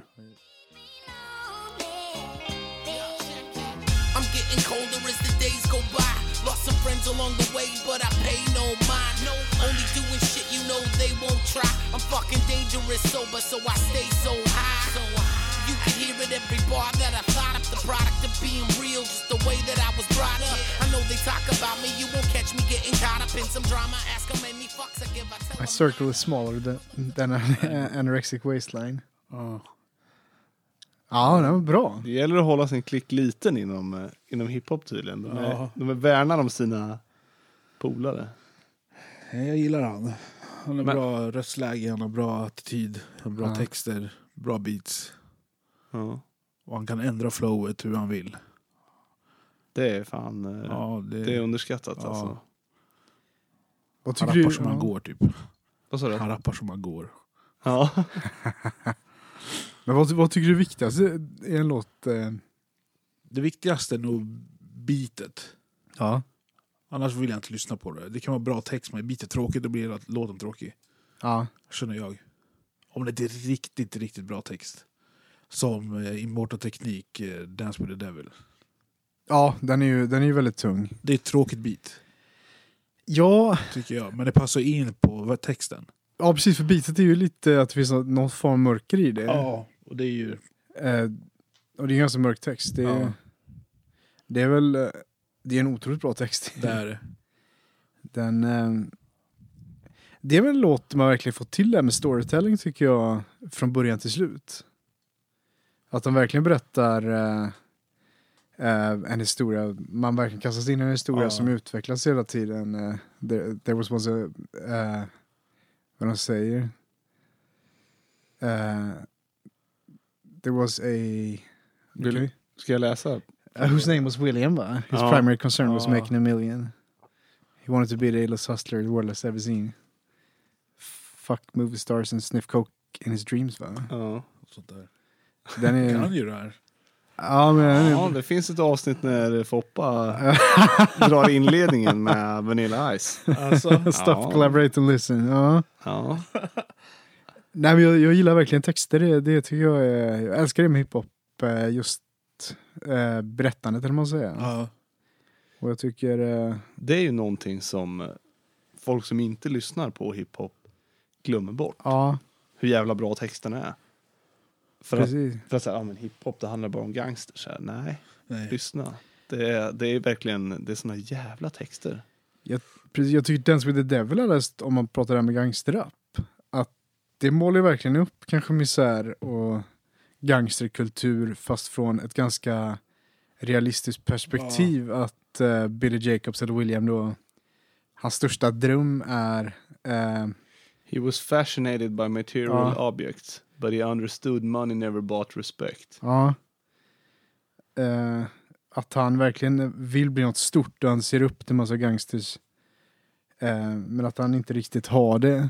H: I'm getting colder as the days go by. Lost some friends along the way, but I pay no mind. No, only doing shit you know they won't try. I'm fucking dangerous sober, so I stay so high. So high. You can hear it every bar that I thought up the product of being real, just the way that I was brought up. I know they talk about me, you won't catch me getting caught up in some drama. Ask 'em how many fucks I give. I tell
C: My
H: 'em
C: circle is smaller than, than an [laughs] anorexic waistline.
D: Ja.
C: Ja, den var bra.
B: Det gäller att hålla sin klick liten inom, eh, inom hiphop tydligen. De är,
D: Ja.
B: de är värnar om sina polare.
D: Nej, Jag gillar han. Han har
B: Men-
D: bra röstläge, han har bra attityd, han har bra
C: Ja.
D: texter, bra beats.
B: Ja.
D: Och han kan ändra flowet hur han vill.
B: Det är fan eh,
D: Ja, det,
B: det är underskattat
D: Ja.
B: alltså.
C: Vad
D: han
C: tycker
D: rappar
C: du?
D: som han går typ.
B: Vad sa du?
D: Han rappar som han går.
B: Ja.
C: Men vad, vad tycker du är viktigast i en låt? Eh,
D: Det viktigaste är nog beatet.
C: ja.
D: Annars vill jag inte lyssna på det. Det kan vara bra text, men är beatet tråkigt då blir hela låten tråkig.
C: Ja.
D: känner jag. Om det inte är riktigt, riktigt bra text. Som eh, Immortal Teknik, eh, Dance with the Devil.
C: Ja, den är ju den är ju väldigt tung.
D: Det är ett tråkigt beat,
C: Ja,
D: tycker jag. Men det passar in på vad- texten.
C: ja precis. För bitet är ju lite att det finns något- någon form av mörker i det.
D: Ja, och det är ju...
C: Eh, och det är en ganska mörk text. Det är,
D: Ja.
C: det är väl... eh, Det är en otroligt bra text.
D: Där,
C: [laughs] Den, eh, det är väl en låt man verkligen fått till det här med storytelling tycker jag, från början till slut. Att de verkligen berättar eh, eh, en historia, man verkligen kastas in i en historia
D: Ja.
C: som utvecklas hela tiden. eh, there, there was once a, eh, vad de säger, eh, there was a,
B: Vill- Ska jag läsa?
C: Uh, whose name was William, va? His
B: Ja.
C: primary concern was
D: Ja.
C: making a million. He wanted to be the illest hustler the world has ever seen. Fuck movie stars and sniff coke in his dreams, va?
B: Ja.
D: och sånt där.
C: Den
D: Kan han
C: är...
D: ju
C: [laughs]
D: det här.
C: Ja, men den
B: ja,
C: är...
B: det finns ett avsnitt när Foppa drar inledningen med Vanilla Ice.
D: Alltså,
C: Stop,
B: Ja.
C: collaborate and listen. Ja.
B: Ja.
C: Nej, men jag, jag gillar verkligen texter. Det, det tycker jag är... Jag älskar det med hiphop. eh, Just eh, berättandet, eller vad man säger.
D: ja,
C: Och jag tycker... eh,
B: Det är ju någonting som eh, folk som inte lyssnar på hiphop glömmer bort.
C: ja,
B: Hur jävla bra texten är. För att,
C: precis.
B: för att säga, ja men hiphop det handlar bara om gangsters. Så här, Nej,
D: nej.
B: lyssna. Det är, det är verkligen, det är såna jävla texter.
C: Precis, jag tycker Dance with the Devil är läst, om man pratar det här med gangsterrap, att det målar ju verkligen upp kanske misär och gangsterkultur fast från ett ganska realistiskt perspektiv att eh, Billy Jacobs eller William då, hans största dröm är eh,
B: He was fascinated by material objects. But he understood money never bought respect.
C: Ja. Eh, att han verkligen vill bli något stort och han ser upp till massa gangsters. Eh, men att han inte riktigt har det.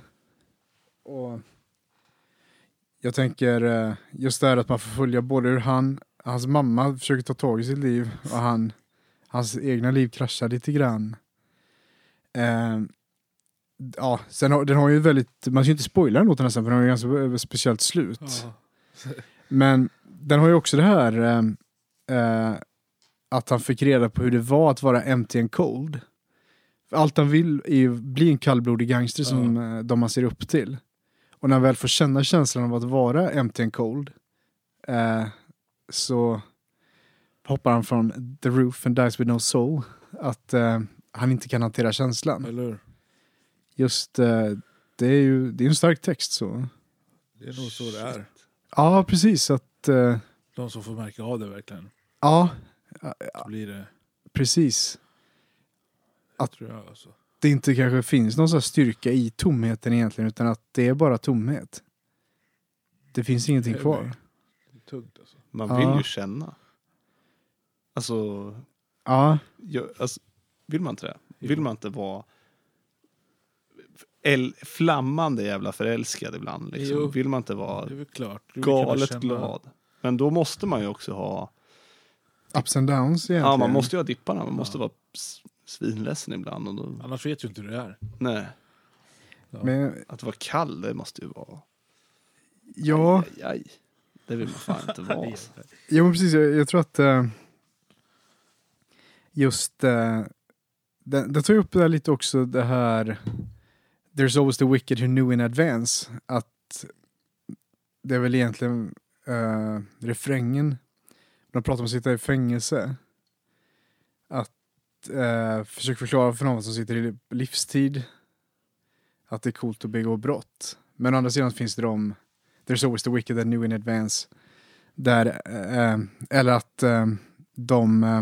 C: Och jag tänker eh, just det här att man får följa både hur han, hans mamma försöker ta tag i sitt liv och han, hans egna liv kraschar lite grann. Eh, ja, sen har, den har ju väldigt, man ska ju inte spoila den låten nästan för den har ju ganska eh, speciellt slut.
D: Ja.
C: Men den har ju också det här eh, eh, att han fick reda på hur det var att vara empty and cold. För Allt han vill är ju bli en kallblodig gangster som eh, de man ser upp till. Och när han väl får känna känslan av att vara empty and cold eh, så hoppar han från the roof and dies with no soul. Att eh, han inte kan hantera känslan.
D: Eller hur?
C: Just eh, det är ju det är ju en stark text så.
D: Det är nog så det är.
C: Ja, precis. Att, eh,
D: De som får märka av det verkligen.
C: ja,
D: Så blir det,
C: precis.
D: tror jag. Alltså.
C: det inte kanske finns någon sån här styrka i tomheten egentligen, utan att det är bara tomhet. Det finns ingenting
D: Det är
C: kvar.
D: det. Det är tungt alltså.
B: Man vill
C: Ja.
B: ju känna. Alltså,
C: Ja,
B: jag, alltså, vill man inte det? Vill man inte vara el, flammande jävla förälskad ibland?
D: Jo.
B: Liksom? Vill man inte vara
D: Det är väl klart. Du vill kunna
B: galet
D: känna-
B: glad? Men då måste man ju också ha...
C: ups and downs egentligen.
B: Ja, man måste ju ha dipparna. Man måste vara s- svinledsen ibland. Och då,
D: Annars vet ju inte hur det är.
B: nej,
C: Men
B: att vara kall, det måste ju vara...
C: ja,
B: Aj, aj. Det vill man fan inte vara. alltså.
C: jo, men precis. Jag, jag tror att eh, just... Eh, det, det tar ju upp det här lite också, det här... There's always the wicked who knew in advance. Att det är väl egentligen eh, refrängen. De pratar om att sitta i fängelse. Att eh, försöka förklara för någon som sitter i livstid att det är coolt att begå brott. Men å andra sidan finns det de, there's always the wicked that knew in advance. Där, eh, eller att eh, de, eh,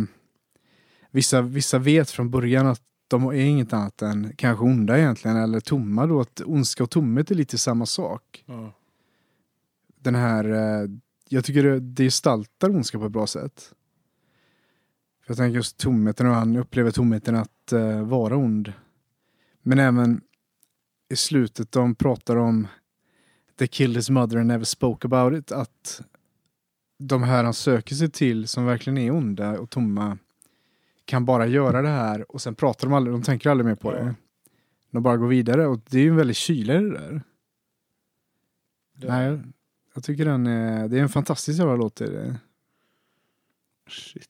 C: vissa, vissa vet från början att de är inget annat än kanske onda egentligen, eller tomma då, att ondska och tomhet är lite samma sak
D: Ja.
C: den här, eh, jag tycker det, det gestaltar ondska på ett bra sätt. För jag tänker just tomheten och han upplever tomheten att eh, vara ond. Men även i slutet de pratar om They killed his mother and never spoke about it. Att de här han söker sig till som verkligen är onda och tomma kan bara göra det här och sen pratar de aldrig, de tänker aldrig mer på det. De bara går vidare och det är ju en väldigt kyla i det där.
D: Det-
C: Nej, jag tycker den är, det är en fantastisk jävla låt. Är det.
B: Shit.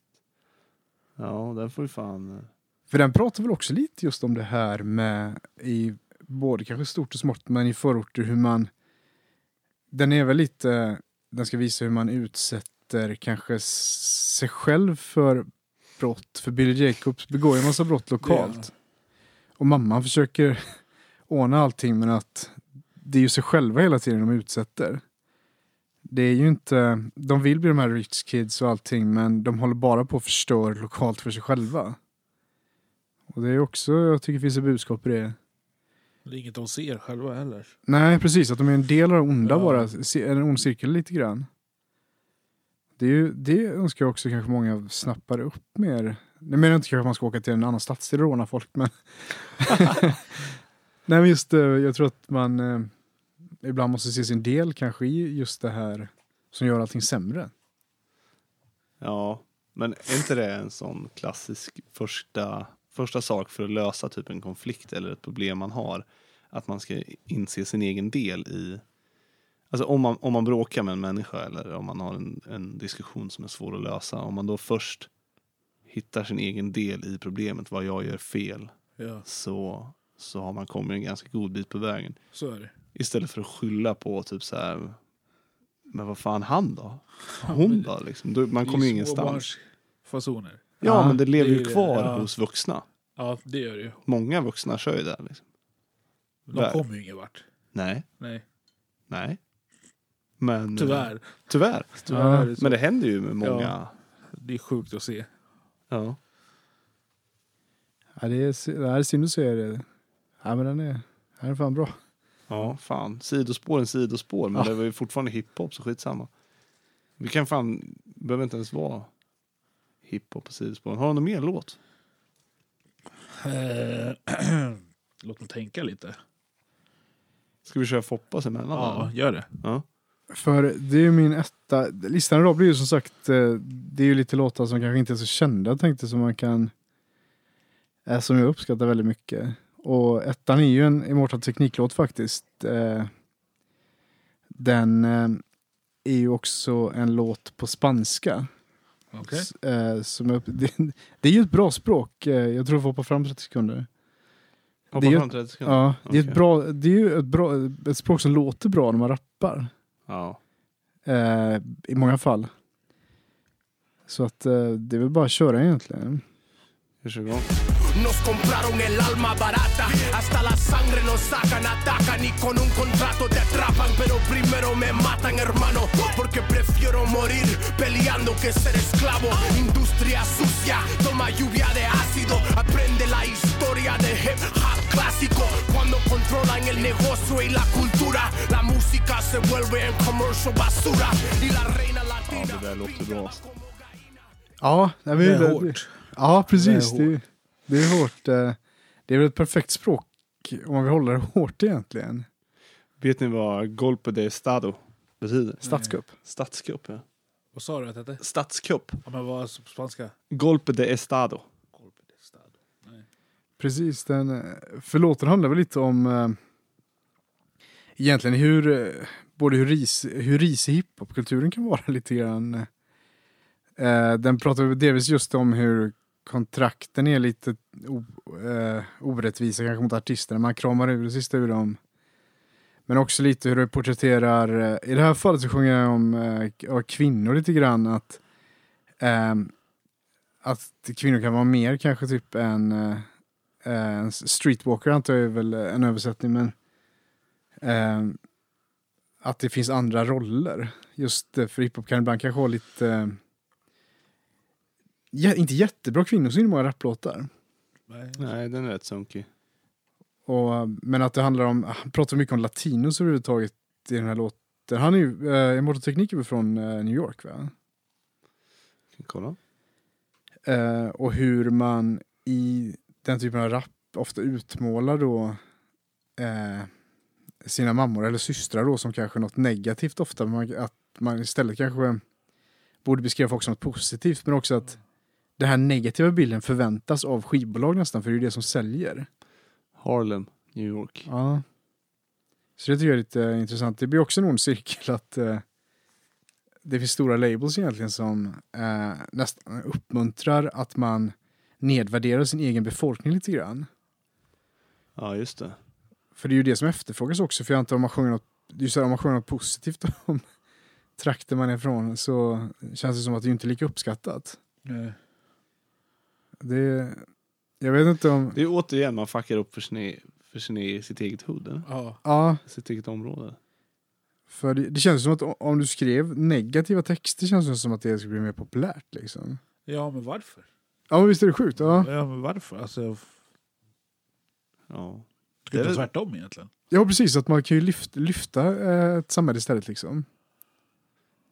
B: Ja, den får ju fan... eh,
C: För den pratar väl också lite just om det här med i både kanske stort och smått men i förorter hur man den är väl lite den ska visa hur man utsätter kanske s- sig själv för brott för Billy Jacobs begår ju en massa brott lokalt och mamman försöker [laughs] ordna allting men att det är ju sig själva hela tiden de utsätter. Det är ju inte, de vill bli de här rich kids och allting men de håller bara på att förstöra lokalt för sig själva. Och det är också, jag tycker det finns ett budskap i det.
D: Det är inget de ser själva heller.
C: Nej, precis. Att de är en del av det onda
D: Ja.
C: bara. se- En ond cirkel lite grann. Det, är ju, det önskar jag också kanske många snappar upp mer. Nu menar jag inte kanske att man ska åka till en annan stadsdel och råna folk, men... [laughs] Nej, men just eh, jag tror att man eh, ibland måste se sin del kanske i just det här som gör allting sämre.
B: Ja, men är inte det en sån klassisk första, första sak för att lösa typ en konflikt eller ett problem man har? Att man ska inse sin egen del i... Alltså om man, om man bråkar med en människa eller om man har en, en diskussion som är svår att lösa, om man då först hittar sin egen del i problemet, vad jag gör fel,
D: Ja,
B: så, så har man kommit en ganska god bit på vägen.
D: så är det.
B: Istället för att skylla på typ så här, men vad fan han då? Hon då? Liksom. Då- Man
D: Det är
B: kommer ju ingenstans.
D: småbarnsfasoner.
B: Ja,
C: Ja,
B: men det lever
D: det är
B: ju
D: det.
B: kvar
D: Ja.
B: hos vuxna.
D: Ja, det gör det ju.
B: Många vuxna kör ju där. Liksom.
D: De
B: Där.
D: kommer ju ingen vart.
B: Nej,
D: Nej,
B: nej. Men, eh,
D: tyvärr.
B: Tyvärr.
D: Tyvärr
C: Ja,
D: är det så.
B: Men det händer ju med många.
D: Det är sjukt att se.
B: Ja.
C: Ja, det, är, sy- det här är synd att säga det. Ja, men den är, den här är fan bra.
B: ja, fan. Sidospår är en sidospår, men
C: Ja.
B: det var ju fortfarande hiphop, så skitsamma. Vi kan fan, behöver inte ens vara hiphop på sidospåren. Har du någon mer låt?
D: Eh, [clears throat] Låt mig tänka lite.
B: Ska vi köra Foppas emellan?
D: Ja,
B: eller?
D: gör det.
B: ja.
C: För det är ju min etta. Listan idag blir ju som sagt, eh, det är ju lite låtar som kanske inte är så kända jag tänkte som man kan, eh, som jag uppskattar väldigt mycket. Och ettan är ju en Immortal Tekniklåt faktiskt. Eh, Den eh, är ju också en låt på spanska.
D: Okej.
C: S- eh, Som jag, [laughs] det, det är ju ett bra språk. Eh, Jag tror vi får hoppa fram 30 sekunder.
B: Hoppa
C: Det är ju-
B: fram 30 sekunder. Ja.
C: Ja, det är, ett
B: Okej.
C: bra, det är ju ett, bra, ett språk som låter bra när man rappar.
B: ja.
C: eh, i många fall. Så att eh, det är väl bara att köra egentligen.
B: Vi kör igång.
H: Nos compraron el alma barata, hasta la sangre nos sacan, atacan y con un contrato te atrapan, pero primero me matan hermano, porque prefiero morir peleando que ser esclavo. Industria sucia, toma lluvia de ácido, aprende la historia de hip hop clásico. Cuando controlan el negocio y la cultura, la música se vuelve en commercial basura y la reina
B: Ja,
H: latina.
B: det där låter bra. alltså.
C: Ja, nej, men,
D: Det är hårt.
C: Ja, precis.
D: Det
C: Det
D: är
C: är, det, är hårt. eh, Det är väl ett perfekt språk om man vill hålla det hårt egentligen.
B: Vet ni vad Golpe de Estado betyder?
C: Statskupp.
B: Statskupp, ja.
D: Vad sa du att det hette?
B: Statskupp.
D: Ja, men vad alltså på spanska?
B: Golpe de Estado.
D: Golpe de Estado.
C: Precis, den, eh, för låten handlar väl lite om eh, egentligen hur, eh, både hur, ris, hur risig hiphopkulturen kan vara [laughs] lite grann. Eh, den pratar väl delvis just om hur kontrakten är lite o, eh, orättvisa kanske mot artisterna, man kramar ur det sista ur dem. Men också lite hur det porträtterar, eh, i det här fallet så sjunger jag om eh, k- ja, kvinnor lite grann, att ehm, att kvinnor kan vara mer kanske typ än eh, eh, en streetwalker antar jag är väl en översättning men eh, att det finns andra roller. Just eh, för hiphop kan ibland kanske ha lite eh, jä- inte jättebra kvinnosyn i många rapplåtar.
B: Nej, den är rätt sunkig.
C: Och, men att det handlar om, han pratar mycket om latinos överhuvudtaget i den här låten. Han är ju, eh, Immortal Technique är väl från eh, New York va?
B: Kan kolla.
C: Eh, och hur man i den typen av rap ofta utmålar då eh, sina mammor eller systrar då som kanske något negativt ofta. Man, att man istället kanske borde beskriva folk som något positivt men också att den här negativa bilden förväntas av skivbolag nästan för det är ju det som säljer.
B: Harlem, New York.
C: Ja. Så det tycker jag är lite intressant. Det blir också en ond cirkel att eh, det finns stora labels egentligen som eh, nästan uppmuntrar att man nedvärderar sin egen befolkning lite grann.
B: Ja, just det.
C: För det är ju det som efterfrågas också, för jag antar om man sjunger något, det är ju så här, om man sjunger något positivt [laughs] om trakten man är ifrån så känns det som att det inte är lika uppskattat. Det, jag vet inte om...
B: Det är återigen man fuckar upp för, sin, e- för sin, e- sitt eget hood, eller?
D: Ja.
C: Ja,
B: Sitt eget område.
C: För det, det känns som att o- om du skrev negativa texter känns det som att det skulle bli mer populärt liksom.
D: ja, men varför?
C: Ja men visst är det sjukt? Ja,
D: Ja, men varför? Alltså, jag
B: Ja.
D: tycker
B: Det är
D: det är
B: väl-
D: tvärtom egentligen.
C: ja precis, att man kan ju lyfta, lyfta eh, ett samhälle istället liksom.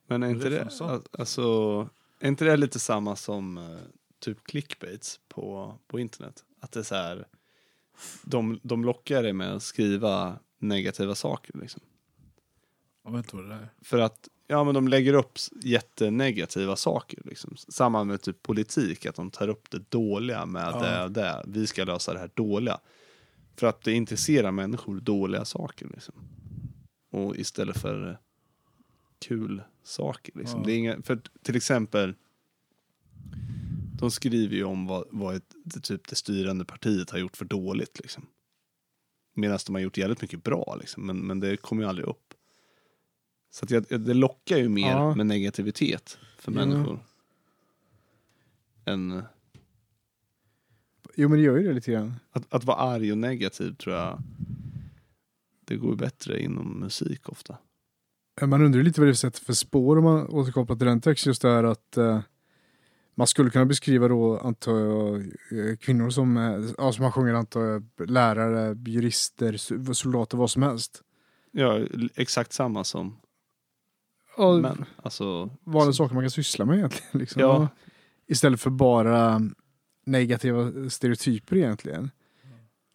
B: Men är inte
D: Det är
B: det,
D: fan sant.
B: alltså, är inte det lite samma som eh, typ clickbaits på, på internet? Att det är så här, de, de lockar dig med att skriva negativa saker liksom.
D: Jag vet inte vad det är.
B: För att ja, men de lägger upp s- jättenegativa saker. Liksom. Samma med typ politik, att de tar upp det dåliga med
D: Ja.
B: det och det. Vi ska lösa det här dåliga. För att det intresserar människor dåliga saker. Liksom. Och istället för eh, kul saker. Liksom.
D: Ja.
B: Det är inga, för t- till exempel, de skriver ju om vad, vad ett, det, typ det styrande partiet har gjort för dåligt. Liksom. Medan de har gjort jävligt mycket bra, liksom. men, men det kommer ju aldrig upp. Så att jag, jag- det lockar ju mer
C: Ja.
B: med negativitet för
C: Ja.
B: människor. Än
C: Jo men det gör ju det lite grann.
B: att, att vara arg och negativ tror jag, det går ju bättre inom musik ofta.
C: Eh, Man undrar ju lite vad det sätter för spår om man återkopplar till den texten just det här att eh, man skulle kunna beskriva då antar jag eh, kvinnor som, eh, ja, som man sjunger antar jag, lärare, jurister, su- soldater, vad som helst.
B: Ja, l- exakt samma som
C: Ja,
B: män. Alltså,
C: vanliga saker man kan syssla med egentligen. Liksom.
B: Ja.
C: Istället för bara negativa stereotyper egentligen.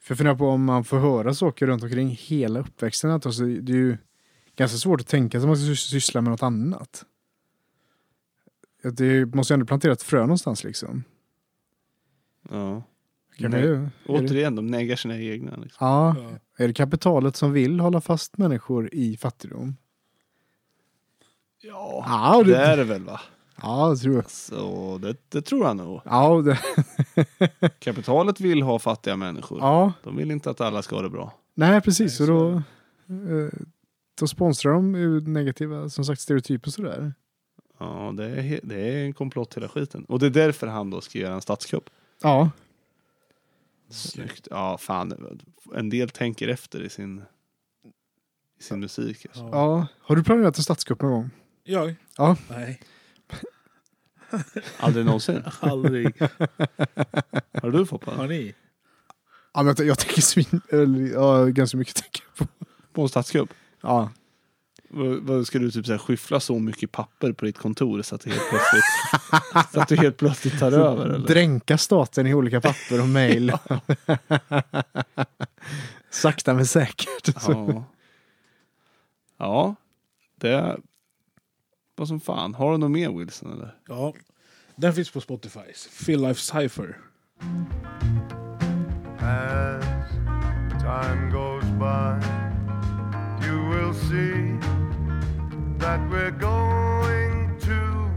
C: För jag funderar på om man får höra saker runt omkring hela uppväxten. Att alltså, det är ju ganska svårt att tänka sig att man ska sys- syssla med något annat. Att Det måste ju ändå plantera ett frö någonstans liksom.
B: ja.
C: Kanske
B: Nej.
C: är det- är det,
B: Återigen, de neggar sina egna. Liksom.
C: ja,
D: Ja.
C: är det kapitalet som vill hålla fast människor i fattigdom?
B: Ja,
C: Ja,
B: det
C: det,
B: är det väl va?
C: ja, jag tror jag.
B: Så det, det tror jag nog.
C: Ja, det,
B: Kapitalet vill ha fattiga människor.
C: ja,
B: De vill inte att alla ska ha det bra.
C: Nej, precis.
D: Nej,
C: och
D: så
C: då, eh, då sponsrar de ju negativa, som sagt, stereotyper och sådär.
B: Ja, det är, he- det är en komplott hela skiten. Och det är därför han då ska göra en statskupp.
C: Ja,
B: Snyggt. Ja, fan. En del tänker efter i sin, i sin musik. Alltså.
D: Ja.
C: ja. Har du planerat en statskupp någon gång?
D: Jag?
C: Ja.
D: Nej.
B: Aldrig någonsin.
D: [laughs] Aldrig.
B: [laughs] Har du Foppa?
D: Har ni?
C: Ja, men jag, jag tänker svin... Eller, ja, ganska mycket tänker jag på.
B: På en statskupp?
C: Ja.
B: Vad- vad Ska du typ så här skyffla så mycket papper på ditt kontor så att, det helt plötsligt,
D: [laughs]
B: så att du helt plötsligt tar över? Eller?
C: Dränka staten i olika papper och [laughs] mejl. Sakta men säkert. Så.
B: Ja. ja, det är... Vad som fan. Har du något mer Wilson eller?
D: Ja. Den finns på Spotify. Phil Life Cypher.
G: I
I: time goes by, you will see that we're going to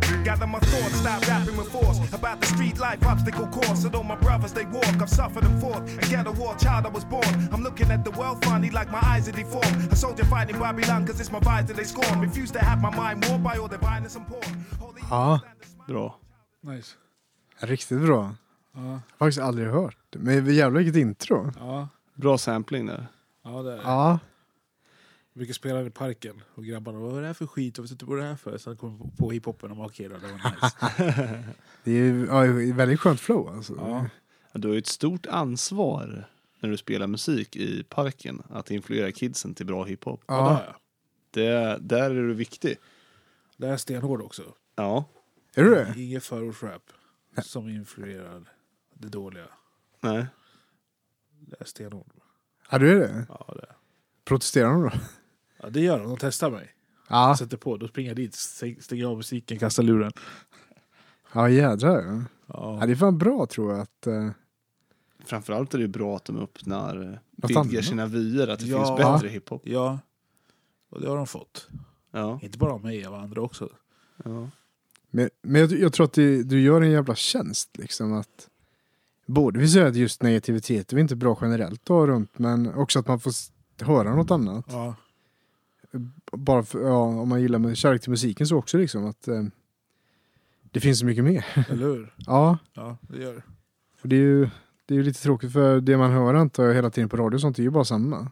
I: be.
E: Gather my thoughts, stop rapping with force about the street life obstacle course. And all my brothers they walk, I've suffered and fought. A ghetto war child I was born. I'm looking at the world funny like my eyes are deformed. A soldier fighting Babylon cause it's my vibes that they scorn. Refuse to have my mind warped by all the violence and porn. Holy
C: Ja,
B: Bra.
D: Nice.
C: riktigt bra.
D: Ja,
C: Faktiskt aldrig hört. Men jävlar vilket intro.
D: ja,
B: Bra sampling där.
D: ja det är det.
C: Ja.
D: Vi brukar spela i parken och grabbarna vad är det här för skit? Jag vet inte vad det här är för. Sen kom vi på hiphopen och bara, okej då, det var nice.
C: Det är ju ja, väldigt skönt flow alltså.
D: ja.
B: Ja, Du har ju ett stort ansvar när du spelar musik i parken att influera kidsen till bra hiphop.
D: Ja. Där, ja.
B: Det, där är du viktig.
D: Det här är stenhård också.
B: Ja,
C: Är du det?
D: Ingen förortsrap som influerar det dåliga.
B: nej.
D: Det är stenhård.
C: Ja, du är det.
D: Ja, det, är.
C: Protesterar de då?
D: ja, det gör de. De testar mig.
C: Ja,
D: Sätter på. Då springer jag dit, stäng- stänger av musiken, kastar luren.
C: ja jädrar. ja. Ja,
D: Ja.
C: det är fan bra tror jag att... eh,
B: Framförallt är det ju bra att de öppnar, eh,
C: Något
B: vidgar
C: annat.
B: sina vyer, att det
D: Ja.
B: finns bättre hiphop.
D: ja. Och det har de fått.
B: Ja.
D: Inte bara av mig, av andra också.
B: Ja.
C: Men, men jag, jag tror att det, du gör en jävla tjänst liksom att... Både vi säger att just negativitet det är inte bra generellt att ha runt men också att man får s- höra något annat.
D: Ja.
C: Bara för, ja, om man gillar med kärlek till musiken så också liksom att... eh, det finns så mycket mer.
D: Eller hur?
C: Ja,
D: Ja, det gör det.
C: och det är ju... Det är ju lite tråkigt för det man hör antar jag hela tiden på radio och sånt är ju bara samma.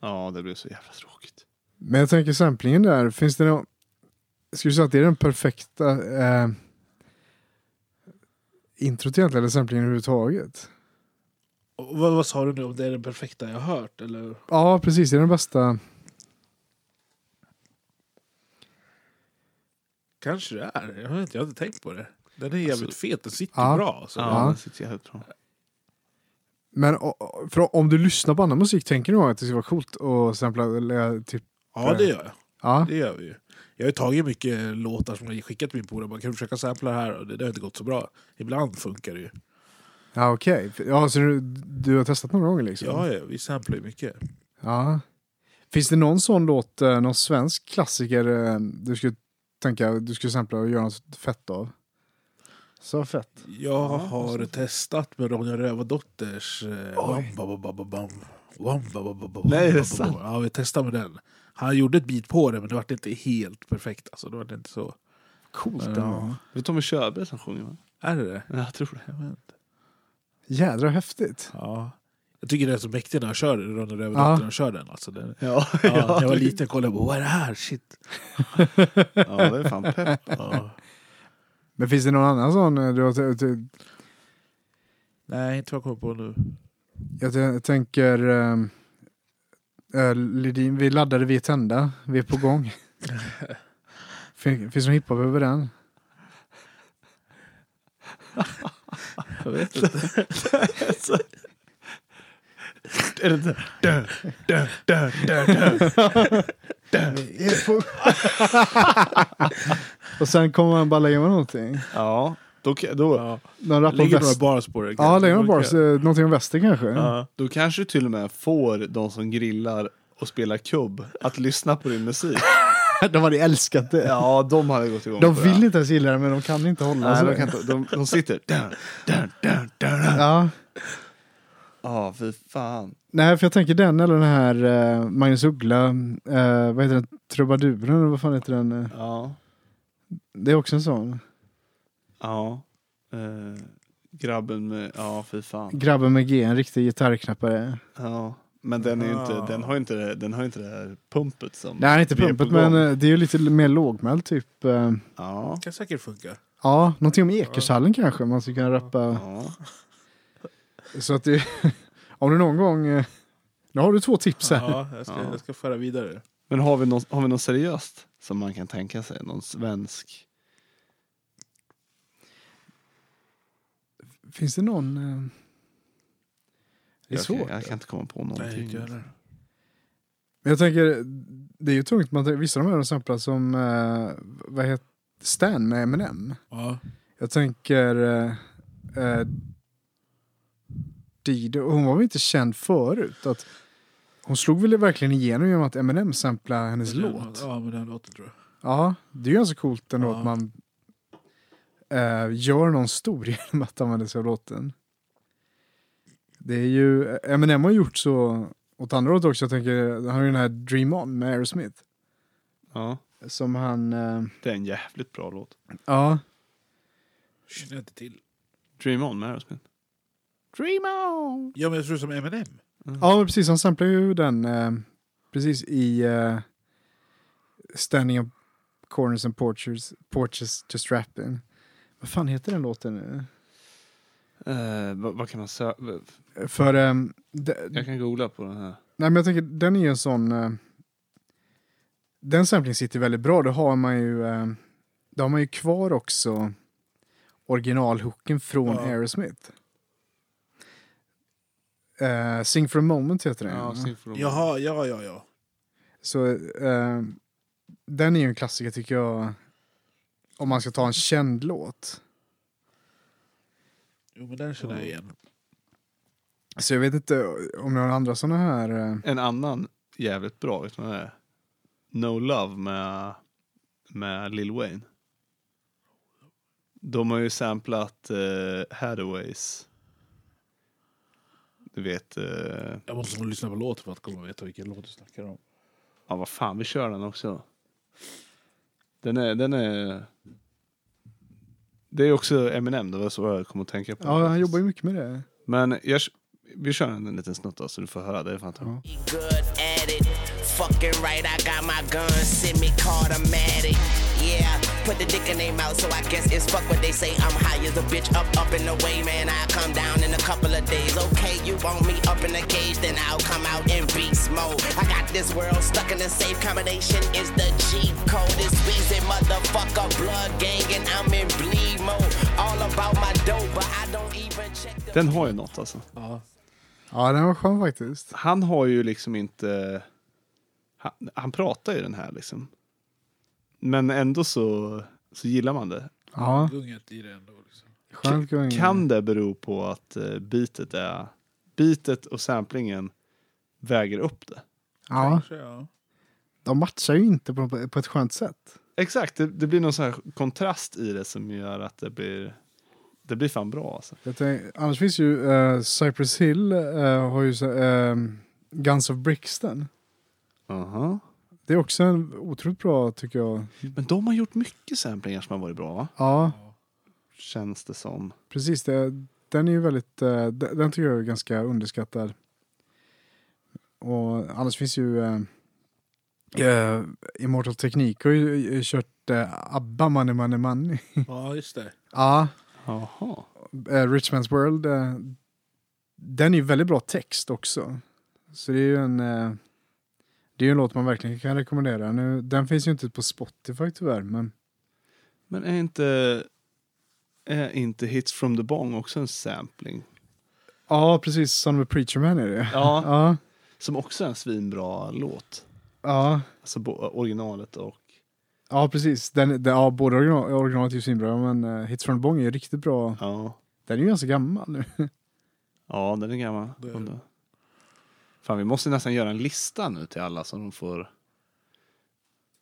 B: ja, det blev så jävla tråkigt.
C: Men jag tänker samplingen där, finns det någon... Skulle du säga att det är den perfekta eh, introt egentligen, eller samplingen överhuvudtaget?
D: Och vad, vad sa du nu om det är den perfekta jag har hört? Eller?
C: Ja, precis. Det är den bästa.
D: Kanske det är. Jag, vet inte, jag har inte tänkt på det. Den är jävligt
B: Alltså-
D: fet. Den sitter
C: Ja.
D: bra. Alltså.
B: Ja, det sitter jävligt bra.
C: Men o- o- för om du lyssnar på annan musik, tänker du nog att det skulle vara coolt att sampla? Eller, typ,
D: Ja, det gör jag.
C: ja.
D: Det gör vi ju. Jag har ju tagit mycket låtar som jag har skickat till min polare. Man kan försöka sampla det här och det, det har inte gått så bra. Ibland funkar det ju.
C: ja okej. Ja, så du, du har testat några gånger liksom?
D: Ja, ja vi samplar ju mycket.
C: Ja. Finns det någon sån låt, eh, någon svensk klassiker eh, du skulle tänka du skulle sampla och göra något fett av? Så fett.
D: Jag har testat med Ronja Rövardotters eh, Wamba Bamba Bam. Wamba Bamba Bam.
B: Nej, är det
D: Wamba
B: sant?
D: Bamba Bam. Ja, vi testade med den. Han gjorde ett bit på det, men det var inte helt perfekt. Alltså, det var inte så...
C: Coolt
D: Ja.
C: ändå.
B: Det är Tommy Körberg som sjunger va?
D: Är det det?
B: Ja, Jag tror det.
D: Jag vet inte.
C: Jädra häftigt.
D: Ja. Jag tycker det är så mäktigt när han kör Ronja
C: Ja.
D: Rövardottern. Ja. kör den. Alltså, den
B: [laughs] Ja,
D: ja, när jag var liten kollade jag på vad är det här? Shit.
B: ja det är fan pepp.
D: Ja.
C: Men finns det någon annan sån? eh, Du, har t- t-
D: Nej, inte vad jag kommer på nu.
C: jag t- tänker... ehm, eh, Lidin, vi laddade, vi är tända, vi är på gång.
D: [laughs]
C: fin, finns det någon hiphop över den?
D: Jag vet inte.
B: [laughs] Är det inte?
D: [laughs]
C: [laughs] Och sen kommer man bara lägga med någonting.
B: Ja, då, ka- då,
D: Ja.
C: Någon rap om
D: Ligger några
C: väst.
D: bars på det?
C: Ja, lägga några
D: kanske.
C: bars. eh, Någonting om väster kanske.
D: Ja.
B: då kanske du till och med får de som grillar och spelar kubb att lyssna på din musik.
C: [laughs] De hade älskat det.
B: Ja, de hade gått igång
C: De
B: på
C: vill
B: det.
C: inte ens gilla det, men de kan inte hålla
B: Nej,
C: sig.
B: de, kan inte, de, de
C: [laughs]
B: sitter... Dun, dun, dun, dun, dun.
C: Ja.
B: Ja, fy fan.
C: Nej, för jag tänker den eller den här eh, Magnus Uggla, eh, vad heter den, Trubaduren, eller vad fan heter den? eh?
B: Ja.
C: Det är också en sån.
B: Ja. Eh, grabben med... Ja, fy fan.
C: Grabben med G, en riktig gitarrknappare.
B: Ja. Men den, är ju
D: Ja.
B: inte, den har ju inte det, den har ju inte det här pumpet som...
C: Nej, inte
B: vi är
C: pumpet,
B: på gång.
C: men eh, det är ju lite mer lågmält typ. eh,
B: Ja.
D: kan säkert funka.
C: Ja, någonting om Ekershallen kanske, man skulle kunna rappa.
B: ja.
C: Så att det, [laughs] om du någon gång, eh, nu har du två tips här.
D: Ja, jag ska,
B: Ja.
D: jag ska föra vidare.
B: Men har vi, något, har vi något seriöst som man kan tänka sig? Någon svensk?
C: Finns det någon? eh, Det
B: jag,
C: är
B: kan-
C: svårt.
B: jag kan inte komma på någonting.
C: Men jag tänker, det är ju tungt, man, tänker- vissa av de här samplar som, eh, vad heter, Stan med Eminem.
D: Ja.
C: Jag tänker... Eh, eh, i det. Och hon var väl inte känd förut? Att hon slog väl verkligen igenom genom att Eminem samplade hennes låt.
D: Ja, men den låten tror jag.
C: Ja, det är ju ganska coolt ändå
D: Ja.
C: att man eh, gör någon stor [laughs] genom att använda sig av låten. Det är ju, Eminem har gjort så åt andra hållet också. Jag tänker, han har ju den här Dream On med Aerosmith.
B: Ja,
C: Som han, eh,
B: det är en jävligt bra låt.
C: ja,
D: Känner jag inte till.
B: Dream on med Aerosmith.
C: Dream on!
J: Ja, men jag tror som Eminem.
B: Mm.
C: Ja, men precis. Han samplar ju den eh, precis i eh, Standing Up Corners and Porches, Porches Just Rapping. Vad fan heter den låten nu?
B: Eh, vad, vad kan man säga?
C: För, ehm, de,
B: Jag kan googla på den här.
C: nej men jag tänker, den är ju en sån... Eh, den samplingen sitter väldigt bra. Då har man ju, eh, då har man ju kvar också originalhooken från
J: Ja.
C: Aerosmith. Eh, Sing for a moment heter den.
B: Ja, Sing for a Moment.
J: Jaha, ja, ja, ja.
C: Så eh, den är ju en klassiker tycker jag. Om man ska ta en känd låt.
J: Jo, men den känner jag igen.
C: Så jag vet inte om ni har andra sådana här. Eh,
B: En annan jävligt bra, vet du vad det är? No Love med, med Lil Wayne. De har ju samplat uh, Hathaways. Du vet, eh,
D: Jag måste nog lyssna på låten för att komma och veta vilken låt du snackar om.
B: ja vad fan, vi kör den också. Den är, den är... Det är också Eminem, det var så jag kom att tänka på.
C: ja, han jobbar ju mycket med det.
B: Men jag, vi kör en liten snutt då, så du får höra, det är fan
C: Ja.
H: good at it. Fucking right, I got my gun, send me automatic. Yeah, put the dick in their mouth, so I guess it's fuck what they say. I'm high as a bitch, up, up in the way, man. I come down in a couple of days. Okay, you want me up in the cage, then I'll come out in beast mode. I got this world stuck in the safe combination, is the cheap code. It's wheezing motherfucker, blood gang, and I'm in bleed mode. All about my dope, but I don't even check the.
B: Den har ju något alltså.
C: Ja, den var skön faktiskt.
B: han har ju liksom inte... Han, han pratar ju den här liksom. Men ändå så, så gillar man det.
C: Ja,
D: Gunget i det ändå. Liksom.
C: skönt gång.
B: Kan det bero på att eh, beatet är... Beatet och samplingen väger upp det?
C: Ja,
J: Så, ja.
C: de matchar ju inte på, på ett skönt sätt.
B: Exakt, det, det blir någon sån här kontrast i det som gör att det blir... Det blir fan bra alltså.
C: Jag tänk, annars finns ju eh, Cypress Hill eh, har ju så- eh, Guns of Brixton.
B: Aha.
C: Det är också en otroligt bra tycker jag.
B: Men de har gjort mycket samplingar som har varit bra, va?
C: Ja,
B: Känns det som.
C: Precis, det, den är ju väldigt, eh, de- den tycker jag är ganska underskattad. Och annars finns ju eh, eh, Immortal Technique har ju eh, kört eh, ABBA Money Money Money.
J: ja, just det.
C: Ja,
B: Jaha.
C: eh, Rich Man's World. Eh, den är ju väldigt bra text också. Så det är ju en, eh, det är ju en låt man verkligen kan rekommendera. Nu, den finns ju inte på Spotify tyvärr, men
B: Men är inte... Är inte Hits from the Bong också en sampling?
C: ja, precis, Son of a Preacher Man är det.
B: Ja.
C: Ja,
B: Som också är en svinbra låt.
C: ja.
B: Alltså bo- originalet och...
C: Ja, precis. Den, den, ja, både original, originalet är ju svinbra, men eh, Hits from the Bong är ju riktigt bra.
B: Ja,
C: Den är ju ganska gammal nu. [laughs]
B: ja den är gammal. Undrar. Fan, vi måste nästan göra en lista nu till alla som de får...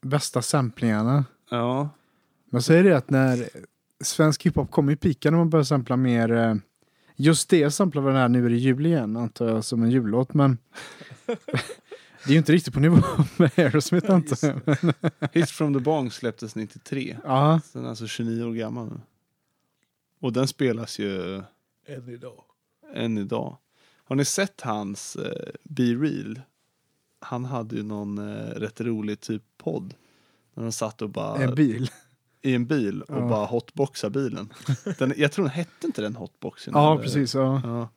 C: Bästa samplingarna.
B: Ja,
C: Man säger det att när svensk hiphop kom i pika när man började sampla mer, eh, just det samplar väl den här Nu är det jul igen, antar jag, som en jullåt, men [laughs] det är ju inte riktigt på nivå [laughs] med Aerosmith, antar jag. Men,
B: Hits from the Bong släpptes 93.
C: ja,
B: Så Den är alltså 29 år gammal nu. Och den spelas ju
J: Än idag.
B: än idag. Har ni sett hans eh, Be Real? Han hade ju någon eh, rätt rolig typ podd. När de satt och bara...
C: [laughs] en bil.
B: I en bil och
C: Ja.
B: bara hotboxade
C: [laughs]
B: bilen. Den, jag tror den hette inte den hotboxen.
C: Ja,
B: eller-
C: precis. Ja.
B: Ja.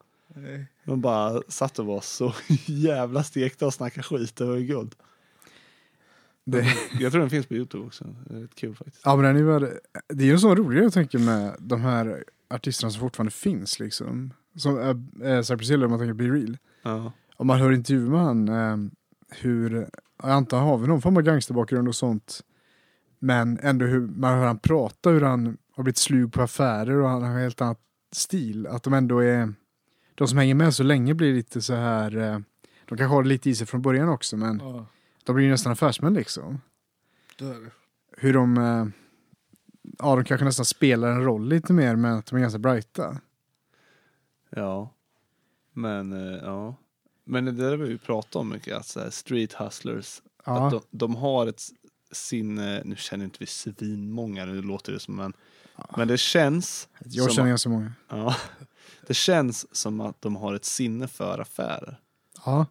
B: De bara satt och var så [laughs] jävla stekta och snackade skit. Det var ju guld.
C: Det,
B: Jag tror den finns på Youtube också. Det är rätt kul faktiskt.
C: Ja, men den är ju värd- det är ju en sån rolig grej jag tänker med de här artisterna som fortfarande finns liksom. Som eh, eh, Cypress Hill, om man tänker Be Real.
B: Ja.
C: Om man hör intervjuer med han, eh, hur, jag antar han har väl någon form av gangsterbakgrund och sånt. Men ändå hur man hör han prata, hur han har blivit slug på affärer och han har en helt annan stil. Att de ändå är, de som hänger med så länge blir lite så här, eh, de kanske har lite i sig från början också men
J: Ja,
C: de blir ju nästan affärsmän liksom.
J: det är det.
C: Hur de, eh, ja de kanske nästan spelar en roll lite mer men att de är ganska brighta.
B: Ja. Men, eh, ja. Men det där har vi ju pratat om mycket, att så här, street hustlers,
C: Ja,
B: att de, de har ett s- sinne, nu känner inte vi svinmånga, nu låter det som, men, men det känns
C: jag
B: som,
C: känner ganska många.
B: ja, [laughs] det känns som att de har ett sinne för affärer
C: Ja,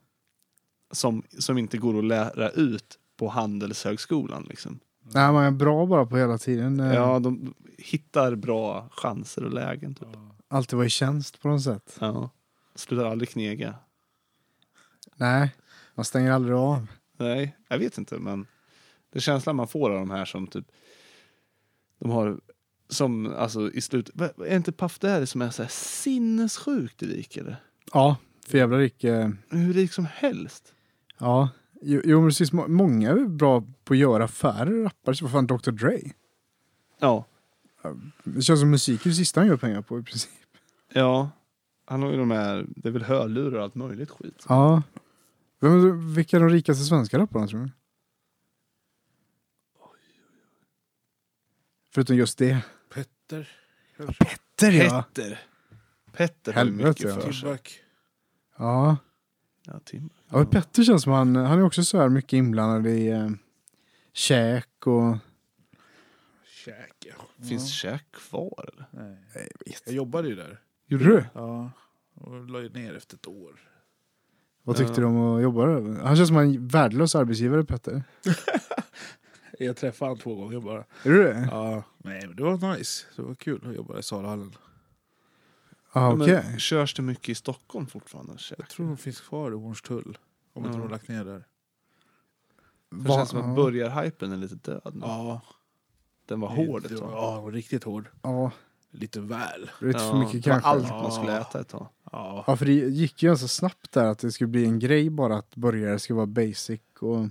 B: som, som inte går att lära ut på Handelshögskolan. Liksom.
C: Nej, man är bra bara på hela tiden. eh,
B: Ja, de hittar bra chanser och lägen. Typ.
C: Alltid vara i tjänst på något sätt.
B: Ja. Slutar aldrig knega.
C: Nej, man stänger aldrig av.
B: Nej, jag vet inte, men det är känslan man får av de här som typ, de har, som alltså i slut, va- va- är inte Puff Daddy som är så här sinnessjukt rik eller?
C: Ja, för jävla rik. eh,
B: Hur rik som helst.
C: Ja, jo, jo men precis. Må- Många är bra på att göra affärer, rappare. Så Vad fan, Dr. Dre?
B: Ja,
C: Det känns som musik är det sista han gör pengar på i princip.
B: ja. Han har ju de här, det är väl hörlurar och allt möjligt skit.
C: Ja. Vem, vilka är de rikaste svenska rapparna tror du? Förutom just det.
J: Petter.
C: Petter
B: Petter. Petter har ju
C: Helvete,
B: mycket
C: ja.
B: för sig.
J: Timbuk.
C: Ja.
B: Ja, Tim.
C: ja men Petter känns som han, han är också så här mycket inblandad i eh, käk och...
J: Käk. ja.
B: Finns käk kvar eller?
J: Nej. Jag jobbade ju där.
C: Gjorde du?
J: Ja. Och la ju ner efter ett år.
C: Vad tyckte du om att jobba där? Han känns som en värdelös arbetsgivare Petter.
J: Jag träffade han två gånger bara.
C: Är du det?
J: Ja, nej, men det var nice. Det var kul att jobba i Salahallen.
C: Ja, okej.
B: Men, körs det mycket i Stockholm fortfarande? Käk?
J: Jag tror de finns kvar i Hornstull. Om inte
B: Ja.
J: de har lagt ner där.
B: Det känns som att börjarhypen är lite död nu.
J: Ja,
B: Den var hård ett tag.
J: Ja, riktigt hård.
C: Ja,
J: Lite väl.
C: det är för
B: Ja,
C: mycket
B: det var allt
C: kanske.
B: man skulle äta ett tag.
J: Ja.
C: Ja, för det gick ju ganska snabbt där att det skulle bli en grej bara att burgare skulle vara basic och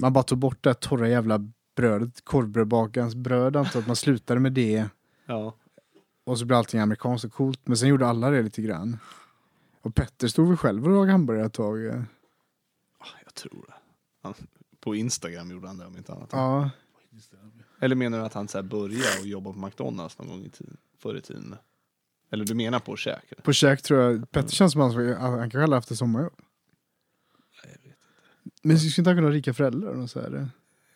C: man bara tog bort det här torra jävla brödet, korvbrödbakarens bröd alltså att man slutade med det
B: Ja.
C: och så blev allting amerikanskt och coolt men sen gjorde alla det lite grann. Och Petter stod väl själv och lagade hamburgare ett tag. eh.
B: Jag tror det. Han, på Instagram gjorde han det om inte annat.
C: Ja,
B: Eller menar du att han så här började och jobba på McDonalds någon gång i tiden, förr i tiden? Eller du menar på käk? eller?
C: på käk tror jag, Petter känns som att han, han kanske aldrig haft ett sommarjobb. Men skulle inte han kunna ha rika föräldrar? Och så här, eh,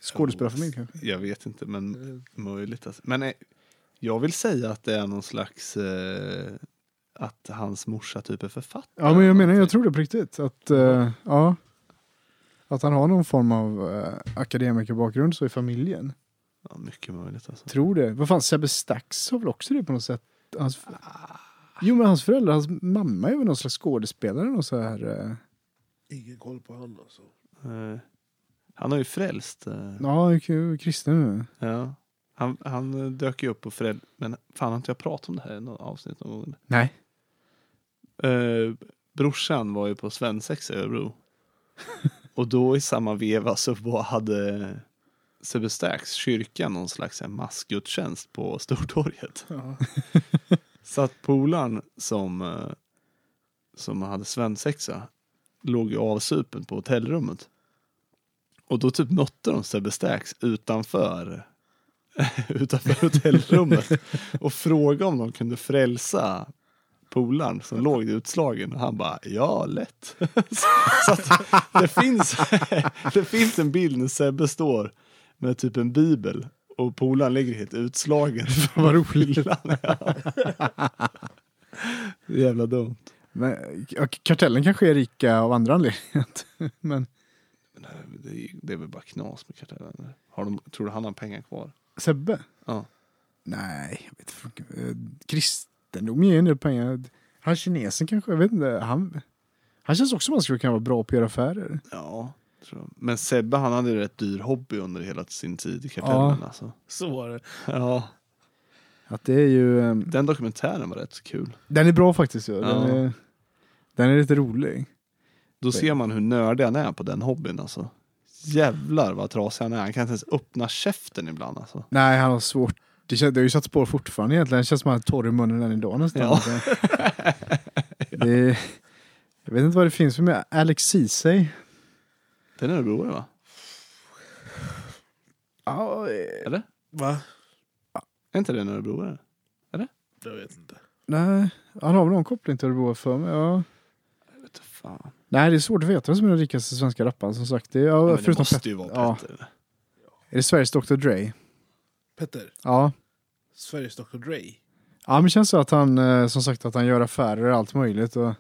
C: skådespelarfamilj kanske?
B: Jag vet inte, men möjligt. Alltså. Men eh, jag vill säga att det är någon slags... Eh, att hans morsa typ är författare.
C: Ja, men jag
B: eller
C: menar, jag
B: någonting.
C: tror det på riktigt. Att, eh, ja, att han har någon form av eh, akademikerbakgrund så i familjen.
B: Ja, mycket möjligt alltså.
C: Tror det. Vad fan, Sebbe Stax har väl också det på något sätt? Hans, Jo, men hans föräldrar, hans mamma är väl någon slags skådespelare och så här. eh,
J: Ingen koll på han alltså.
B: Eh, han har ju frälst. Eh,
C: Ja, k- kristen nu.
B: ja. Han, han eh, dök ju upp på föräld... Men fan, har inte jag pratat om det här i något avsnitt någon gång?
C: Nej.
B: eh, brorsan var ju på svensexa i Örebro. Och då i samma veva så var, hade Sebbe Stax kyrka någon slags så här massgudstjänst på Stortorget. så att polaren som, eh, som hade svensexa låg ju avsupen på hotellrummet. Och då typ mötte de Sebbe Stax utanför, [laughs] utanför hotellrummet och frågade om de kunde frälsa polaren som låg utslagen och han bara ja lätt. [laughs] så att det, finns, [laughs] det finns en bild när Sebbe står med typ en bibel och polaren ligger helt utslagen. [laughs] Vad roligt. Jävla dumt.
C: Men, ja, k- kartellen kanske är rika av andra anledningar. men
B: Det är, det är väl bara knas med kartellen. Har de, tror du han har pengar kvar?
C: Sebbe?
B: Ja.
C: Nej, jag vet inte. Eh, Kristendom ger en del pengar. Han kinesen kanske, jag vet inte. Han, han känns också som att han skulle kunna vara bra på att göra affärer.
B: Ja. tror jag. Men Sebbe han hade ju rätt dyr hobby under hela sin tid i kartellen. Ja. Alltså.
J: Så var det.
B: Ja.
C: Att det är ju... eh,
B: Den dokumentären var rätt så kul.
C: Den är bra faktiskt. Ja. Den,
B: Ja.
C: är, den är lite rolig.
B: Då ser man hur nördig han är på den hobbyn alltså. Jävlar vad trasig han är. Han kan inte ens öppna käften ibland alltså.
C: Nej, han har svårt. Det, kän- det har ju satt spår fortfarande egentligen. Det känns som att han är torr i munnen än idag nästan.
B: Ja.
C: Det- Det är, jag vet inte vad det finns för mig. Alex Ceesay.
B: Den är örebroare va?
C: eh,
B: Eller?
J: Va?
B: Är inte den örebroare?
J: Jag vet inte.
C: Nej, han har väl någon koppling till Örebro för mig. Ja.
B: Jag vet inte fan.
C: Nej, det är svårt att veta som är den rikaste svenska rapparen som sagt. Det är, ja,
B: Men det
C: förutom
B: måste
C: Pet-
B: ju vara
C: Ja.
B: Petter. eller?
C: Är det Sveriges Dr Dre?
J: Petter,
C: Ja.
J: Sveriges Dr Dre.
C: Ja, men det känns så att han eh, som sagt att han gör affärer och allt möjligt. Och...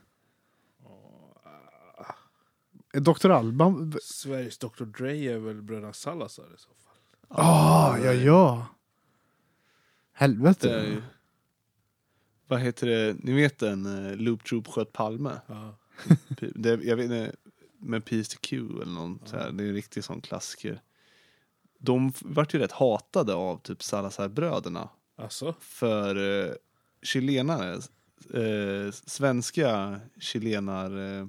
C: Är Dr Eh, Alban?
J: Sveriges Dr Dre är väl bröderna Salazar i så fall?
C: Ah, ja, ja. Helvete.
B: Det är
J: Mm.
B: ju- eh, Vad heter det? Ni vet den eh, Loop Troop sköt Palme?
J: Ja.
B: P- [laughs] Det, jag vet inte, med PSTQ eller någon så här. Det är en riktig sån klassiker. De f- vart ju rätt hatade av typ Salazar-bröderna.
J: Alltså?
B: För eh, chilenare, eh, svenska chilenar... Eh,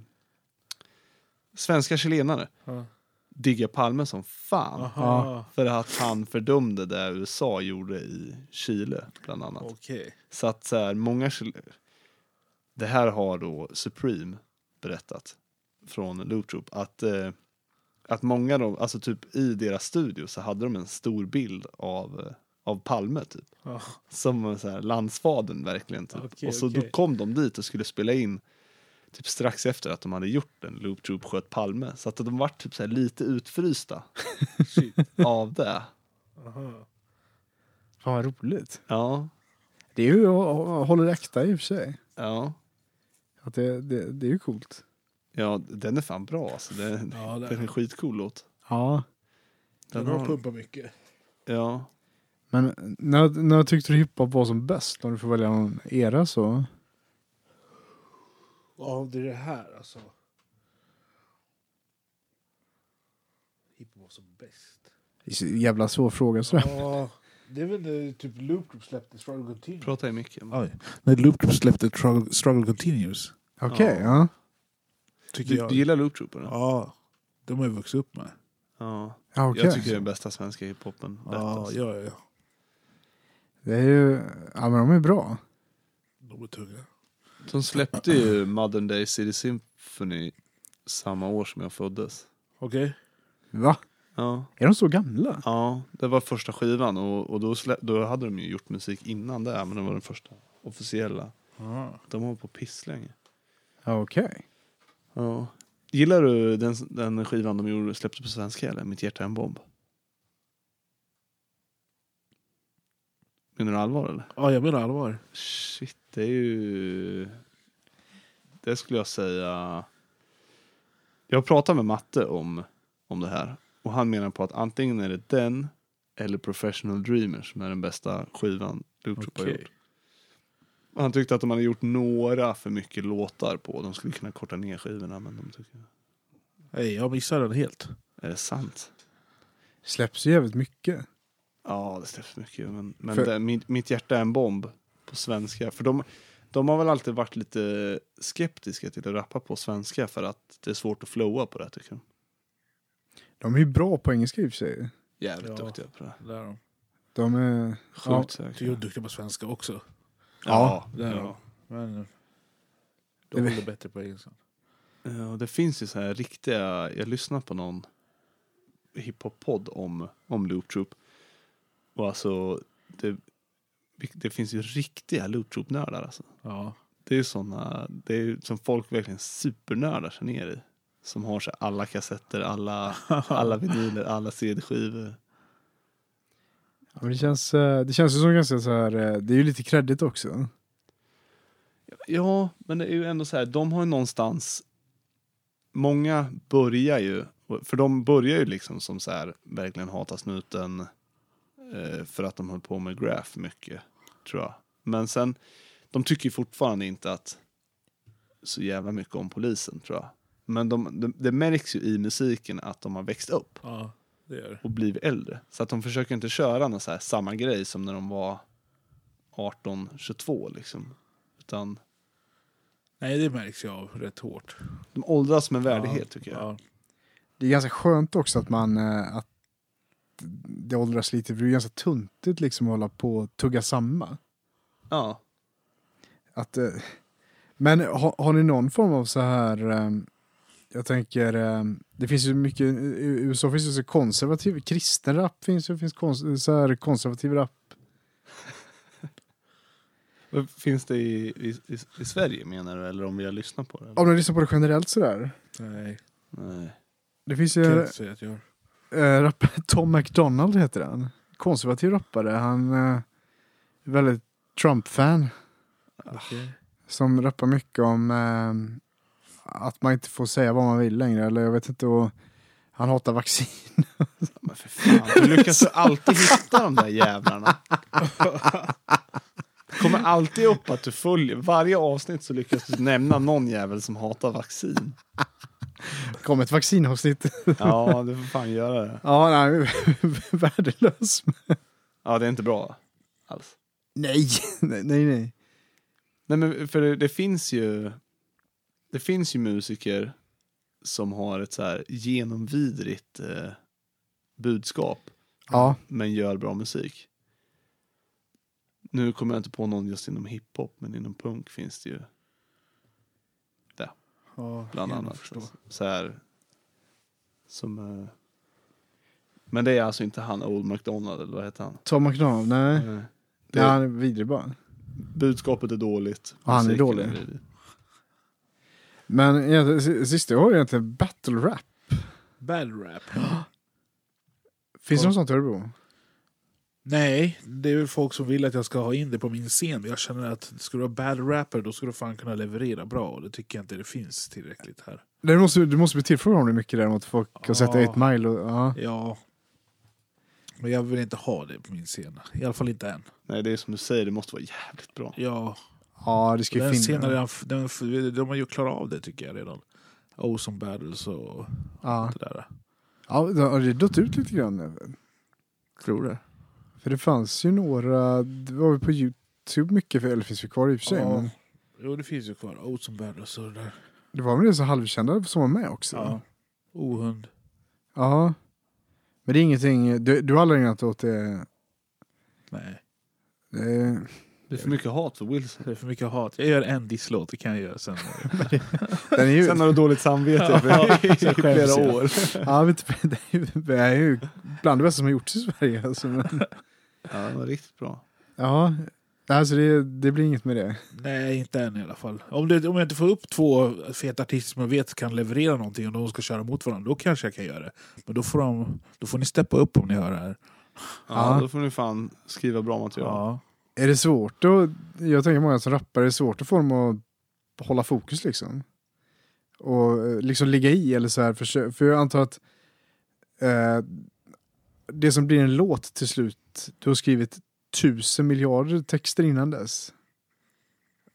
B: svenska chilenare
J: Ja.
B: diggar Palme som fan.
J: Aha.
B: För att han fördömde det USA gjorde i Chile, bland annat.
J: Okej.
B: Så att så här, många... chil- Det här har då Supreme berättat från Loop Troop, att, eh, att många av dem, alltså typ i deras studio så hade de en stor bild av, eh, av Palme typ.
J: Ja.
B: Som så här, landsfadern verkligen typ.
J: Ah. Okej,
B: och så då
J: okej.
B: kom de dit och skulle spela in typ strax efter att de hade gjort den, Loop Troop sköt Palme. Så att de var typ så här lite utfrysta
J: [laughs] Shit.
B: av det.
J: Aha.
C: Fan vad roligt.
B: Ja,
C: Det är ju, håller äkta i och för sig.
B: ja.
C: Att det, det, det är ju coolt.
B: Ja, den är fan bra alltså. Den,
J: Ja,
B: den är en
J: det,
B: skitcool låt.
C: Ja.
J: den har pumpat mycket.
B: Ja.
C: Men när, när tyckte du hiphop var som bäst? Om du får välja någon era så.
J: Ja, det är det här alltså. Hiphop var som bäst.
C: Det är så jävla svår fråga sådär.
J: Ja, det är väl när typ Loop Group släppte Struggle Continues.
B: Prata i micken.
J: Oj. När Loop Group släppte Struggle, Struggle Continues.
C: Okej,
B: Ja.
C: ja.
J: Tycker
B: Du,
J: jag.
B: du gillar Loop Trooper? eller?
J: Ja, de har jag vuxit upp med.
B: Ja.
C: ja okej.
B: Jag tycker det är den bästa svenska hiphopen. lätt,
J: Ja,
B: alltså.
J: ja, ja.
C: Det är ju, ja men de är bra.
J: De är tunga.
B: De släppte ju Modern Day City Symphony samma år som jag föddes.
J: Okej.
C: Va?
B: Ja,
C: Är de så gamla?
B: ja det var första skivan och, och då, slä, då hade de ju gjort musik innan det, men det var den första officiella.
J: Ja.
B: De har hållit på pisslänge.
C: Ja, Okej.
B: Ja. Gillar du den, den skivan de gjorde, släppte på svenska eller Mitt hjärta är en bomb? Menar du allvar eller?
J: ja, jag menar allvar.
B: Shit, det är ju... Det skulle jag säga... Jag pratade med Matte om, om det här. Och han menar på att antingen är det den eller Professional Dreamer som är den bästa skivan Loop Troop har
J: Okej.
B: gjort. Han tyckte att de hade gjort några för mycket låtar på. De skulle kunna korta ner skivorna men de tycker...
J: Nej, jag missar den helt.
B: Är det sant?
C: Släpps ju jävligt mycket.
B: Ja, det släpps mycket. Men, men
C: För-
B: det, mitt, mitt hjärta är en bomb på svenska. För de, de har väl alltid varit lite skeptiska till att rappa på svenska för att det är svårt att flowa på det tycker de.
C: De är ju bra på engelska i och för sig.
B: Jävligt
J: Ja.
B: duktiga på det.
J: Där de.
C: De är...
B: Sjukt
J: Tycker de
B: säkert.
J: är duktiga på svenska också.
B: Ja,
J: det är
B: ja.
J: Men eh, de
C: Det-
J: håller bättre på engelskan.
B: Ja, Eh, och det finns ju så här riktiga, jag lyssnar på någon hiphop-podd om, om Loop Troop. Och alltså, det, det finns ju riktiga Loop Troop-nördar alltså.
J: Ja.
B: Det är ju såna, det är ju som folk verkligen supernördar sig ner i. Som har så här alla kassetter, alla, alla vinyler, alla CD-skivor.
C: Ja, men det känns, eh, det känns ju som ganska så här, eh, det är ju lite kreddigt också.
B: Ja, men det är ju ändå så här, de har ju någonstans... Många börjar ju, för de börjar ju liksom som så här, verkligen hata snuten eh, för att de höll på med graph mycket, tror jag. Men sen, de tycker ju fortfarande inte att så jävla mycket om polisen, tror jag. Men de, de, det märks ju i musiken att de har växt upp.
J: ja, det gör det.
B: och blivit äldre. Så att de försöker inte köra någon så här samma grej som när de var 18, 22 liksom. Utan
J: Nej, det märks jag av rätt hårt.
B: de åldras med värdighet tycker jag.
J: Ja.
C: Det är ganska skönt också att man, eh, att det åldras lite, för det är ganska tuntigt liksom att hålla på och tugga samma.
B: Ja.
C: Att, eh, Men har, har ni någon form av så här, ehm, jag tänker, ehm, det finns ju mycket, i i USA finns ju så konservativ, kristen rap finns ju, finns kons, så här konservativ rap.
B: Vad Finns det i, i, i, i Sverige menar du? Eller om vi har lyssnat på det?
C: Om du lyssnar på det generellt sådär.
B: Eh.
D: Nej,
B: Nej.
C: Det finns
D: kan jag
C: ju
D: inte säga att jag gör.
C: äh, rappare, [laughs] Tom McDonald heter han. Konservativ rappare, han eh, är väldigt Trump-fan. Som rappar mycket om eh, att man inte får säga vad man vill längre, eller jag vet inte, och han hatar vaccin. [laughs]
B: Men för fan, du lyckas ju alltid hitta de där jävlarna. Det kommer alltid upp att du följer. Varje avsnitt så lyckas du nämna någon jävel som hatar vaccin.
C: Kom ett vaccinavsnitt.
B: Ja, du får fan göra det.
C: Ja, nej, värdelös.
B: Ja, det är inte bra alls.
C: Nej, nej, nej. nej.
B: Nej, men för det, det finns ju... Det finns ju musiker som har ett så här genomvidrigt eh, budskap.
C: Ja,
B: men gör bra musik. Nu kommer jag inte på någon just inom hiphop, men inom punk finns det ju
D: Ja,
B: bland
D: jag
B: annat.
D: förstår.
B: Så här, som, eh, men det är alltså inte han Old McDonald, eller vad heter han?
C: Tom McDonald, nej.
B: Eh, Det,
C: Det... Ja, han är vidrig bara.
B: Budskapet är dåligt.
C: Ja, han är
B: musiken
C: dålig.
B: vidrig.
C: Men egentligen, si- sista jag har egentligen battle rap.
D: Bad rap.
C: Finns det
D: Ja.
C: något sånt i Örebro?
D: Nej, det är väl folk som vill att jag ska ha in det på min scen. Men Jag känner att ska du vara bad rapper då ska du fan kunna leverera bra. Och det tycker jag inte det finns tillräckligt här.
C: Nej, Du måste, du måste bli tillfrågad om det mycket däremot. Folk har sett 8
D: Ja.
C: mile och ja.
D: Ja. Men jag vill inte ha det på min scen. I alla fall inte än.
B: Nej, det är som du säger, det måste vara jävligt bra.
D: Ja,
C: ja, det ska ju
D: den
C: finnas.
D: scenen, är redan f- den, f- de har ju klarat av det tycker jag redan. Ozone Battles och
C: Ja.
D: det där.
C: Ja, det har det dött ut lite grann?
D: Tror du?
C: För det fanns ju några, det var väl på YouTube mycket, för, eller finns vi kvar i och för sig.
D: Ja.
C: Men
D: Jo, det finns ju kvar. Ozone Battles och det där.
C: det var väl det så halvkända som var med också?
D: Ja. Ohund.
C: Ja. Men det är ingenting, du, du har aldrig ägnat åt det?
D: Nej.
C: Eh,
B: Det är för mycket hat för Wilson.
D: Det är för mycket hat. Jag gör en disslåt, det kan jag göra sen. [laughs]
C: Den är ju,
B: [laughs] Sen har du dåligt samvete
C: [laughs]
B: för, [laughs] i flera år.
C: ja, vet, du, [laughs] det, är ju, det är ju bland det bästa som har gjorts i Sverige. Alltså, men,
B: Ja, det var riktigt bra.
C: ja, alltså det, det blir inget med det.
D: Nej, inte än i alla fall. Om, det, om jag inte får upp två feta artister som jag vet kan leverera någonting och de ska köra mot varandra, då kanske jag kan göra det. Men då får, de, då får ni steppa upp om ni hör det här.
B: Ja,
C: Ja.
B: Då får ni fan skriva bra material.
D: Ja.
C: Är det svårt att, jag tänker många som rappar, är det svårt att få dem att hålla fokus liksom? Och eh, liksom ligga i eller så här, för, för jag antar att eh, det som blir en låt till slut, du har skrivit tusen miljarder texter innan dess.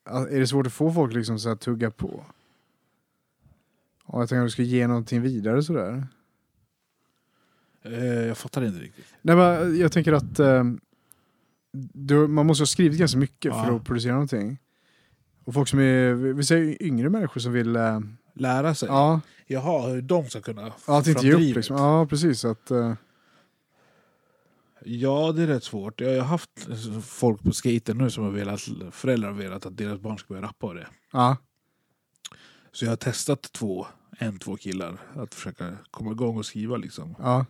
C: Ja, Är det svårt att få folk liksom så här tugga på? Ja, jag tänker att du ska ge någonting vidare sådär.
D: Eh, jag fattar inte riktigt.
C: Nej, men jag tänker att eh, du, man måste ha skrivit ganska mycket
D: Ja.
C: för att producera någonting. Och folk som är, vi säger yngre människor som vill, eh,
D: Lära sig.
C: ja,
D: Jaha, hur de ska kunna få
C: ja, att inte ge upp
D: drivet.
C: liksom. Ja, precis. Att, eh,
D: Ja, det är rätt svårt. Jag har haft folk på skater nu som har velat, föräldrar har velat att deras barn ska börja rappa och det.
C: ja.
D: Så jag har testat två, en, två killar att försöka komma igång och skriva liksom.
C: ja.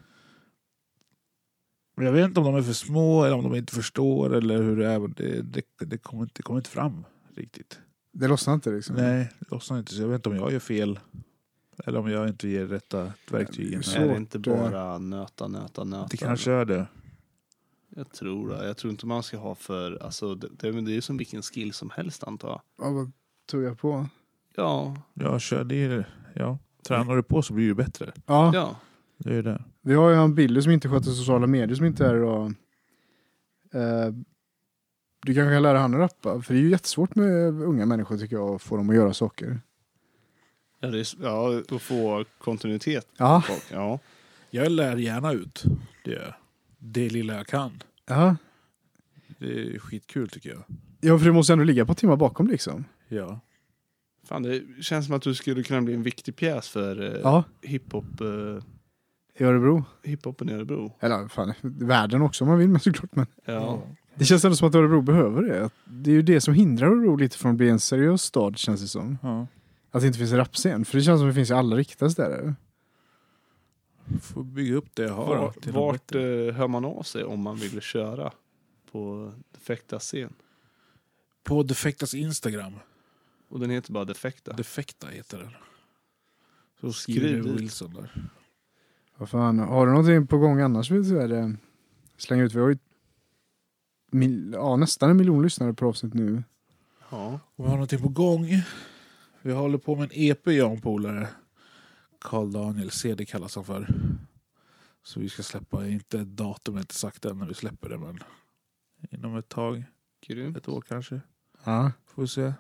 D: Men jag vet inte om de är för små eller om de inte förstår eller hur det är. men Det, det, det, kommer, inte, det kommer inte fram riktigt.
C: Det lossnar inte liksom.
B: Mm.
D: Nej, det lossnar inte. Så jag vet inte om jag gör fel eller om jag inte ger rätta verktygen.
C: Så-
B: Är
C: Svårt,
B: det inte bara nöta, nöta, nöta?
D: Det kanske är det.
B: Jag tror det. Jag tror inte man ska ha för... Alltså, det, det, men det är ju som vilken skill som helst antar jag.
C: Ja, vad tog jag på?
B: Ja,
D: Ja, kör, det är, ja. Tränar du på så blir det ju bättre.
C: Ja,
B: ja.
D: Det är ju det.
C: vi har ju han Billy som inte sköter sociala medier som inte är idag. Eh, du kanske kan lära han att rappa, för det är ju jättesvårt med unga människor tycker jag, att få dem att göra saker.
B: Ja, det är, s- ja att få kontinuitet
C: Ja,
B: på folk. Ja.
D: Jag lär gärna ut det, gör jag. det lilla jag kan.
C: ja.
D: Det är skitkul tycker jag.
C: ja för du måste ändå ligga på timmar bakom liksom.
D: Ja.
B: Fan, det känns som att du skulle kunna bli en viktig pjäs för eh,
C: Ja.
B: hiphop. Eh,
C: i Örebro.
B: Hiphopen i Örebro.
C: Eller fan, världen också om man vill men såklart. Men
B: Ja.
C: det känns ändå som att Örebro behöver det. Det är ju det som hindrar Örebro lite från att bli en seriös stad känns det som.
D: Ja.
C: Att det inte finns en rapscen. För det känns som att det finns i alla riktiga städer.
D: Får bygga upp det jag har.
B: Var,
D: till något
B: vart
D: bättre.
B: eh, hör man av sig om man vill köra på Defekta scen?
D: På Defektas Instagram.
B: Och den heter bara Defekta.
D: Defekta heter den. Så
B: Skriv
D: skriver
B: dit.
D: Wilson där.
C: Vad fan, har du någonting på gång annars? Vill du det? Släng ut, vi har ju mil, ja, nästan en miljon lyssnare på avsnitt nu.
B: Ja.
D: Om vi har någonting på gång. Vi håller på med en EP jag och en polare. Carl Daniel CD kallas han för. Så vi ska släppa, inte datumet inte sagt än när vi släpper det men inom ett tag,
B: Grymt.
D: ett år kanske.
C: Ja.
D: Får vi se.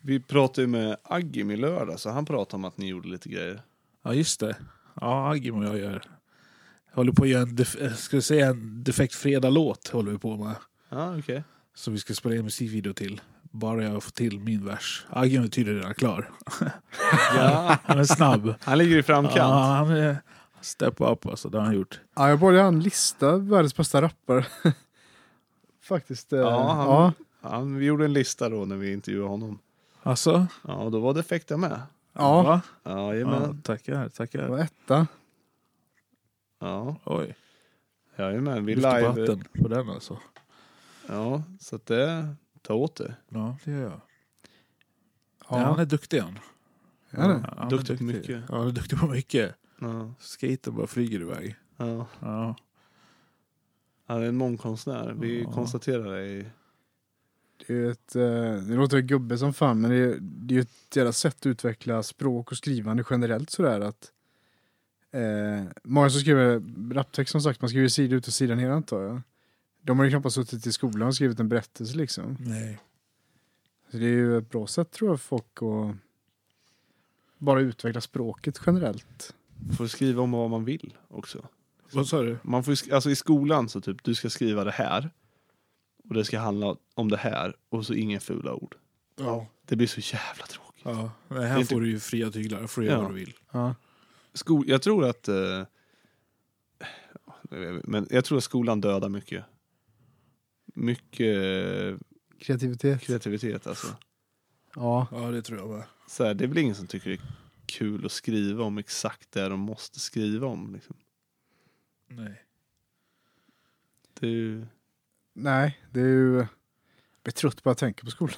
B: Vi pratade ju med Agim i lördag så han pratade om att ni gjorde lite grejer.
D: Ja just det. Ja, Agim och jag gör. Jag håller på att göra en, def- eh, ska vi säga en defekt fredag-låt håller vi på med.
B: Ja, okej.
D: Som vi ska spela in musikvideo till. Bara jag får till min vers. Agim är tydligen redan klar.
B: Ja.
D: Han är snabb.
B: Han ligger i framkant.
D: Ja, han är step up alltså, det har han gjort.
C: ja, jag borde ha en lista, världens bästa rappare. [laughs] Faktiskt. eh,
B: Ja, han-
C: ja.
B: Han, vi gjorde en lista då när vi intervjuade honom.
D: Alltså?
B: Ja, och då var Defekta med.
C: ja.
D: Va?
B: Ja,
D: Ja,
B: jajamän.
D: tackar,
C: det
D: tackar.
C: var etta.
B: Ja,
D: Oj,
B: jajamän. Vi
D: lyfter på
B: live.
D: hatten på den alltså.
B: Ja, så att det, ta åt det.
D: Ja, det gör jag.
C: Ja.
D: Nej, han är duktig han.
C: Ja, det.
D: han är
B: Duktig på mycket.
D: Ja, han är duktig på mycket.
B: Ja,
D: Skaten bara flyger iväg.
B: ja.
D: Ja.
B: Han är en mångkonstnär. Vi
D: Ja.
B: konstaterar det i...
C: Det, är ju ett, eh, det låter ju gubbe som fan, men det är, det är ju ett jävla sätt att utveckla språk och skrivande generellt sådär att eh, många som skriver raptext som sagt, man skriver sida ut och sida ner antar jag. De har ju knappast suttit i skolan och skrivit en berättelse liksom.
D: Nej.
C: Så det är ju ett bra sätt tror jag för folk att bara utveckla språket generellt.
B: Man får skriva om vad man vill också.
D: Vad sa du?
B: Man får, ju sk- alltså i skolan så typ, du ska skriva det här. Och det ska handla om det här. Och så inga fula ord.
D: Ja.
B: Det blir så jävla tråkigt.
D: ja. Nej,
B: Det är
D: här
B: inte-
D: får du ju fria tyglar. får du göra
B: Ja.
D: vad du vill.
C: Ja.
B: Sko- jag tror att... Eh, men jag tror att skolan dödar mycket. Mycket eh,
C: Kreativitet.
B: kreativitet alltså.
C: Ja.
D: Ja, det tror jag med.
B: Så här, det är väl ingen som tycker det är kul att skriva om exakt det de måste skriva om. Liksom.
D: Nej.
B: Det är ju...
C: Nej, det är ju... Jag blir trött bara att tänka på skolan.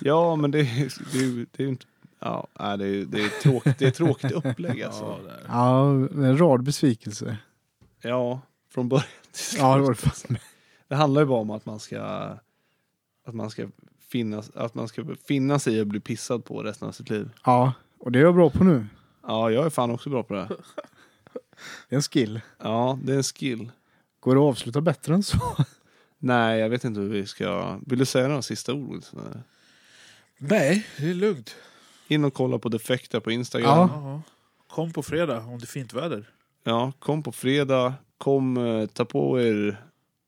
B: Ja, men det är det är ju det är ju inte... Ja, nej, det är, det är, tråkigt, det är tråkigt upplägg
D: Ja,
B: alltså.
D: det är.
C: Ja, en rad besvikelser.
B: Ja, från början till slut.
C: Ja, det var det fan.
B: Det handlar ju bara om att man ska... Att man ska finnas, att man ska finna sig i att bli pissad på resten av sitt liv.
C: Ja, och det är jag bra på nu.
B: Ja, jag är fan också bra på det. här.
C: Det är en skill.
B: Ja, det är en skill.
C: Går det att avsluta bättre än så?
B: Nej, jag vet inte hur vi ska... Vill du säga några sista ord? Wilson, eller?
D: Nej, det är lugnt.
B: In och kolla på Defekta på Instagram.
C: Ja.
D: Ja. Kom på fredag om det är fint väder.
B: Ja, kom på fredag. Kom, eh, ta på er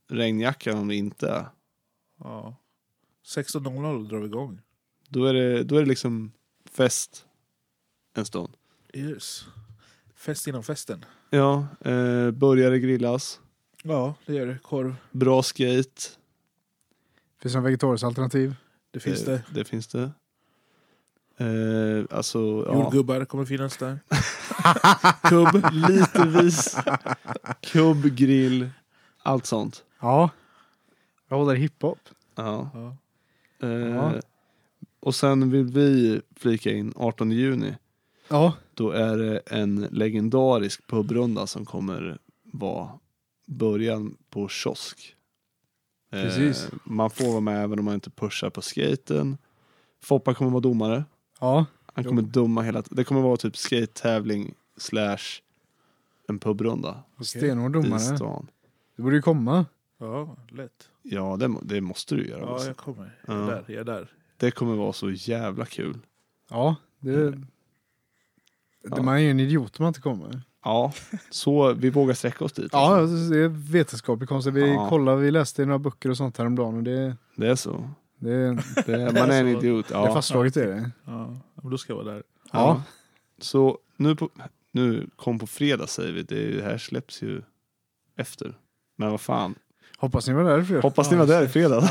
B: regnjackan om det inte är.
D: Ja. 16.00 drar vi igång.
B: Då är det, då är det liksom fest en stund.
D: Yes. Fest innan festen.
B: Ja, eh, började grillas.
D: Ja, det gör det. Korv.
B: Bra skate.
C: Finns det några vegetariska alternativ?
D: Det finns
B: Eh,
D: det.
B: Det finns det. Eh, alltså, ja.
D: Jordgubbar kommer finnas där.
B: Kubb, lite ris. [laughs] Kubb, grill. Allt sånt.
C: Ja. Jag håller hiphop.
B: Ja.
D: Ja.
B: Eh,
C: Ja.
B: Och sen vill vi flika in 18 juni.
C: Ja.
B: Då är det en legendarisk pubrunda som kommer vara början på kiosk. Eh,
C: Precis.
B: man får vara med även om man inte pushar på skaten. Foppa kommer vara domare.
C: Ja.
B: Han
C: Jo.
B: kommer dumma hela t- Det kommer vara typ skate-tävling slash en pubrunda
C: Stenhård
B: i
C: domare.
B: stan.
C: Du borde ju komma.
D: Ja, lätt.
B: Ja, det, må- det måste du göra.
D: Ja,
B: alltså.
D: jag kommer. Jag är
B: Ja.
D: där. Jag är där.
B: Det kommer vara så jävla kul.
C: Ja. Det...
B: Ja.
C: Man är ju en idiot om man inte kommer.
B: Mm. Ja, så vi vågar sträcka oss dit.
C: Ja,
B: alltså.
C: det är vetenskaplig konst. Vi
B: Ja.
C: kollade, vi läste i några böcker och sånt häromdagen och det,
B: Det är så.
C: det, det
B: Det är, man är en
D: så.
B: idiot. Ja.
C: är fastslaget. Är det.
D: Ja, men då ska jag vara där.
B: Ja. Så nu på, Nu kom på fredag säger vi. Det, är ju- det här släpps ju efter. Men vad fan.
C: Hoppas ni var där för
B: Hoppas ni var där i fredag.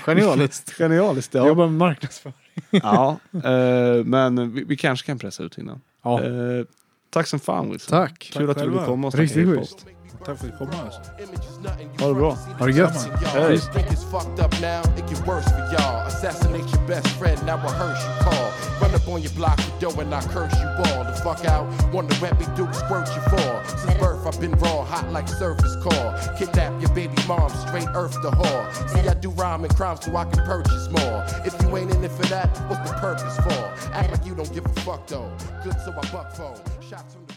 C: Genialiskt.
B: [laughs] Genialiskt. Ja.
C: Jobbar med marknadsföring.
B: ja eh, men vi, vi kanske kan pressa ut innan.
C: Ja.
B: Eh, tack som fan Wilson.
C: Tack.
B: Kul att du ville
J: själva.
B: komma och snacka
C: Riktigt
B: hiphop.
C: schysst.
J: Tack för att du kom alltså.
A: Oh,
B: Ha det bra.
C: Ha det gött.
B: Hej.
A: Think it's fucked up now, it get worse for y'all. Assassinate your best friend, now I heard you call. Run up on your block of dough and I curse you all. The fuck out, wonder where me Duke squirt you for. Since birth, I've been raw, hot like surface core. Kidnap your baby mom, straight earth to whore. See, I do rhyme and crime so I can purchase more. If you ain't in it for that, what's the purpose for? Act like you don't give a fuck though. Good so I buck for. Shots from the